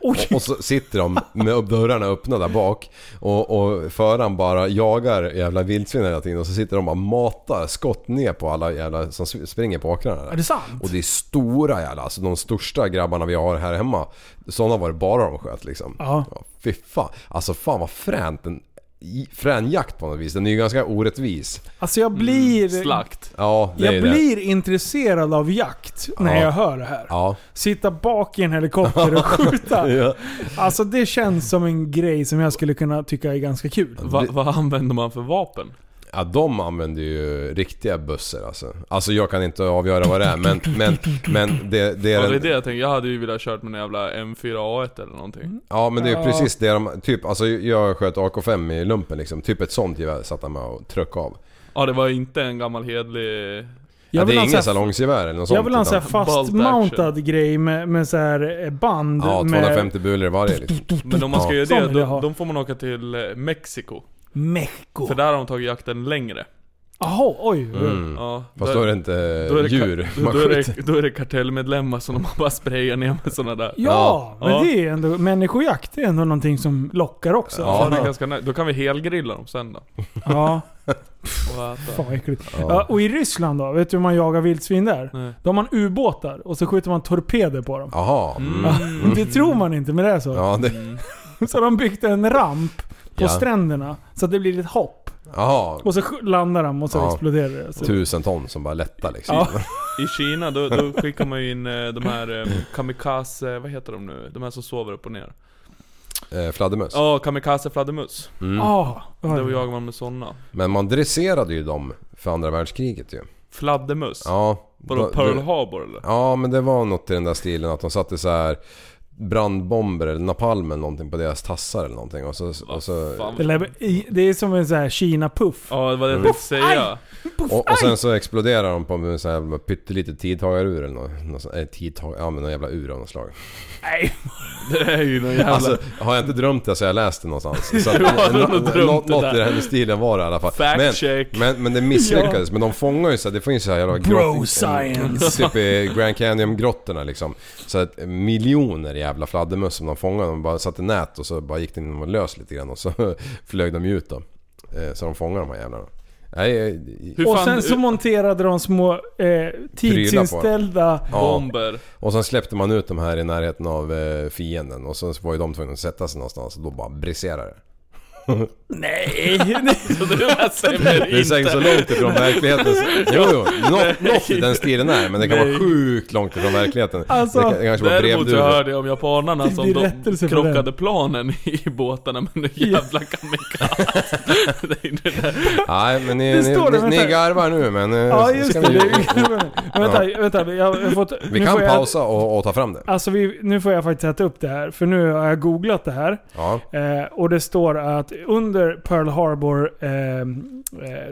Oj.
Och, och så sitter de med dörrarna öppna där bak och, och föraren bara jagar jävla vildsvin hela tiden och så sitter de och matar skott ner på alla jävla som s- springer på åkrarna. där.
Är det sant?
Och det är stora jävla, alltså de största grabbarna vi har här hemma. Sådana var det bara de sköt liksom.
Ja.
fy fan. Alltså fan vad fränt. En i- frän jakt på något vis. Den är ju ganska orättvis.
Alltså jag blir...
Slakt.
Ja, Mm, det är
jag
ju det.
blir intresserad av jakt när
Ja.
jag hör det här.
Ja.
Sitta bak i en helikopter
*laughs*
och skjuta. Alltså det känns som en grej som jag skulle kunna tycka är ganska kul.
Va, vad använder man för vapen?
Ja, de använder ju riktiga bussar alltså. Alltså jag kan inte avgöra vad det är men, men, men det, det
Ja,
är
det är
den,
det jag tänkte. Jag hade ju velat kört med en jävla M4A1 eller någonting.
Ja men det
Ja.
är precis det de, typ alltså jag sköt AK5 i lumpen liksom. Typ ett sånt gevär satt han med och tryckte av.
Ja, det var inte en gammal hedlig...
Ja, det är
ha så
inget
här-
salongsgevär eller något sånt.
jag vill ha en sån här
utan-
Bolt action.
fastmountad grej med, med så här eh, band.
Ja,
med
250 bulor i varje liksom.
Men om man ska
Ja.
göra
Sån
det,
vill jag ha.
då, då får man åka till eh, Mexiko.
Mexiko.
För där har de tagit jakten längre.
Jaha, oj.
Mm.
Ja,
Fast då är det inte
ka-
djur
då,
man
då, är
skjuter.
det, då är det kartellmedlemmar som de *laughs* bara sprayar ner med såna där.
Ja, men
Ja.
det är ändå... Människojakt är ändå någonting som lockar också.
Ja,
Ja.
det är ganska nice. Då kan vi helgrilla dem sen då.
ja.
Och äta.
Fan vad äckligt.
Ja.
Ja, och i Ryssland då? Vet du hur man jagar vildsvin där?
Nej.
Då har man ubåtar och så skjuter man torpeder på dem.
Jaha. Mm.
Ja, Det tror man inte, men det är så.
Ja, det...
Så har de byggt en ramp på
Ja.
stränderna så att det blir ett hopp.
Jaha.
Och så sk- landar de och så
Ja.
exploderar det. Så.
Tusen ton som bara lättar liksom.
Ja.
I Kina, då, då skickar man ju in eh, de här eh, kamikaze... Vad heter de nu? De här som sover upp och ner.
Eh, Fladdermöss.
Ja, kamikaze fladdermus.
Ah, vad
Då
är det?
jagar man med såna.
Men man dresserade ju dem för andra världskriget ju.
Fladdermus?
Ja.
Vadå
Då-
Pearl
då-
Harbor eller?
Ja, men det var något i den där stilen att de satte så här brandbomber eller napalm eller någonting på deras tassar eller någonting och så... Och, så,
Fan.
Det lär- i- Det är som en sån här Kina-puff.
Ja, det var det
Mm.
jag tänkte
aj!
säga.
och, och sen så exploderar de på en sån här jävla pyttelitet tidtagarur eller något. något sånt- eh, tidtag, ja men någon jävla ur av något slag.
Nej.
Det är ju någon jävla
Alltså, har jag inte drömt det så har jag läst det
*laughs*
någonstans. Så att,
har nog
nå- nå-
drömt
något
det
något
där.
i den stilen var det i alla fall.
Fact
men,
check.
Men, men det misslyckades. Men de fångar ju så här, det får ju så här jävla
Bro
grott- *laughs*
science.
Typ i Grand Canyon-grottorna liksom. Så att miljoner jävla fladdermöss som de fångade. De bara satte nät och så bara gick det in och lös lite grann och så *laughs* flög de ju ut då. Eh, Så de fångade de här jävlarna. Nej, eh,
Hur
Och
fan-
sen så
hur-
monterade de små eh, tidsinställda...
ja.
bomber.
Och sen släppte man ut de här i närheten av eh, fienden och sen så var ju de tvungna att sätta sig någonstans och då bara briserade det.
Nej! *laughs*
Så det där stämmer
Det är säkert
inte.
så långt ifrån verkligheten. Jo, jo. Något, något i den stilen är, men det kan vara sjukt långt ifrån verkligheten.
Alltså,
det, kan, det kanske var
Däremot så
brevduvor.
hörde jag om japanerna
Det
som
blir
de
rättelse på
krockade planen i båtarna med den jävla kamikaze. Det är det där.
Nej, men ni,
Det
ni,
står det,
ni,
vänta.
ni garvar nu, men... eh,
Ja
så
just
ska
det.
vi,
*laughs* Men vänta, vänta. Jag har fått,
vi
nu får
kan
jag-
pausa och, och ta fram det.
Alltså vi, nu får jag faktiskt äta upp det här, för nu har jag googlat det här.
Ja.
Eh, och det står att under Pearl Harbor eh, eh,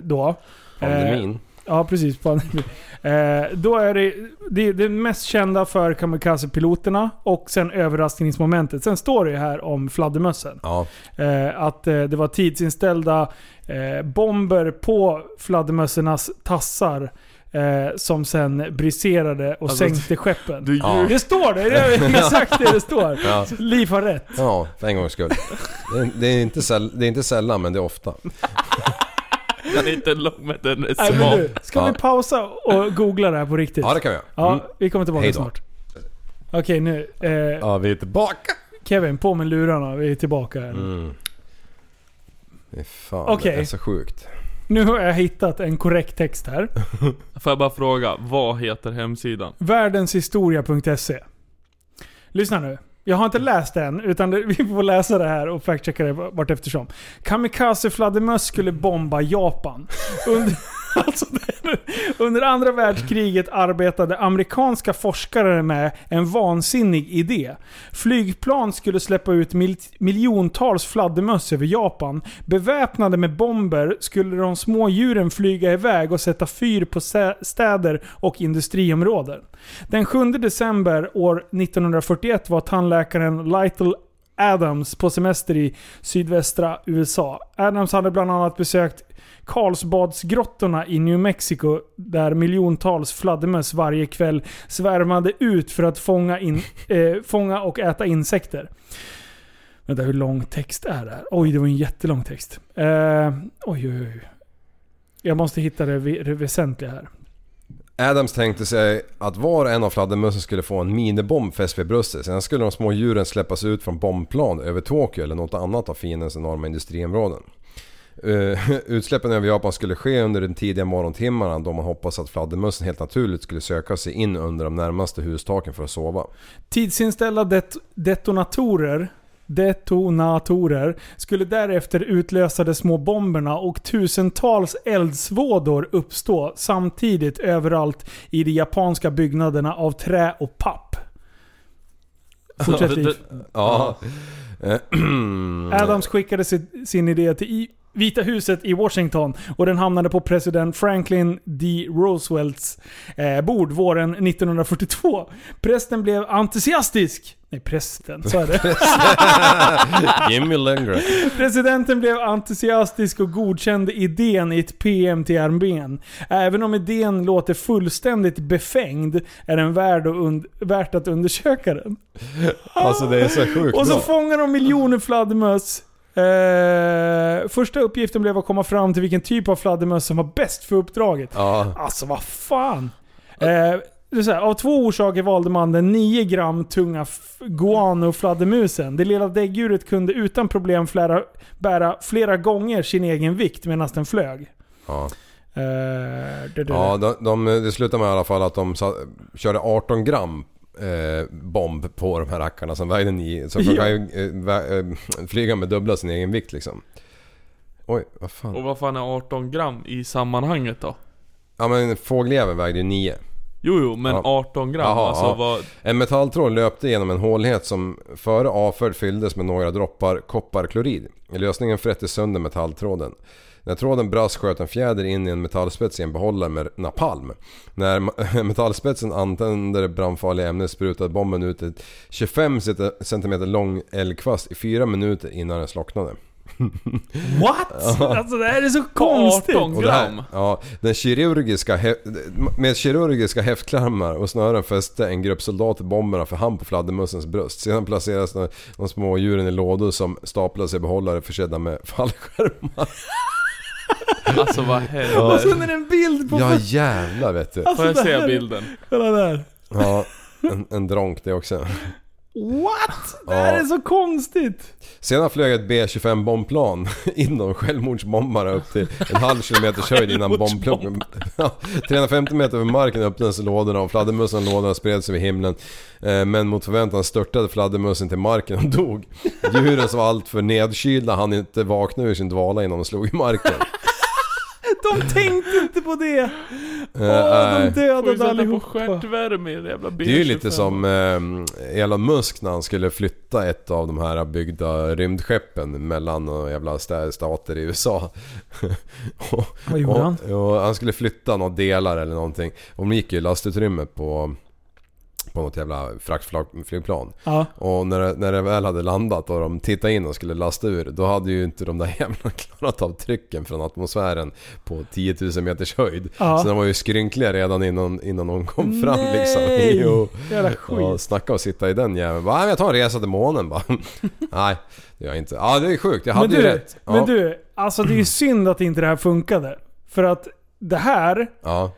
då... Eh,
Pandemin.
ja, precis. Pandemin. *laughs* Eh, då är det, det, det är mest kända för kamikazepiloterna och sen överraskningsmomentet. Sen står det ju här om fladdermössen.
Ja.
Eh, att eh, det var tidsinställda eh, bomber på fladdermössernas tassar Eh, som sen briserade och
Alltså,
sänkte skeppen.
Du
Ja.
ljuger.
Det står det! Det är
*laughs*
exakt det det står.
Ja.
Liv har rätt.
Ja, för en gångs skull. Det är, det, är inte säll, det är inte sällan, men det är ofta.
Den är inte lång men den är
Nej, men
smal.
du, ska
Ja.
vi pausa och googla det här på riktigt?
Ja, det kan vi göra.
Ja,
Mm.
vi kommer tillbaka
Hej då.
snart. Okej nu. Eh,
Ja, vi är tillbaka!
Kevin, på med lurarna. Vi är tillbaka. här.
Mm. Det är fan,
Okej.
det är så sjukt.
Nu har jag hittat en korrekt text här.
Får jag bara fråga, vad heter hemsidan?
Världenshistoria.se Lyssna nu. Jag har inte läst det än, utan det, *laughs* vi får läsa det här och factchecka det vart eftersom. Kamikaze-fladdermöss skulle bomba Japan. Under, *laughs* alltså, det- under andra världskriget arbetade amerikanska forskare med en vansinnig idé. Flygplan skulle släppa ut mil, miljontals fladdermöss över Japan. Beväpnade med bomber skulle de små djuren flyga iväg och sätta fyr på sä- städer och industriområden. Den 7 december år 1941 var tandläkaren Lytle Adams på semester i sydvästra USA. Adams hade bland annat besökt Karlsbadsgrottorna i New Mexico där miljontals fladdermöss varje kväll svärmade ut för att fånga, in, eh, fånga och äta insekter. Vänta, hur lång text är det här? Oj, det var en jättelång text. Eh, oj, oj, oj. Jag måste hitta det, vä- det väsentliga här.
Adams tänkte sig att var och en av fladdermössen skulle få en minibomb fäst vid bröstet. Sedan skulle de små djuren släppas ut från bombplan över Tokyo eller något annat av fiendens enorma industriområden. Eh, *laughs* utsläppen över Japan skulle ske under de tidiga morgontimmarna då man hoppas att fladdermössen helt naturligt skulle söka sig in under de närmaste hustaken för att sova.
Tidsinställda det- detonatorer detonatorer skulle därefter utlösa de små bomberna och tusentals eldsvådor uppstå samtidigt överallt i de japanska byggnaderna av trä och papp. Fortsätt
Alltså,
Liv.
Ja. Eh,
Adams skickade sin, sin idé till i, Vita huset i Washington och den hamnade på president Franklin D. Roosevelts eh, bord våren 1942. Prästen blev entusiastisk. Nej, prästen. Så är det.
Jimmy Lundgren.
Presidenten blev entusiastisk och godkände idén i ett PM till armén. Även om idén låter fullständigt befängd är den värd att und- värt att undersöka den.
Alltså det är så sjukt
Och så
bra.
fångar de miljoner fladdermöss. Eh, första uppgiften blev att komma fram till vilken typ av fladdermöss som var bäst för uppdraget.
Ja.
Alltså vad fan. Eh, det är så här, av två orsaker valde man den 9 gram tunga f- guano-fladdermusen. Det lilla däggdjuret kunde utan problem flera, bära flera gånger sin egen vikt medan den flög.
Ja.
Eh, det, det.
Ja, de, de, det slutade med i alla fall att de sa, körde 18 gram eh, bomb på de här rackarna som vägde 9. Så de
Ja.
kan ju eh, vä, eh, flyga med dubbla sin egen vikt liksom. Oj, vad
Och
fan.
vad fan är 18 gram i sammanhanget då?
Ja men fågeljäveln vägde ju 9.
Jo, jo, men
Ja.
18 gram.
Jaha,
alltså
ja.
vad...
En metalltråd löpte genom en hålighet som före avförd fylldes med några droppar kopparklorid. Lösningen frätte sönder metalltråden. När tråden brast sköt en fjäder in i en metallspets i en behållare med napalm. När ma- *laughs* metallspetsen antände det brandfarliga ämnet sprutade bomben ut ett 25 cm lång eldkvast i fyra minuter innan den slocknade. *laughs*
What? Alltså det här är så konstigt.
18
Och det här,
gram?
ja, den kirurgiska hä- med kirurgiska häftklämmar och snören fäste en grupp soldater bomberna för hand på fladdermössens bröst. Sedan placerades de, de små djuren i lådor som staplades i behållare försedda med fallskärmar. *laughs*
Alltså vad
Och
händer?
sen är det en bild på...
Ja jävlar vet du.
Får jag
det här
se
är-
bilden?
Kolla där.
Ja, en, en dronk det också.
What? Det här
Ja.
är så konstigt.
Sedan flög ett B25 bombplan *laughs* inom självmordsbombare upp till en halv kilometers höjd innan bombplocken... *laughs* Ja, 350 meter över marken öppnades lådorna och fladdermössen och lådorna spreds över himlen. Eh, Men mot förväntan störtade fladdermössen till marken och dog. Djuren som var alltför nedkylda hann inte vakna ur sin dvala innan de slog i marken.
De tänkte inte på det. Åh, de
nej.
Får ju
dödade
sätta på
allihopa.
stjärtvärme i den jävla bilden.
Det är ju lite som eh, Elon Musk när han skulle flytta ett av de här byggda rymdskeppen mellan eh, jävla stä- stater i USA. *laughs* och,
Vad gjorde
och,
han?
Och han skulle flytta några delar eller någonting. Och de gick ju i lastutrymmet på, på något jävla fraktflygplan.
Ja.
Och när, det- när det väl hade landat och de tittade in och skulle lasta ur, då hade ju inte de där *laughs* jävlarna klarat av trycken från atmosfären på 10 000 meters höjd.
Ja.
Så de var ju skrynkliga redan innan, innan de kom *laughs* fram liksom.
Nej!
Jo.
Jävla skit.
Ja, snacka och sitta i den jäveln. Bara, "Nej, men jag tar en resa till månen bara. *laughs* Nej, det gör jag inte. Ja, det är sjukt. Jag hade
men du,
ju rätt. Ja.
men du, alltså det är ju synd att inte det här funkade. För att det här,
Ja.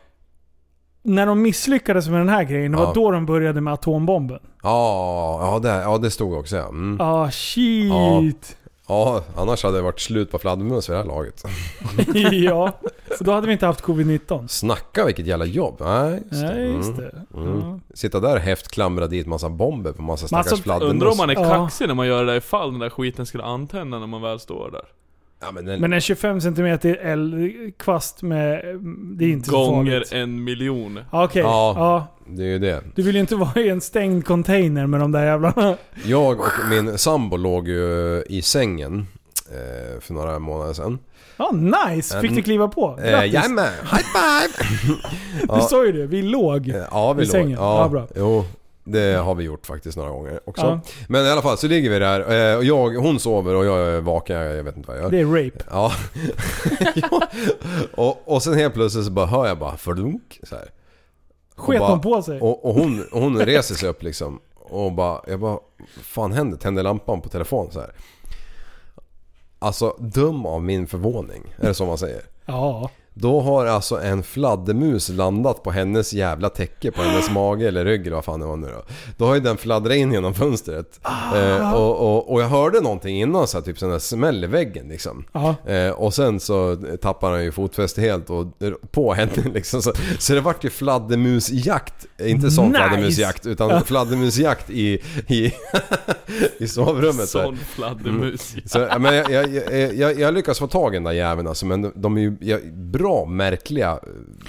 när de misslyckades med den här grejen, det var
Ja.
då de började med atombomben.
Ja, ja, det, ja, det stod också ja. Mm.
Ah, shit.
Ja, annars hade det varit slut på fladdermöss för det här laget.
*laughs* Ja. Så då hade vi inte haft covid-19.
Snacka vilket jävla jobb. Nej, just det.
Nej,
Mm.
just det. Ja.
Sitta där och häft klamra dit massa bomber på massa stackars
Massa-
fladdermöss.
Undrar om man är
Ja.
kaxig när man gör det där ifall den där skiten skulle antända när man väl står där.
Ja, men den...
Men en 25 cm kvast med... Det är inte så farligt. Ah,
Gånger en miljon.
Okej, ja.
Ja. Det är ju det.
Du vill ju inte vara i en stängd container med de där jävlarna. *laughs*
Jag och min sambo låg ju i sängen eh, för några månader sedan.
Ja, Ah, nice! Fick du kliva på?
Eh,
Grattis!
jajamän, high five!
Du sa ju det, vi låg.
Eh, Ja, vi
I
låg.
sängen.
Ja,
Ja, bra.
Jo, det har vi gjort faktiskt några gånger också.
Ja.
Men i alla fall så ligger vi där eh, och jag, hon sover och jag är vaken, jag vet inte vad jag gör.
Det är rape.
Ja. *laughs* ja. Och, och sen helt plötsligt så bara hör jag bara fördunk så här. Och
Sket
bara-
hon på sig?
Och, och hon, och hon reser sig upp liksom. Och bara, jag bara, "Vad fan händer? Tänder lampan på telefon så här. Alltså döm av min förvåning, är det så man säger?
Ja.
Då har alltså en fladdermus landat på hennes jävla täcke på hennes mage eller rygg eller vad fan det var nu då. Då har ju den fladdrat in genom fönstret. Eh, och, och, och jag hörde någonting innan så här, typ sån där smäll i väggen liksom.
Ja.
Eh, och sen så tappar han ju fotfäste helt och på henne *laughs* liksom. Så, så det vart ju fladdermusjakt. Eh, Inte sån
Nice!
fladdermusjakt utan fladdermusjakt i, i, *laughs* i sovrummet. så här.
Sån fladdermus.
Så, ja, men jag, jag, jag, jag, jag lyckas få tag i den där jäveln alltså, men de är ju ja, bra märkliga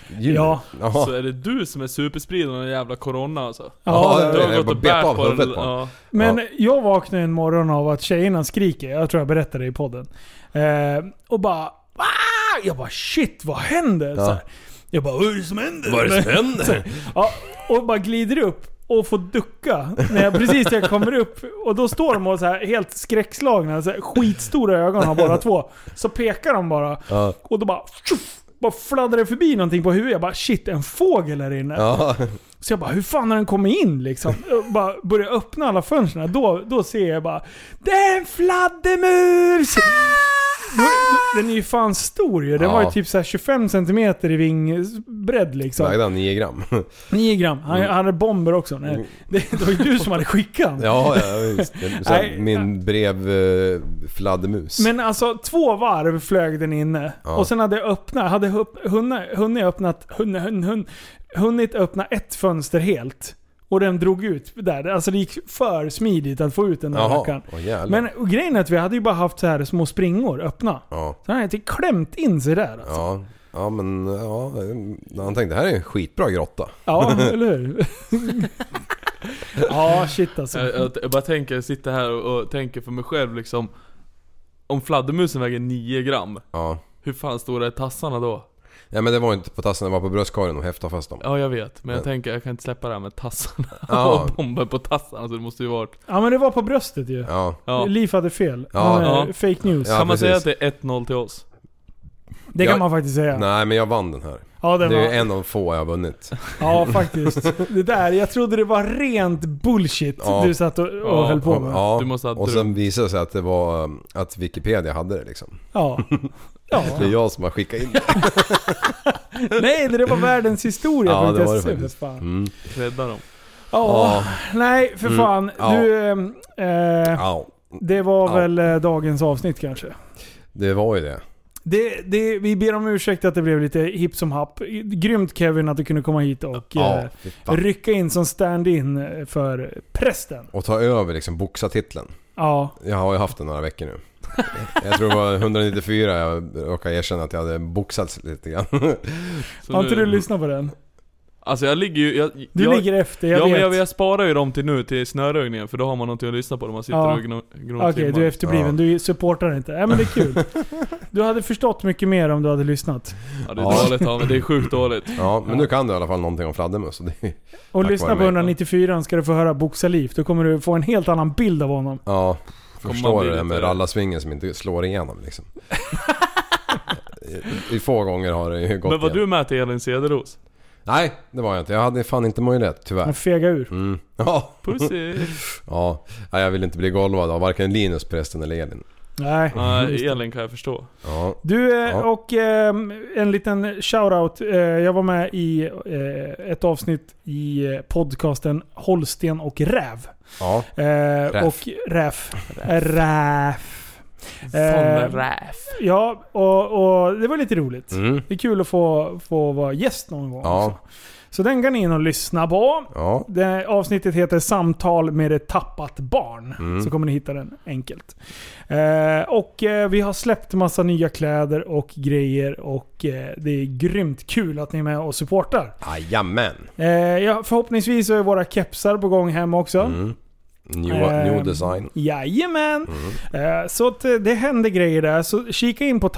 eh, djur.
Ja.
Jaha.
Så är det du som är superspridaren av den jävla corona alltså?
Ja,
Ja,
Du
jag
har
bara
gått och
bet
bärt
av
på den.
huvudet på
Ja.
Men jag vaknade en morgon av att tjejerna skriker. Jag tror jag berättade det i podden. Eh, och bara... "Ah!" Jag bara shit, vad händer? Så här. Jag bara vad är det som händer?
Vad är det som händer?
Så här. ja, och bara glider upp och får ducka när jag, precis när jag kommer upp. Och då står de och så här helt skräckslagna. Så här, skitstora ögon har båda två. Så pekar de bara.
Ja.
Och då bara... Tjoff, bara fladdrar det förbi någonting på huvudet. Jag bara shit, en fågel här inne.
Ja,
Så jag bara, hur fan har den kommit
*laughs*
in liksom? Jag bara börjar öppna alla fönstren. Då, då ser jag bara, det är
*laughs*
en fladdermus! Då- då- Den är ju fan stor ju. Den
Ja.
var ju typ så här 25 cm i vingbredd liksom.
*laughs* vägde han 9
*laughs*
gram?
9 gram. Han, han hade bomber också. Nej, det, det var ju du som hade skickat den.
Mm. Ja, ja visst. Det- Så här,
Nej.
min brev eh, fladdermus.
Men alltså två varv flög den inne.
Ja.
Och sen hade jag öppnat, hade hupp- hunna- hunnit, öppnat, hunna, hun, hun, hunnit öppna ett fönster helt. Och den drog ut där. Alltså det gick för smidigt att få ut den där
Jaha,
rackaren.
åh jävlar.
Men och grejen är att vi hade ju bara haft så här små springor öppna.
Ja,
Så han hade typ klämt in sig där alltså.
ja. Ja men ja, eh, han tänkte det här är en skitbra grotta.
Ja, eller
*laughs*
hur? ja, shit alltså.
Jag, jag, jag bara tänker, jag sitter här och, och tänker för mig själv liksom Om fladdermusen väger 9 gram,
Ja.
hur fan stora är tassarna då?
ja men det var inte på tassen, det var på bröstkorgen och häftade fast dem.
Ja jag vet, men jag
Men-
tänker jag kan inte släppa det här med tassarna
Ja.
och bomben på tassarna så det måste ju varit...
Ja men det var på bröstet ju.
Ja.
Ja.
Liv hade fel.
Ja,
Han är
ja.
Fake news.
Ja,
kan man
precis.
säga att det är 1-0 till oss?
Det kan
Ja.
man faktiskt säga.
Nej men jag vann den här.
Ja,
Det
den var...
är ju en av få jag har vunnit.
Ja, faktiskt. Det där, jag trodde det var rent bullshit
Ja.
du satt och, och
Ja.
höll på med. Ja.
Ja,
Du måste ha
och sen visade det sig att det var um, att Wikipedia hade det liksom.
Ja.
Det är jag som har skickat in det.
Nej, det där var världens historia.
Ja, det var det
.se, för
faktiskt.
fan.
Mm.
Rädda dem.
Ja.
Ja, nej för
Mm.
fan.
Ja.
Du, ehm, eh,
Ja,
det var
Ja.
väl eh, dagens avsnitt kanske.
det var ju det.
Det, det, vi ber om ursäkt att det blev lite hipp som happ. Grymt Kevin att du kunde komma hit och
Ja,
eh,
fy fan.
rycka in som stand-in för prästen.
Och ta över liksom boxartiteln.
Ja,
Jag har ju haft den några veckor nu. Jag tror det var 194 jag råkade erkänna att jag hade boxats lite grann.
Så
har inte du
nu-
lyssnat på den?
Alltså jag ligger ju... Jag,
Du
jag,
ligger efter, jag
Ja
vet.
men jag, jag sparar ju dem till nu, till snöröjningen, för då har man någonting att lyssna på när man sitter
Ja.
och gno- gnor
Okej,
timmar.
du är efterbliven.
Ja.
Du supportar inte. Nej men det
*laughs*
är kul. Du hade förstått mycket mer om du hade lyssnat.
Ja det är
Ja.
dåligt av mig, det är sjukt dåligt.
Ja, *laughs* men nu kan du i alla fall någonting om fladdermöss. och det-
Och
Tack
lyssna
vare
på
mig.
194 ska du få höra Boxalif. Då kommer du få en helt annan bild av honom.
Ja,
Kommer
förstår
man bli
du det där med
lite-
rallarsvingen som inte slår igenom liksom. I, I få gånger har det ju gått
Men var
igen.
du med till Elin Cederros?
Nej, det var jag inte. Jag hade fan inte möjlighet, tyvärr.
Han fega ur.
Mm. Ja,
Pussy!
*laughs* ja. Nej, jag vill inte bli golvad av varken Linus prästen eller Elin.
Nej.
Nej, Elin kan jag förstå.
Ja.
Du, eh,
Ja.
och ehm, en liten shoutout. Eh, Jag var med i eh, ett avsnitt i eh, podcasten Holsten och Räv.
Ja.
Eh,
Räf.
Och Räf. Räf. Eh,
Von Raff.
Ja, och, och det var lite roligt.
Mm.
Det är kul att få, få vara gäst någon gång.
Ja.
också. Så den kan ni in och lyssna på.
Ja.
Det här avsnittet heter Samtal med ett tappat barn.
Mm.
Så kommer ni hitta den enkelt. Eh, och eh, vi har släppt massa nya kläder och grejer och eh, det är grymt kul att ni är med och supportar.
Jajamän.
Eh, ja, förhoppningsvis så är våra kepsar på gång hem också.
Mm. New,
Eh,
new design. Mm.
Jajamän! Eh, Så att eh, det händer grejer där. Så kika in på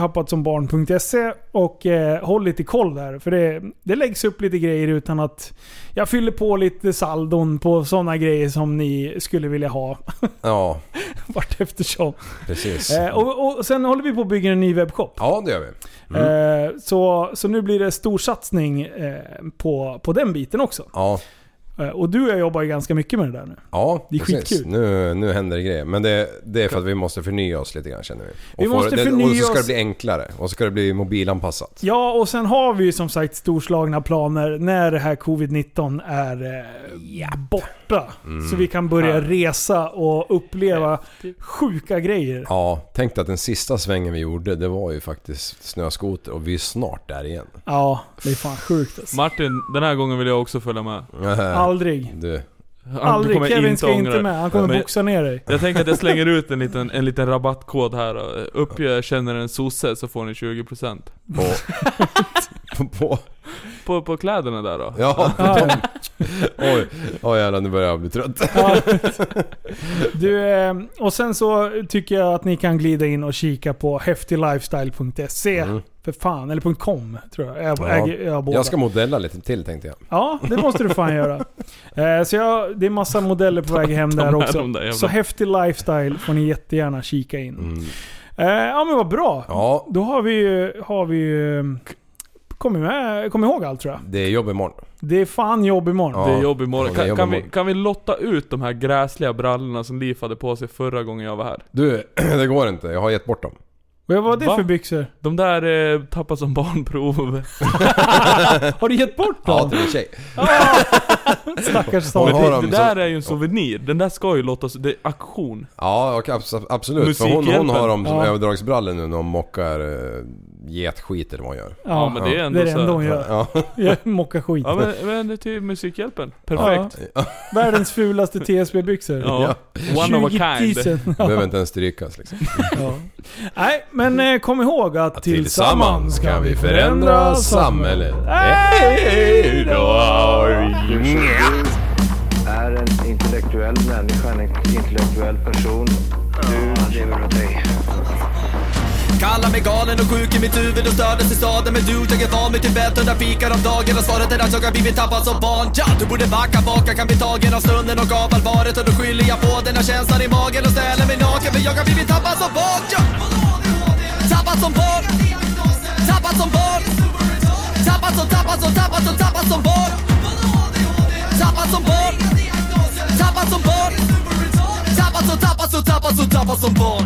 tappatsombarn.se och eh, håll lite koll där. För det, det läggs upp lite grejer utan att... Jag fyller på lite saldon på sådana grejer som ni skulle vilja ha *laughs*
Ja,
vart eftersom.
precis.
Eh, och, och sen håller vi på att bygga en ny webbshop.
Ja, det gör vi.
Eh, så, så nu blir det storsatsning eh, på, på den biten också.
Ja.
Eh, och du och jag jobbar ju ganska mycket med det där nu.
Ja,
Det är
precis.
skitkul.
Nu, nu händer det grejer. Men det, det är för att vi måste förnya oss lite grann känner vi. Och
Vi
få-
måste
det, Och
förnya
så ska
oss.
det bli enklare. Och så ska det bli mobilanpassat.
Ja, och sen har vi ju som sagt storslagna planer när det här covid-19 är eh, borta.
Mm,
Så vi kan börja resa och uppleva sjuka grejer.
Ja, tänk dig att den sista svängen vi gjorde, det var ju faktiskt snöskoter och vi är snart där igen.
Ja, det är fan sjukt alltså.
Martin, den här gången vill jag också följa med.
Aldrig.
*laughs* Du,
Han
Aldrig.
kommer
Kevin ska
ångra
inte
det.
med. Han kommer
Men-
boxa
*laughs*
ner dig.
Jag tänker att jag slänger ut en liten, en liten rabattkod här. då. Uppge känner en sosse så får ni 20%
på,
*laughs*
på, på,
På, på kläderna där då?
ja, *laughs*
Ja,
oj, oj jävlar nu börjar jag bli trött.
ja. Du, eh, och sen så tycker jag att ni kan glida in och kika på häftiglifestyle.se. För fan, eller .com tror jag. Jag,
Mm. Ja.
äger, jag, har båda.
Jag ska modella lite till tänkte jag.
Ja, det måste du fan göra. Eh, så jag, det är massa modeller på väg hem där
med
också.
dem där jävla-
så häftig lifestyle får ni jättegärna kika in.
Mm.
Eh, ja men vad bra.
Ja,
Då har vi ju... Har vi ju Kom, med, kom ihåg allt tror jag.
det är jobb imorgon.
Det är fan jobb imorgon.
Ja.
Det är jobb imorgon.
Ja, det är
Kan,
jobb
kan, vi,
imorgon.
kan vi lotta ut de här gräsliga brallorna som Liv hade på sig förra gången jag var här?
Du, *clears throat* det går inte. Jag har gett bort dem.
Vad var det
Va?
för byxor?
De där eh, tappas som barnprov.
Har du gett bort
Ja,
dem?
till en tjej.
Stackars
Hon
Samuel.
har
*laughs* Det,
dem
det där
som-
är ju en souvenir. Den där ska ju lottas Det är auktion.
Ja, och abs- absolut. För hon, hon
Musikhjälpen.
har dem som
Ja.
överdragsbrallor nu när hon mockar uh, getskit eller vad hon gör.
Ja, men det är ändå
det är det
så här-
enda hon gör.
*laughs* Ja,
Jag mockar skit.
*laughs*
Ja men, men det är till Musikhjälpen. Perfekt.
Ja. Världens fulaste TSB-byxor.
Ja.
*laughs*
One of a
20
kind.
000.
behöver inte ens strykas liksom.
Ja. Nej, men eh, kom ihåg att,
Tillsammans kan vi förändra samhället.
Hej då!
Du som du är en intellektuell människa, en intellektuell person. Du lever av dig.
Kallar mig galen och sjuk i mitt huvud och stördes i staden Men du, jag är van vid Tibet och där fikar om dagen Och svaret är att jag har blivit tappad som barn ja, Du borde backa bak, jag kan bli tagen av stunden och av allvaret Och då skyller jag på den här känslan i magen och ställer mig naken För jag har blivit tappad som barn ja. Tappad som barn Tappad som barn Tappad som, tappad som, tappad som, tappad som barn Tappad som barn Tappad som barn Tappad som, tappad som, tappad som, tappad som barn